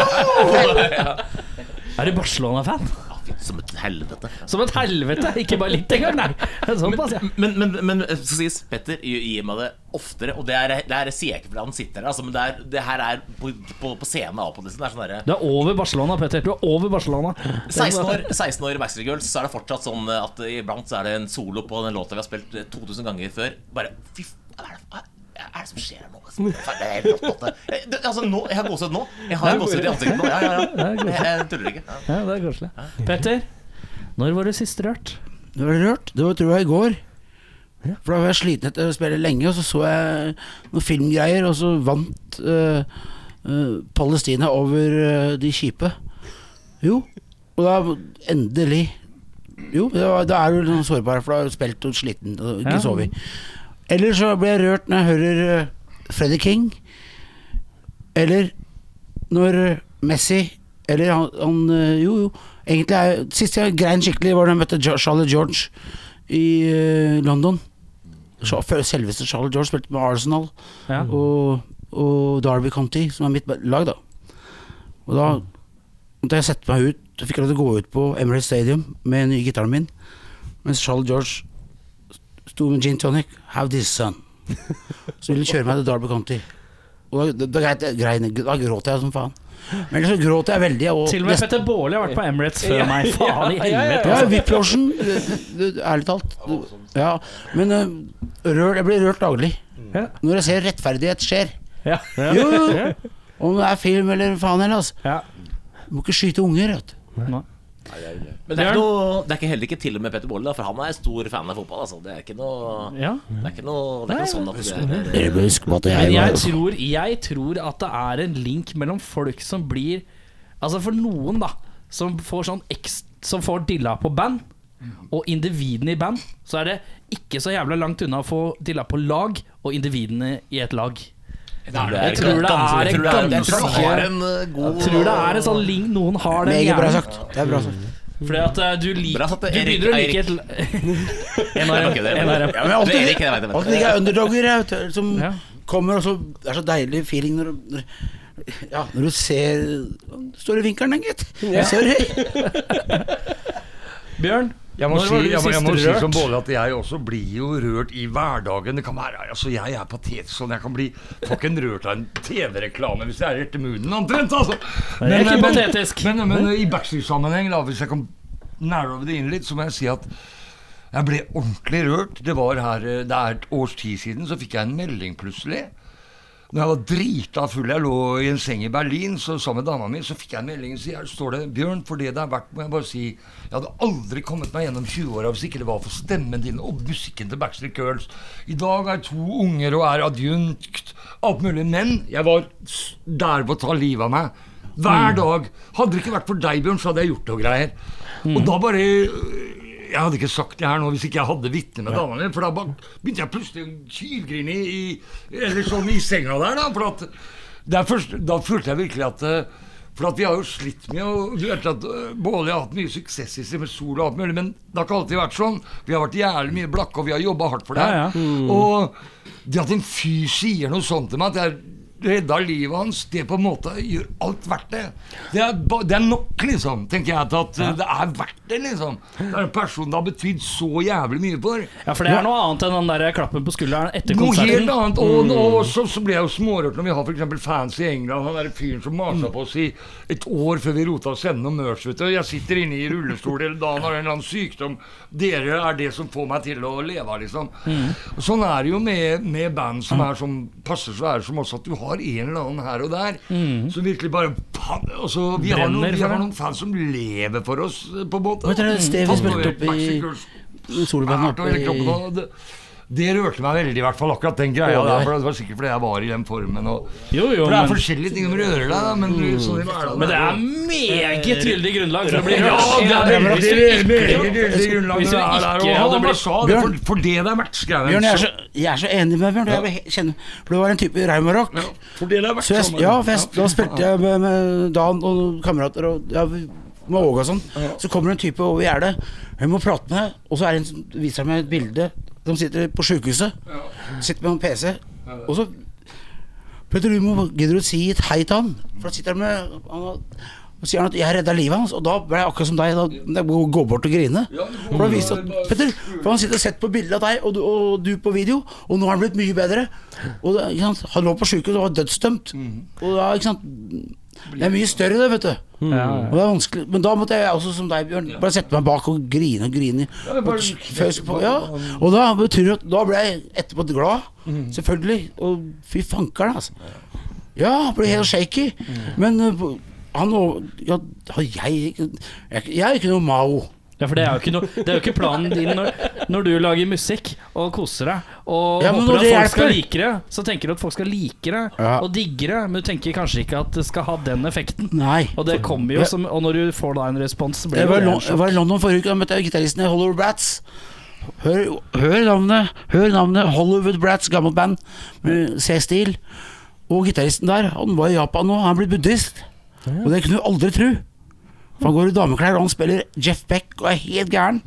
Speaker 4: jeg si.
Speaker 3: Er du Barcelona-fan?
Speaker 4: Ja, fy, Som et helvete.
Speaker 3: Som et helvete! Ikke bare litt engang, nei! Sånn Såpass, ja.
Speaker 4: Men, men, men eh, så sies Petter gir gir meg det oftere, og det, er, det her sier jeg ikke fordi han sitter der, altså, men det, er, det her er på, på, på scenen av på liksom. Det er sånn derre
Speaker 3: Du er over Barcelona, Petter. Du er over Barcelona.
Speaker 4: 16 år, 16 år i Backstreet Girls, så er det fortsatt sånn at eh, iblant så er det en solo på den låta vi har spilt 2000 ganger før. Bare fy f- er det, er det er det som skjer nå? liksom? Det er helt rått, dette. Eh, det- Altså, nå, jeg har gåsehud nå. Jeg har gåsehud i ansiktet nå. Ja, ja, ja.
Speaker 3: er
Speaker 4: Jeg, jeg tuller ikke. Ja.
Speaker 3: Ja, det er koselig. Petter, når var du sist rørt?
Speaker 6: Det var rørt. Det var, tror jeg, i går. For da var jeg sliten etter å spille lenge, og så så jeg noen filmgreier, og så vant eh, eh, Palestina over eh, de kjipe. Jo. Og da endelig Jo, det var, da er du litt sånn sårbar, for da har du spilt og sliten og ikke
Speaker 3: Ja.
Speaker 6: sovet. Eller så blir jeg rørt når jeg hører eh, Freddie King. Eller når eh, Messi Eller han, han eh, Jo, jo. Egentlig er Sist jeg grein skikkelig, var da jeg møtte Jo- Charlie George i eh, London. Sja- før Selveste Charlie George spilte med Arsenal
Speaker 3: Ja.
Speaker 6: og, og Derby County, som er mitt lag, da. Og da måtte jeg sette meg ut. Da fikk jeg lov til å gå ut på Emirates Stadium med den nye gitaren min, mens Charles George sto med gin tonic. Have this son. Så ville de kjøre meg til Derby County. Og da, da, da, grein, da gråt jeg som faen. Men ellers så gråt jeg veldig. Og
Speaker 3: Til og med
Speaker 6: nesten-
Speaker 3: Petter Baarli har vært på Emirates før
Speaker 2: Ja,
Speaker 3: meg. Faen i
Speaker 2: ja, ja, ja.
Speaker 3: helvete. altså.
Speaker 6: Ja, VIP-losjen. det- det- Ærlig talt. Ja, men eh, rør, jeg blir rørt daglig.
Speaker 3: Ja.
Speaker 6: Når jeg ser rettferdighet skjer.
Speaker 3: Ja.
Speaker 6: Jo, jo, jo. Om det er film eller faen heller, altså.
Speaker 3: Ja.
Speaker 6: Må ikke skyte unger, vet du.
Speaker 4: Men det er, ikke noe, det er ikke heller ikke til og med Petter Bolle, da, for han er stor fan av fotball. Altså. Det er ikke noe
Speaker 3: Ja.
Speaker 4: Det er ikke noe, det er ikke noe sånn at det er
Speaker 6: Dere bør huske på at
Speaker 3: Men jeg tror, jeg tror at det er en link mellom folk som blir Altså for noen, da, som får sånn ekst, Som får dilla på band, og individene i band, så er det ikke så jævla langt unna å få dilla på lag og individene i et lag. Jeg tror det er
Speaker 4: Jeg tror det er- jeg tror det
Speaker 3: ganske-
Speaker 4: har en eh, god
Speaker 3: Jeg tror det er en sånn link noen har den
Speaker 6: Meget bra
Speaker 3: jævla-
Speaker 6: sagt. Det er bra sagt.
Speaker 3: Fordi at eh, du liker
Speaker 4: Bra sagt,
Speaker 3: Du
Speaker 4: Erik-
Speaker 3: begynner å
Speaker 4: Eirik.
Speaker 3: like et la-
Speaker 4: Jeg kan
Speaker 3: NRM.
Speaker 4: ikke det, men- Ja, men
Speaker 6: alltid-
Speaker 4: det er ikke det, jeg vet det, jeg vet
Speaker 6: At det ikke er underdogger, jeg, vet du. Som
Speaker 3: Ja.
Speaker 6: kommer, og så Det er så deilig feeling når, du- når ja, når du ser Står i vinkelen, den, gitt. Sorry.
Speaker 3: Bjørn,
Speaker 5: Jeg må,
Speaker 3: Når
Speaker 5: si,
Speaker 3: var du
Speaker 5: jeg, må, jeg må
Speaker 3: sist
Speaker 5: si
Speaker 3: rørt?
Speaker 5: som Båle at jeg også blir jo rørt i hverdagen. Det kan være, altså Jeg er patetisk sånn. Jeg kan bli fucken rørt av en TV-reklame hvis jeg er rett i munnen, omtrent. Altså.
Speaker 3: jeg er ikke
Speaker 5: men,
Speaker 3: patetisk.
Speaker 5: men, men, i Backstreet-sammenheng, da, hvis jeg kan nærme det inn litt, så må jeg si at jeg ble ordentlig rørt. Det var her, eh, det er et års tid siden, så fikk jeg en melding plutselig. Når jeg var drita full, jeg lå i en seng i Berlin så sammen med dama mi, så fikk jeg en melding og sier står det 'Bjørn, for det det er verdt, må jeg bare si' 'Jeg hadde aldri kommet meg gjennom 20-åra hvis ikke det var for stemmen din og musikken til Backstreet Girls'. I dag har jeg to unger og er adjunkt, alt mulig. Men jeg var s- der på å ta livet av meg. Hver dag. Hadde det ikke vært for deg, Bjørn, så hadde jeg gjort noe greier. Og
Speaker 3: Mm.
Speaker 5: da bare øh, jeg hadde ikke sagt det her nå hvis ikke jeg hadde vitne med dama mi. For da bare begynte jeg plutselig å kylgrine i, i Eller sånn i senga der, da. For at det er først, Da følte jeg virkelig at eh, For at vi har jo slitt med å du vet at eh, Båle har hatt mye suksess i seg med sol og alt mulig, men det har ikke alltid vært sånn. Vi har vært jævlig mye blakke, og vi har jobba hardt for det her.
Speaker 3: Ja, ja.
Speaker 5: Og det at en fyr sier noe sånt til meg, at jeg redda livet hans, det på en måte gjør alt verdt det. Det er, ba- det er nok, liksom, tenker jeg, til at uh, det er verdt det, liksom. Det er en person det har betydd så jævlig mye for.
Speaker 3: Ja, for det er noe annet enn den der klappen på skulderen etter
Speaker 5: Noe helt
Speaker 3: konserten.
Speaker 5: annet. Og, og så, så ble jeg jo smårørt når vi har f.eks. fans i England. Han der fyren som masa på oss i et år før vi rota oss gjennom Mørs, vet du. Jeg sitter inne i rullestol hele dagen, har en eller annen sykdom. Dere er det som får meg til å leve, liksom. Og Sånn er det jo med, med band som er som passer svære som oss, at du har en eller annen her og der som virkelig bare pan- altså, vi, har noen,
Speaker 3: Brenner
Speaker 5: vi
Speaker 3: for
Speaker 5: har
Speaker 3: det.
Speaker 5: noen fans som lever for oss, eh, på en måte.
Speaker 6: Vet dere, Stevie spilte opp i-
Speaker 5: Tatovert Backstreet Girls
Speaker 6: Solbanden
Speaker 5: svært
Speaker 6: oppe
Speaker 5: over hele kroppen,
Speaker 6: i
Speaker 5: og det, det rørte meg veldig, i hvert fall akkurat den greia.
Speaker 6: Ja, det
Speaker 5: Der,
Speaker 6: er.
Speaker 5: for Det var sikkert fordi jeg var i den formen. Og, for
Speaker 3: Jo, jo,
Speaker 5: det er
Speaker 3: men,
Speaker 5: forskjellige ting som rører deg, da, men,
Speaker 6: Mm.
Speaker 5: sånn i hverdagen
Speaker 3: men det er
Speaker 6: Eh,
Speaker 3: meget tydelig grunnlag for å bli rørt.
Speaker 5: ja, det
Speaker 3: Hvis du
Speaker 5: er veldig
Speaker 3: ikke-
Speaker 5: veldig tydelig grunnlag
Speaker 3: Hvis du
Speaker 5: når det er der.
Speaker 3: ikke
Speaker 5: Og
Speaker 3: hadde
Speaker 5: han bare
Speaker 3: blitt
Speaker 5: sa det, for,
Speaker 6: Bjørn.
Speaker 5: for det det er vertskrevet.
Speaker 6: Bjørn, jeg er, så, jeg er så enig med Bjørn. Jeg vil he- kjenne, for det var en type Raumarock.
Speaker 5: Ja, for det det er
Speaker 6: Så jeg,
Speaker 5: vertskrevet.
Speaker 6: ja, for jeg, da spilte jeg med, med Dan og noen kamerater og ja, vi- med Åge og sånn. Så kommer det en type over gjerdet. Jeg må prate med deg. Og så er det en som viser meg et bilde. De sitter på sjukehuset. Sitter med en PC. Og så Petter, du må gidder du å si et hei til han? For da sitter han med han, og- og sier han at 'jeg redda livet hans', og da ble jeg akkurat som deg. Da da må jeg gå bort og grine. For da viste det at Petter, for han sitter og sett på bildet av deg og du, og du på video, og nå har han blitt mye bedre. Og det, ikke sant? Han lå på sjukehus og var dødsdømt. Og da, ikke sant Det er mye større, det, vet du.
Speaker 3: Mm.
Speaker 6: Og det er vanskelig Men da måtte jeg også, som deg, Bjørn, bare sette meg bak og grine og grine.
Speaker 5: men bare
Speaker 6: Og s-
Speaker 5: knekke
Speaker 6: føs
Speaker 5: på-
Speaker 6: på, ja. Og da betyr det at Da ble jeg etterpå glad,
Speaker 5: Mm.
Speaker 6: selvfølgelig. Og fy fankeren, altså. Ja, ble helt shaky.
Speaker 5: Mm.
Speaker 6: Men uh, han og Ja, har jeg ikke Jeg, jeg er ikke noe Mao.
Speaker 3: Ja, for det er jo ikke, noe- det er jo ikke planen din når, når du lager musikk og koser deg og
Speaker 6: Ja, men
Speaker 3: håper
Speaker 6: når
Speaker 3: at folk
Speaker 6: det
Speaker 3: skal
Speaker 6: hjelper.
Speaker 3: like det, så tenker du at folk skal like det
Speaker 6: Ja.
Speaker 3: og digge det, men du tenker kanskje ikke at det skal ha den effekten.
Speaker 6: Nei.
Speaker 3: Og det kommer jo som Og når du får da en respons, så blir det
Speaker 6: Jeg var, i
Speaker 3: jo
Speaker 6: Lon- jeg var i London forrige uke, da møtte jeg gitaristen i Hollywood Brats. Hør, hør navnet, hør navnet Hollywood Brats, gammelt band med C-stil. Og gitaristen der, han var i Japan nå, han er blitt buddhist. Og det kunne du aldri tro. For han går i dameklær, og han spiller Jeff Beck og er helt gæren.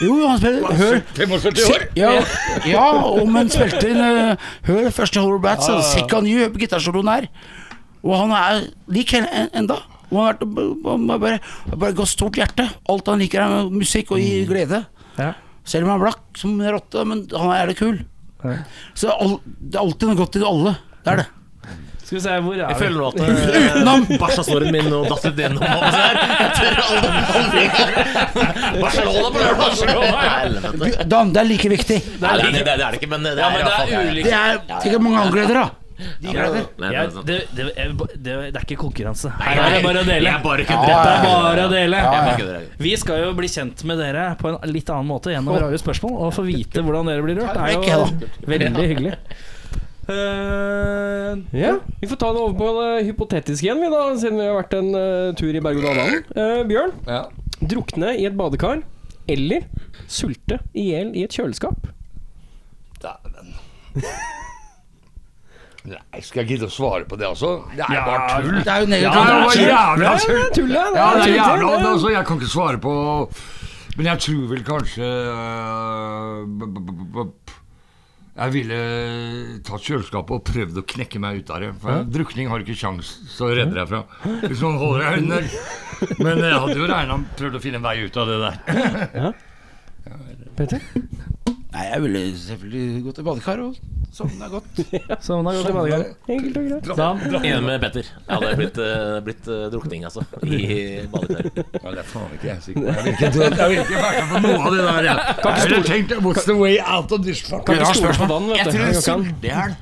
Speaker 6: Jo, han spiller Hør,
Speaker 5: 45 år!
Speaker 6: ja, ja, og men spilte inn eh, Hør første Horror Brats, ja, Second You på gitarsoloen her. Og han er lik hele en- enda. Og han har vært- han har bare, har bare gått stort hjerte. Alt han liker er musikk og
Speaker 4: Mm.
Speaker 6: gir glede.
Speaker 3: Ja.
Speaker 6: Selv om han er blakk som en rotte, men han er jævlig kul. Så all, det er alltid noe godt i alle. Det er det.
Speaker 3: Skal vi se, hvor
Speaker 4: Jeg
Speaker 3: er vi?
Speaker 4: føler nå at eh, bæsjasnoren min og datt litt gjennom og så her. Etter alle omgangen. Barcelona på lørdag! Helvete. Nei,
Speaker 6: Dan, det er like viktig.
Speaker 4: Det er det, det er det ikke, men det er,
Speaker 3: Ja, men
Speaker 4: i hvert
Speaker 3: det er
Speaker 4: fall-
Speaker 3: ulike
Speaker 6: Det er sikkert mange andre gleder, da. De gleder.
Speaker 4: Nei, det
Speaker 3: Jeg,
Speaker 4: er sant.
Speaker 3: det, det, jeg, det, det er ikke konkurranse. Her
Speaker 4: Nei,
Speaker 3: er det bare å dele.
Speaker 4: Jeg bare kødder.
Speaker 3: Dette
Speaker 4: Jeg
Speaker 3: er bare å dele.
Speaker 4: bare kødder.
Speaker 3: Vi skal jo bli kjent med dere på en litt annen måte gjennom Radio Spørsmål, og få vite hvordan dere blir rørt. Det er jo veldig hyggelig. Eh,
Speaker 2: Ja, Vi får ta det over på det hypotetiske igjen, vi da, siden vi har vært en eh, tur i berg-og-dal-banen. Eh, Bjørn,
Speaker 5: Ja.
Speaker 2: drukne i et badekar eller sulte i hjel i et kjøleskap?
Speaker 5: Dæven. Nei, skal jeg gidde å svare på det, altså? Det er bare tull.
Speaker 6: Det er
Speaker 5: Ja,
Speaker 6: jo
Speaker 5: det var
Speaker 6: negativt.
Speaker 5: jævla
Speaker 2: Ja,
Speaker 5: tull.
Speaker 2: det er tull, det.
Speaker 5: Ja, det er
Speaker 2: tull,
Speaker 5: jævla
Speaker 2: det.
Speaker 5: altså, Jeg kan ikke svare på Men jeg tror vel kanskje øh, b- b- b- b- p- Jeg ville tatt kjøleskapet og prøvd å knekke meg ut av det. For drukning har ikke kjangs, så redder jeg fra. Hvis noen holder deg under. Men jeg hadde jo regna med prøvd å finne en vei ut av det der.
Speaker 2: Petter?
Speaker 6: Nei, jeg ville selvfølgelig gått i badekar og sovna godt.
Speaker 3: Så da går vi tilbake.
Speaker 2: Enkelt og greit.
Speaker 3: Dan,
Speaker 4: Enig med Petter. Ja, det er blitt, eh, blitt eh, drukning, altså. I badekar.
Speaker 5: Ja, det er faen ikke jeg sikker på. Jeg vil ikke- Jeg vil ikke være med på noe av det der. Jeg, jeg ville tenkt What's the way out of this fucking
Speaker 2: Ikke stole på
Speaker 4: Jeg
Speaker 2: vann, vet du.
Speaker 4: tror
Speaker 2: Jeg kan.
Speaker 4: sultehjel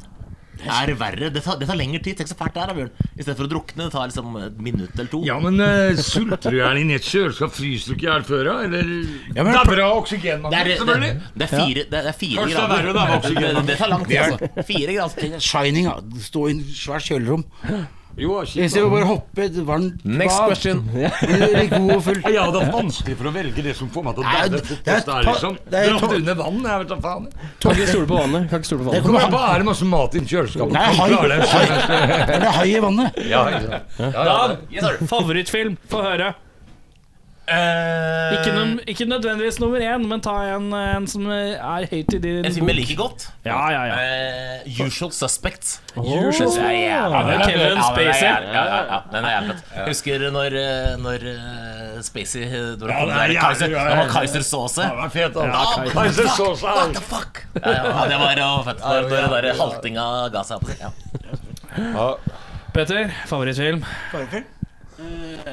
Speaker 4: er verre. Det tar, det tar lengre tid. Tenk så fælt det er, da, Bjørn. Istedenfor å drukne. Det tar liksom et minutt eller to.
Speaker 5: Ja, men eh, sulter du gjerne inn i et kjøleskap? Fryser du ikke i hjel før, da? Eller
Speaker 6: men-
Speaker 5: Det er bra
Speaker 4: Det er,
Speaker 5: oksygenmangel,
Speaker 4: det,
Speaker 5: selvfølgelig.
Speaker 4: det er fire, det er fire
Speaker 5: Først er
Speaker 4: grader.
Speaker 5: verre, da, voksen.
Speaker 4: det, det tar lang tid, altså. Fire grader.
Speaker 6: Shining, da. Stå i en svært kjølerom.
Speaker 5: Jo,
Speaker 6: Jeg ser jo bare hoppe i et varmt
Speaker 4: Next
Speaker 6: bad.
Speaker 4: question.
Speaker 6: Bli god og full.
Speaker 5: Ja, det er vanskelig for å velge det som får meg til å
Speaker 6: Nei,
Speaker 5: bade
Speaker 6: det- det er
Speaker 5: fortest. der,
Speaker 6: ta-
Speaker 5: liksom.
Speaker 6: det er-
Speaker 5: Dratt under vann, jeg vet da faen.
Speaker 2: Kan ikke stole på vannet. Kan ikke stole på vannet.
Speaker 5: Kommer an på, er det masse sånn mat i kjøleskapet?
Speaker 6: Nei, hai. hai. Er det hai i vannet?
Speaker 3: Dan
Speaker 4: Yes, sir.
Speaker 3: favorittfilm, få høre.
Speaker 4: Eh,
Speaker 3: Ikke,
Speaker 5: Eh.
Speaker 3: noe- ikke nødvendigvis nummer én, men ta en, en som er høyt i din
Speaker 4: En film jeg liker godt.
Speaker 3: Ja, ja, ja.
Speaker 4: Eh, Usual Suspects.
Speaker 2: Usual-
Speaker 4: Ja, ja,
Speaker 3: med
Speaker 4: ja,
Speaker 3: Kevin
Speaker 4: ja,
Speaker 3: Spacey.
Speaker 4: Ja, ja, ja, ja, den er jævlig fett. Jeg Husker når, eh, når eh, Spacey eh, Når han
Speaker 5: det er
Speaker 4: kom der,
Speaker 5: jævlig,
Speaker 4: Kaiser-
Speaker 5: ja, ja,
Speaker 4: han var
Speaker 5: ja.
Speaker 4: Kaiser Sauce.
Speaker 5: Det var fet, da.
Speaker 4: Ah,
Speaker 5: Kaiser.
Speaker 4: what the
Speaker 5: Kaiser
Speaker 4: fuck?
Speaker 5: sauce, ja.
Speaker 4: What the fuck? Ja, ja, ja, det var jo fett. Når, når den der haltinga ga seg. på seg, Ja.
Speaker 3: Petter, favorittfilm?
Speaker 6: Ja,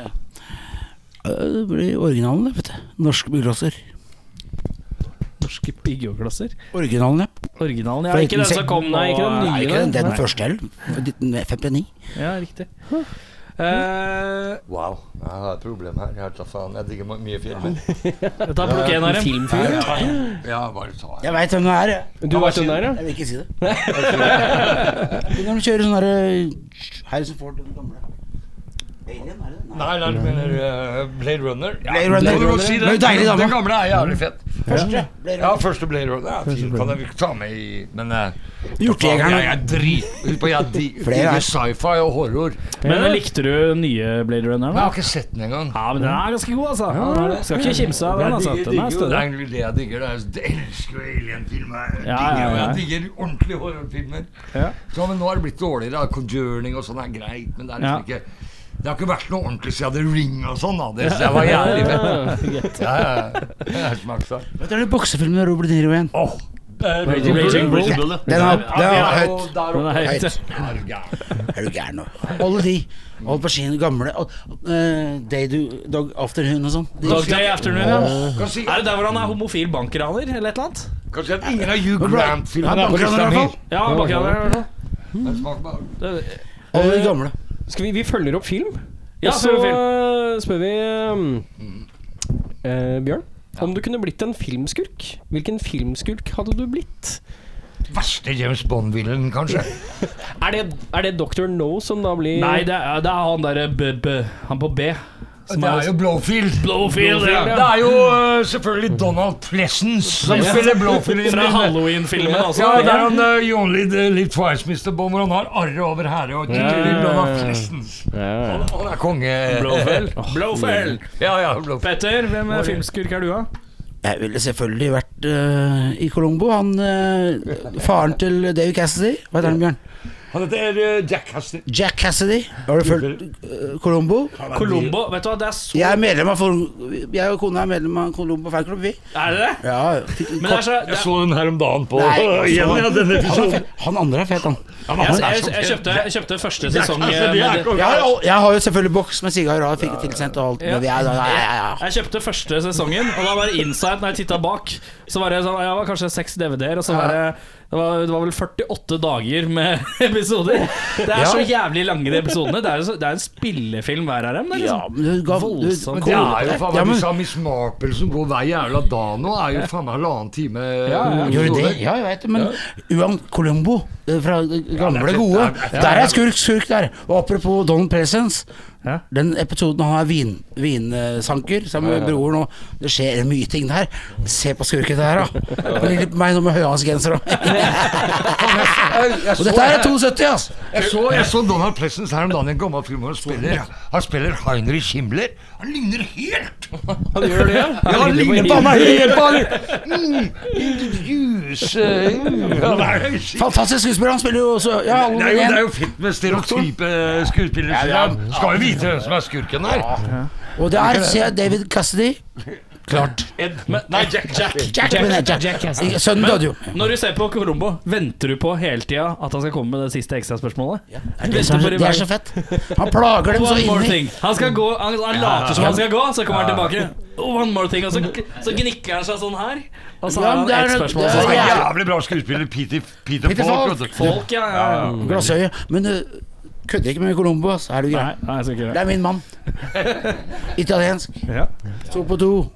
Speaker 6: Det blir originalen, det, vet du. Norske bygglåser.
Speaker 3: Norske piggjogglasser.
Speaker 6: Originalen, ja.
Speaker 3: Originalen, ja.
Speaker 6: Fra
Speaker 3: Ikke den som
Speaker 6: 1917.
Speaker 3: kom nå.
Speaker 2: Nei, ikke den nye.
Speaker 6: Nei, ikke den, det er
Speaker 2: Nei.
Speaker 6: den første heller. 1959.
Speaker 3: Ja, riktig. Eh,
Speaker 5: Wow, jeg har et problem her. Jeg vet da faen, jeg digger mye filmer.
Speaker 3: ta plukk en av dem.
Speaker 2: Filmfyr.
Speaker 5: Ja, bare ta
Speaker 6: Jeg veit hvem det er. jeg.
Speaker 2: Du veit hvem det er, ja?
Speaker 6: Jeg vil ikke si det. Når de kjører sånn derre Harrison Ford, den gamle. Alien, er det? Nei.
Speaker 5: Nei, nei, du mener eh, Blade Runner? Ja,
Speaker 6: Blade Runner.
Speaker 5: må du jo si
Speaker 6: Det er jo deilig, da, da.
Speaker 5: Den gamle er jævlig fett.
Speaker 6: Første. Blade
Speaker 5: Ja,
Speaker 6: Runner.
Speaker 5: første Blade Runner. Ja, fint, kan jeg ta med i Men eh,
Speaker 6: Hjortejegerne.
Speaker 5: Jeg er drithypp på jeg
Speaker 6: Flere
Speaker 5: digger
Speaker 6: er-
Speaker 5: sci-fi og horror.
Speaker 3: Men eh, likte du den nye Blade Runner?
Speaker 5: Men jeg
Speaker 3: Da?
Speaker 5: har ikke sett den engang.
Speaker 3: Ja, men den er ganske god, altså. Den er det. Skal ikke kimse av den. altså
Speaker 5: Jeg digger-
Speaker 3: Den er
Speaker 5: digger jo- Det
Speaker 3: større.
Speaker 5: er egentlig det jeg digger. Det er, jeg elsker jo alienfilmer. Jeg,
Speaker 3: Ja,
Speaker 5: digger
Speaker 3: ja,
Speaker 5: jo-
Speaker 3: ja.
Speaker 5: jeg digger ordentlige horrorfilmer.
Speaker 3: Ja.
Speaker 5: Så, men nå har det blitt dårligere. da. Conjuring og sånn er greit, men det er liksom ikke det har ikke vært noe ordentlig siden The Ring og sånn. da Det synes jeg var jævlig fett. Ja, ja, ja. Jeg smakte.
Speaker 6: Vet du, det er den boksefilmen med Robert De Niro igjen.
Speaker 5: Åh, Raging
Speaker 3: Raging Bull.
Speaker 5: Bull, ja.
Speaker 6: Den er, den er høyt.
Speaker 5: Der
Speaker 3: Den er høyt.
Speaker 6: høyt. Er du gæren nå? Alle de. Alle på sine gamle og, eh, Day Do Dog Afternoon og sånn. De-
Speaker 3: Dog Day Afternoon, ja.
Speaker 5: Kan si,
Speaker 3: Er det der hvor han er homofil bankraner, eller et eller annet?
Speaker 5: kan si at ingen av Hugh
Speaker 6: Ja,
Speaker 5: Grant-filmene er på
Speaker 6: bankraner i
Speaker 5: lista
Speaker 6: hvert
Speaker 5: mi.
Speaker 6: fall.
Speaker 3: Ja, bankraner. i hvert fall.
Speaker 5: Men smak bare.
Speaker 3: Det-
Speaker 6: Alle de gamle.
Speaker 2: Skal vi, vi følger opp film,
Speaker 3: Ja,
Speaker 2: og så
Speaker 3: følger
Speaker 2: eh, spør vi eh, eh, Bjørn. Om du kunne blitt en filmskurk, hvilken filmskurk hadde du blitt?
Speaker 5: Verste James Bond-villen, kanskje.
Speaker 2: Er det, er det Dr. No som da blir
Speaker 3: Nei, det er, det er han derre b- b- Han på B.
Speaker 5: Det er jo Blowfield.
Speaker 3: Blowfield, ja.
Speaker 5: Det er jo øh, selvfølgelig Donald Pleasence som spiller Blowfield. i
Speaker 3: Fra
Speaker 5: den-
Speaker 3: Halloween-filmen, altså.
Speaker 5: Ja, det er han øh, You Only Live Twice, Mr. Bond, hvor han har arret over hæret og titler Donald Pleasence. Han, han er konge.
Speaker 3: Blowfield. Blowfield.
Speaker 5: Ja, ja, Blowfield.
Speaker 3: Petter, hvem eh, filmskurk er du, da?
Speaker 6: Jeg ville selvfølgelig vært eh, i Colombo. Han eh, Faren til David Cassidy. Hva heter han, Bjørn?
Speaker 5: Han heter øh, Jack Hastings.
Speaker 6: Jack Cassidy. Har du fulgt eh, Colombo?
Speaker 3: Colombo. Vet du hva, det er så
Speaker 6: Jeg er medlem av Forum- Jeg og kona er medlem av Colombo fanklubb, vi.
Speaker 3: Er det det?
Speaker 6: Ja, fikk
Speaker 3: Men det er så det
Speaker 5: Jeg
Speaker 3: er,
Speaker 5: så den her om dagen på
Speaker 6: Nei,
Speaker 5: igjen, ja, denne
Speaker 6: han, er
Speaker 5: episoden.
Speaker 6: fet. han andre er fet, han.
Speaker 3: jeg, jeg, jeg, kjøpte, jeg kjøpte første sesong eh, med det.
Speaker 6: Jeg har, jeg har jo selvfølgelig boks med sigar og fikk tilsendt og alt. Men vi er, ja, ja, ja.
Speaker 3: Jeg kjøpte første sesongen, og da var det inside når jeg titta bak. Så var det sånn, ja, det var kanskje seks DVD-er, og så var det det var, det var vel 48 dager med episoder. Det er så jævlig lange, de episodene. Det er, jo så, det er en spillefilm hver av dem. Det er
Speaker 6: ja
Speaker 3: liksom.
Speaker 6: men du ga, du,
Speaker 3: Voldsomt.
Speaker 5: Det
Speaker 6: Columbo-
Speaker 5: er jo faen
Speaker 6: ja,
Speaker 5: meg
Speaker 6: men,
Speaker 5: disse Miss Marple som går hver jævla dag nå. Er jo faen meg halvannen time
Speaker 6: Gjør du det? Ja, jeg vet det, men uan Colombo, eh, fra det gamle
Speaker 5: det er-
Speaker 6: gode
Speaker 5: det er-
Speaker 6: Der er skurk, skurk der. Og apropos Don Presence.
Speaker 3: Ja.
Speaker 6: Den episoden han er vin, vinsanker sammen med broren, og det skjer mye ting der. Se på skurken der, da. Og Ligner på meg nå med høyhansgenser og
Speaker 5: Jeg, jeg,
Speaker 6: Og
Speaker 5: så,
Speaker 6: dette her er
Speaker 5: jeg,
Speaker 6: 72, ass!
Speaker 5: så, jeg så Donald Pleasence her om dagen i en gammel film hvor han spiller Han spiller Heinrich Himmler. Han ligner helt!
Speaker 2: Han gjør det, ja?
Speaker 5: Ja, han ligner på meg helt! Han Ljuse mm.
Speaker 6: Fantastisk skuespiller. Han spiller jo også Ja,
Speaker 5: det er, jo,
Speaker 6: alle
Speaker 5: det er
Speaker 6: igjen.
Speaker 5: jo fint med stereotype skuespillere. Ja, Skal jo vite hvem som er skurken der.
Speaker 6: Og det er se, David Cassidy. Klart.
Speaker 3: Men, nei, Jack, Jack.
Speaker 6: Jack, mener jeg, Jack.
Speaker 3: Cassidy.
Speaker 6: Sønnen døde jo.
Speaker 3: Når du ser på Colombo, venter du på hele tida at han skal komme med det siste ekstraspørsmålet? Ja,
Speaker 6: Det er, så, det er så fett. Han plager dem så
Speaker 3: One more
Speaker 6: inni.
Speaker 3: thing. Han skal gå, han, han later som han skal gå, så kommer han tilbake. Oh, One more thing, og så, så gnikker han seg sånn her. Og så
Speaker 6: Ja,
Speaker 3: har han
Speaker 6: men det er-
Speaker 3: ett spørsmål.
Speaker 6: det
Speaker 3: så
Speaker 5: Han
Speaker 3: skal
Speaker 5: er
Speaker 3: han-
Speaker 6: Ja.
Speaker 5: jævlig bra skuespiller, Peter, Peter,
Speaker 6: Peter
Speaker 5: Falk.
Speaker 6: Falk.
Speaker 5: vet du.
Speaker 3: Folk, ja, ja, ja.
Speaker 6: Glassøye. Men du kødder ikke med Colombo, ass. Er du
Speaker 3: Mm. Nei,
Speaker 6: grei?
Speaker 3: nei, jeg skal ikke gjøre
Speaker 6: Det
Speaker 3: det.
Speaker 6: er min mann. Italiensk.
Speaker 3: Ja.
Speaker 6: To på to.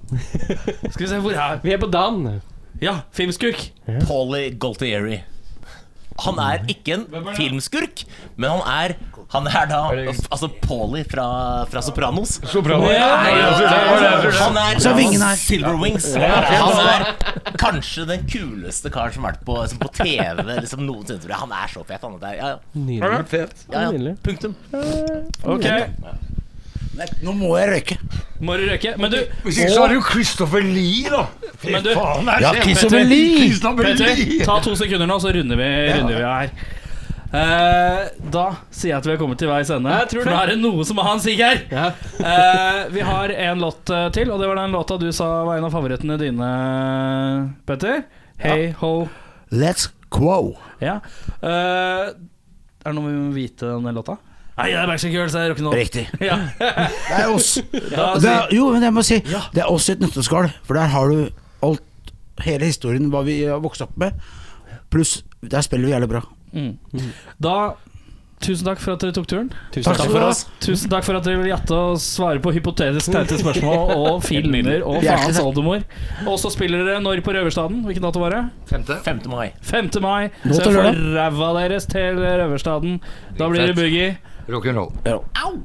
Speaker 3: Skal vi se hvor er
Speaker 2: Vi er på Dan.
Speaker 3: Ja, filmskurk.
Speaker 4: Paulie Goltieri. Han er ikke en filmskurk, men han er Han er da Altså Paulie fra, fra Sopranos.
Speaker 5: Så bra.
Speaker 4: Han er
Speaker 6: Så er vingen her.
Speaker 4: Silver Wings. Han er kanskje den kuleste karen som har vært på, liksom på TV liksom noensinne. tror jeg. Han er så fet. Han er, ja, ja.
Speaker 2: Nydelig.
Speaker 4: Ja, ja.
Speaker 2: Nydelig.
Speaker 4: Punktum.
Speaker 3: Ok,
Speaker 6: Nei, nå må jeg røyke.
Speaker 3: må du røyke. Men du,
Speaker 5: Hvis ikke så er det jo Christopher Lee, da. Fy
Speaker 3: Men du-
Speaker 5: faen, det er
Speaker 6: Ja,
Speaker 5: kjempe-
Speaker 6: Christopher Lee.
Speaker 5: Christopher
Speaker 3: Petter,
Speaker 5: Lee.
Speaker 3: ta to sekunder nå, så runder vi, runder vi her. Eh, da sier jeg at vi har kommet til veis ende.
Speaker 2: Jeg tror
Speaker 3: For
Speaker 2: det.
Speaker 3: nå er det noe som er hans sikker.
Speaker 2: Ja.
Speaker 3: Eh, vi har en låt eh, til, og det var den låta du sa var en av favorittene dine, Petter. Hey ho.
Speaker 6: Let's quo.
Speaker 3: Ja. Eh, er det noe vi må vite om den låta? Nei, det er Backstreet Girls, det er rock'n'roll.
Speaker 6: Riktig.
Speaker 3: Ja. Altså,
Speaker 6: Det er oss.
Speaker 3: Da
Speaker 6: Det er, jo, men jeg må si Det er også et nøtteskall, for der har du alt Hele historien, hva vi har vokst opp med. Pluss, der spiller vi jævlig bra.
Speaker 3: Da Tusen takk for at dere tok turen.
Speaker 2: Tusen takk.
Speaker 6: skal du
Speaker 2: for
Speaker 6: ha.
Speaker 2: oss.
Speaker 3: Tusen takk for at dere vil gjette og svare på hypotetisk teite spørsmål og filmer og faens oldemor. Og så spiller dere når på Røverstaden? Hvilken dato var det?
Speaker 4: 5. mai.
Speaker 3: 5. mai.
Speaker 6: Nå
Speaker 3: Så
Speaker 6: til
Speaker 3: jeg får
Speaker 6: lørdag.
Speaker 3: ræva deres til Røverstaden. Da blir det boogie.
Speaker 5: Rock'n'roll.
Speaker 6: Ja.
Speaker 4: Au!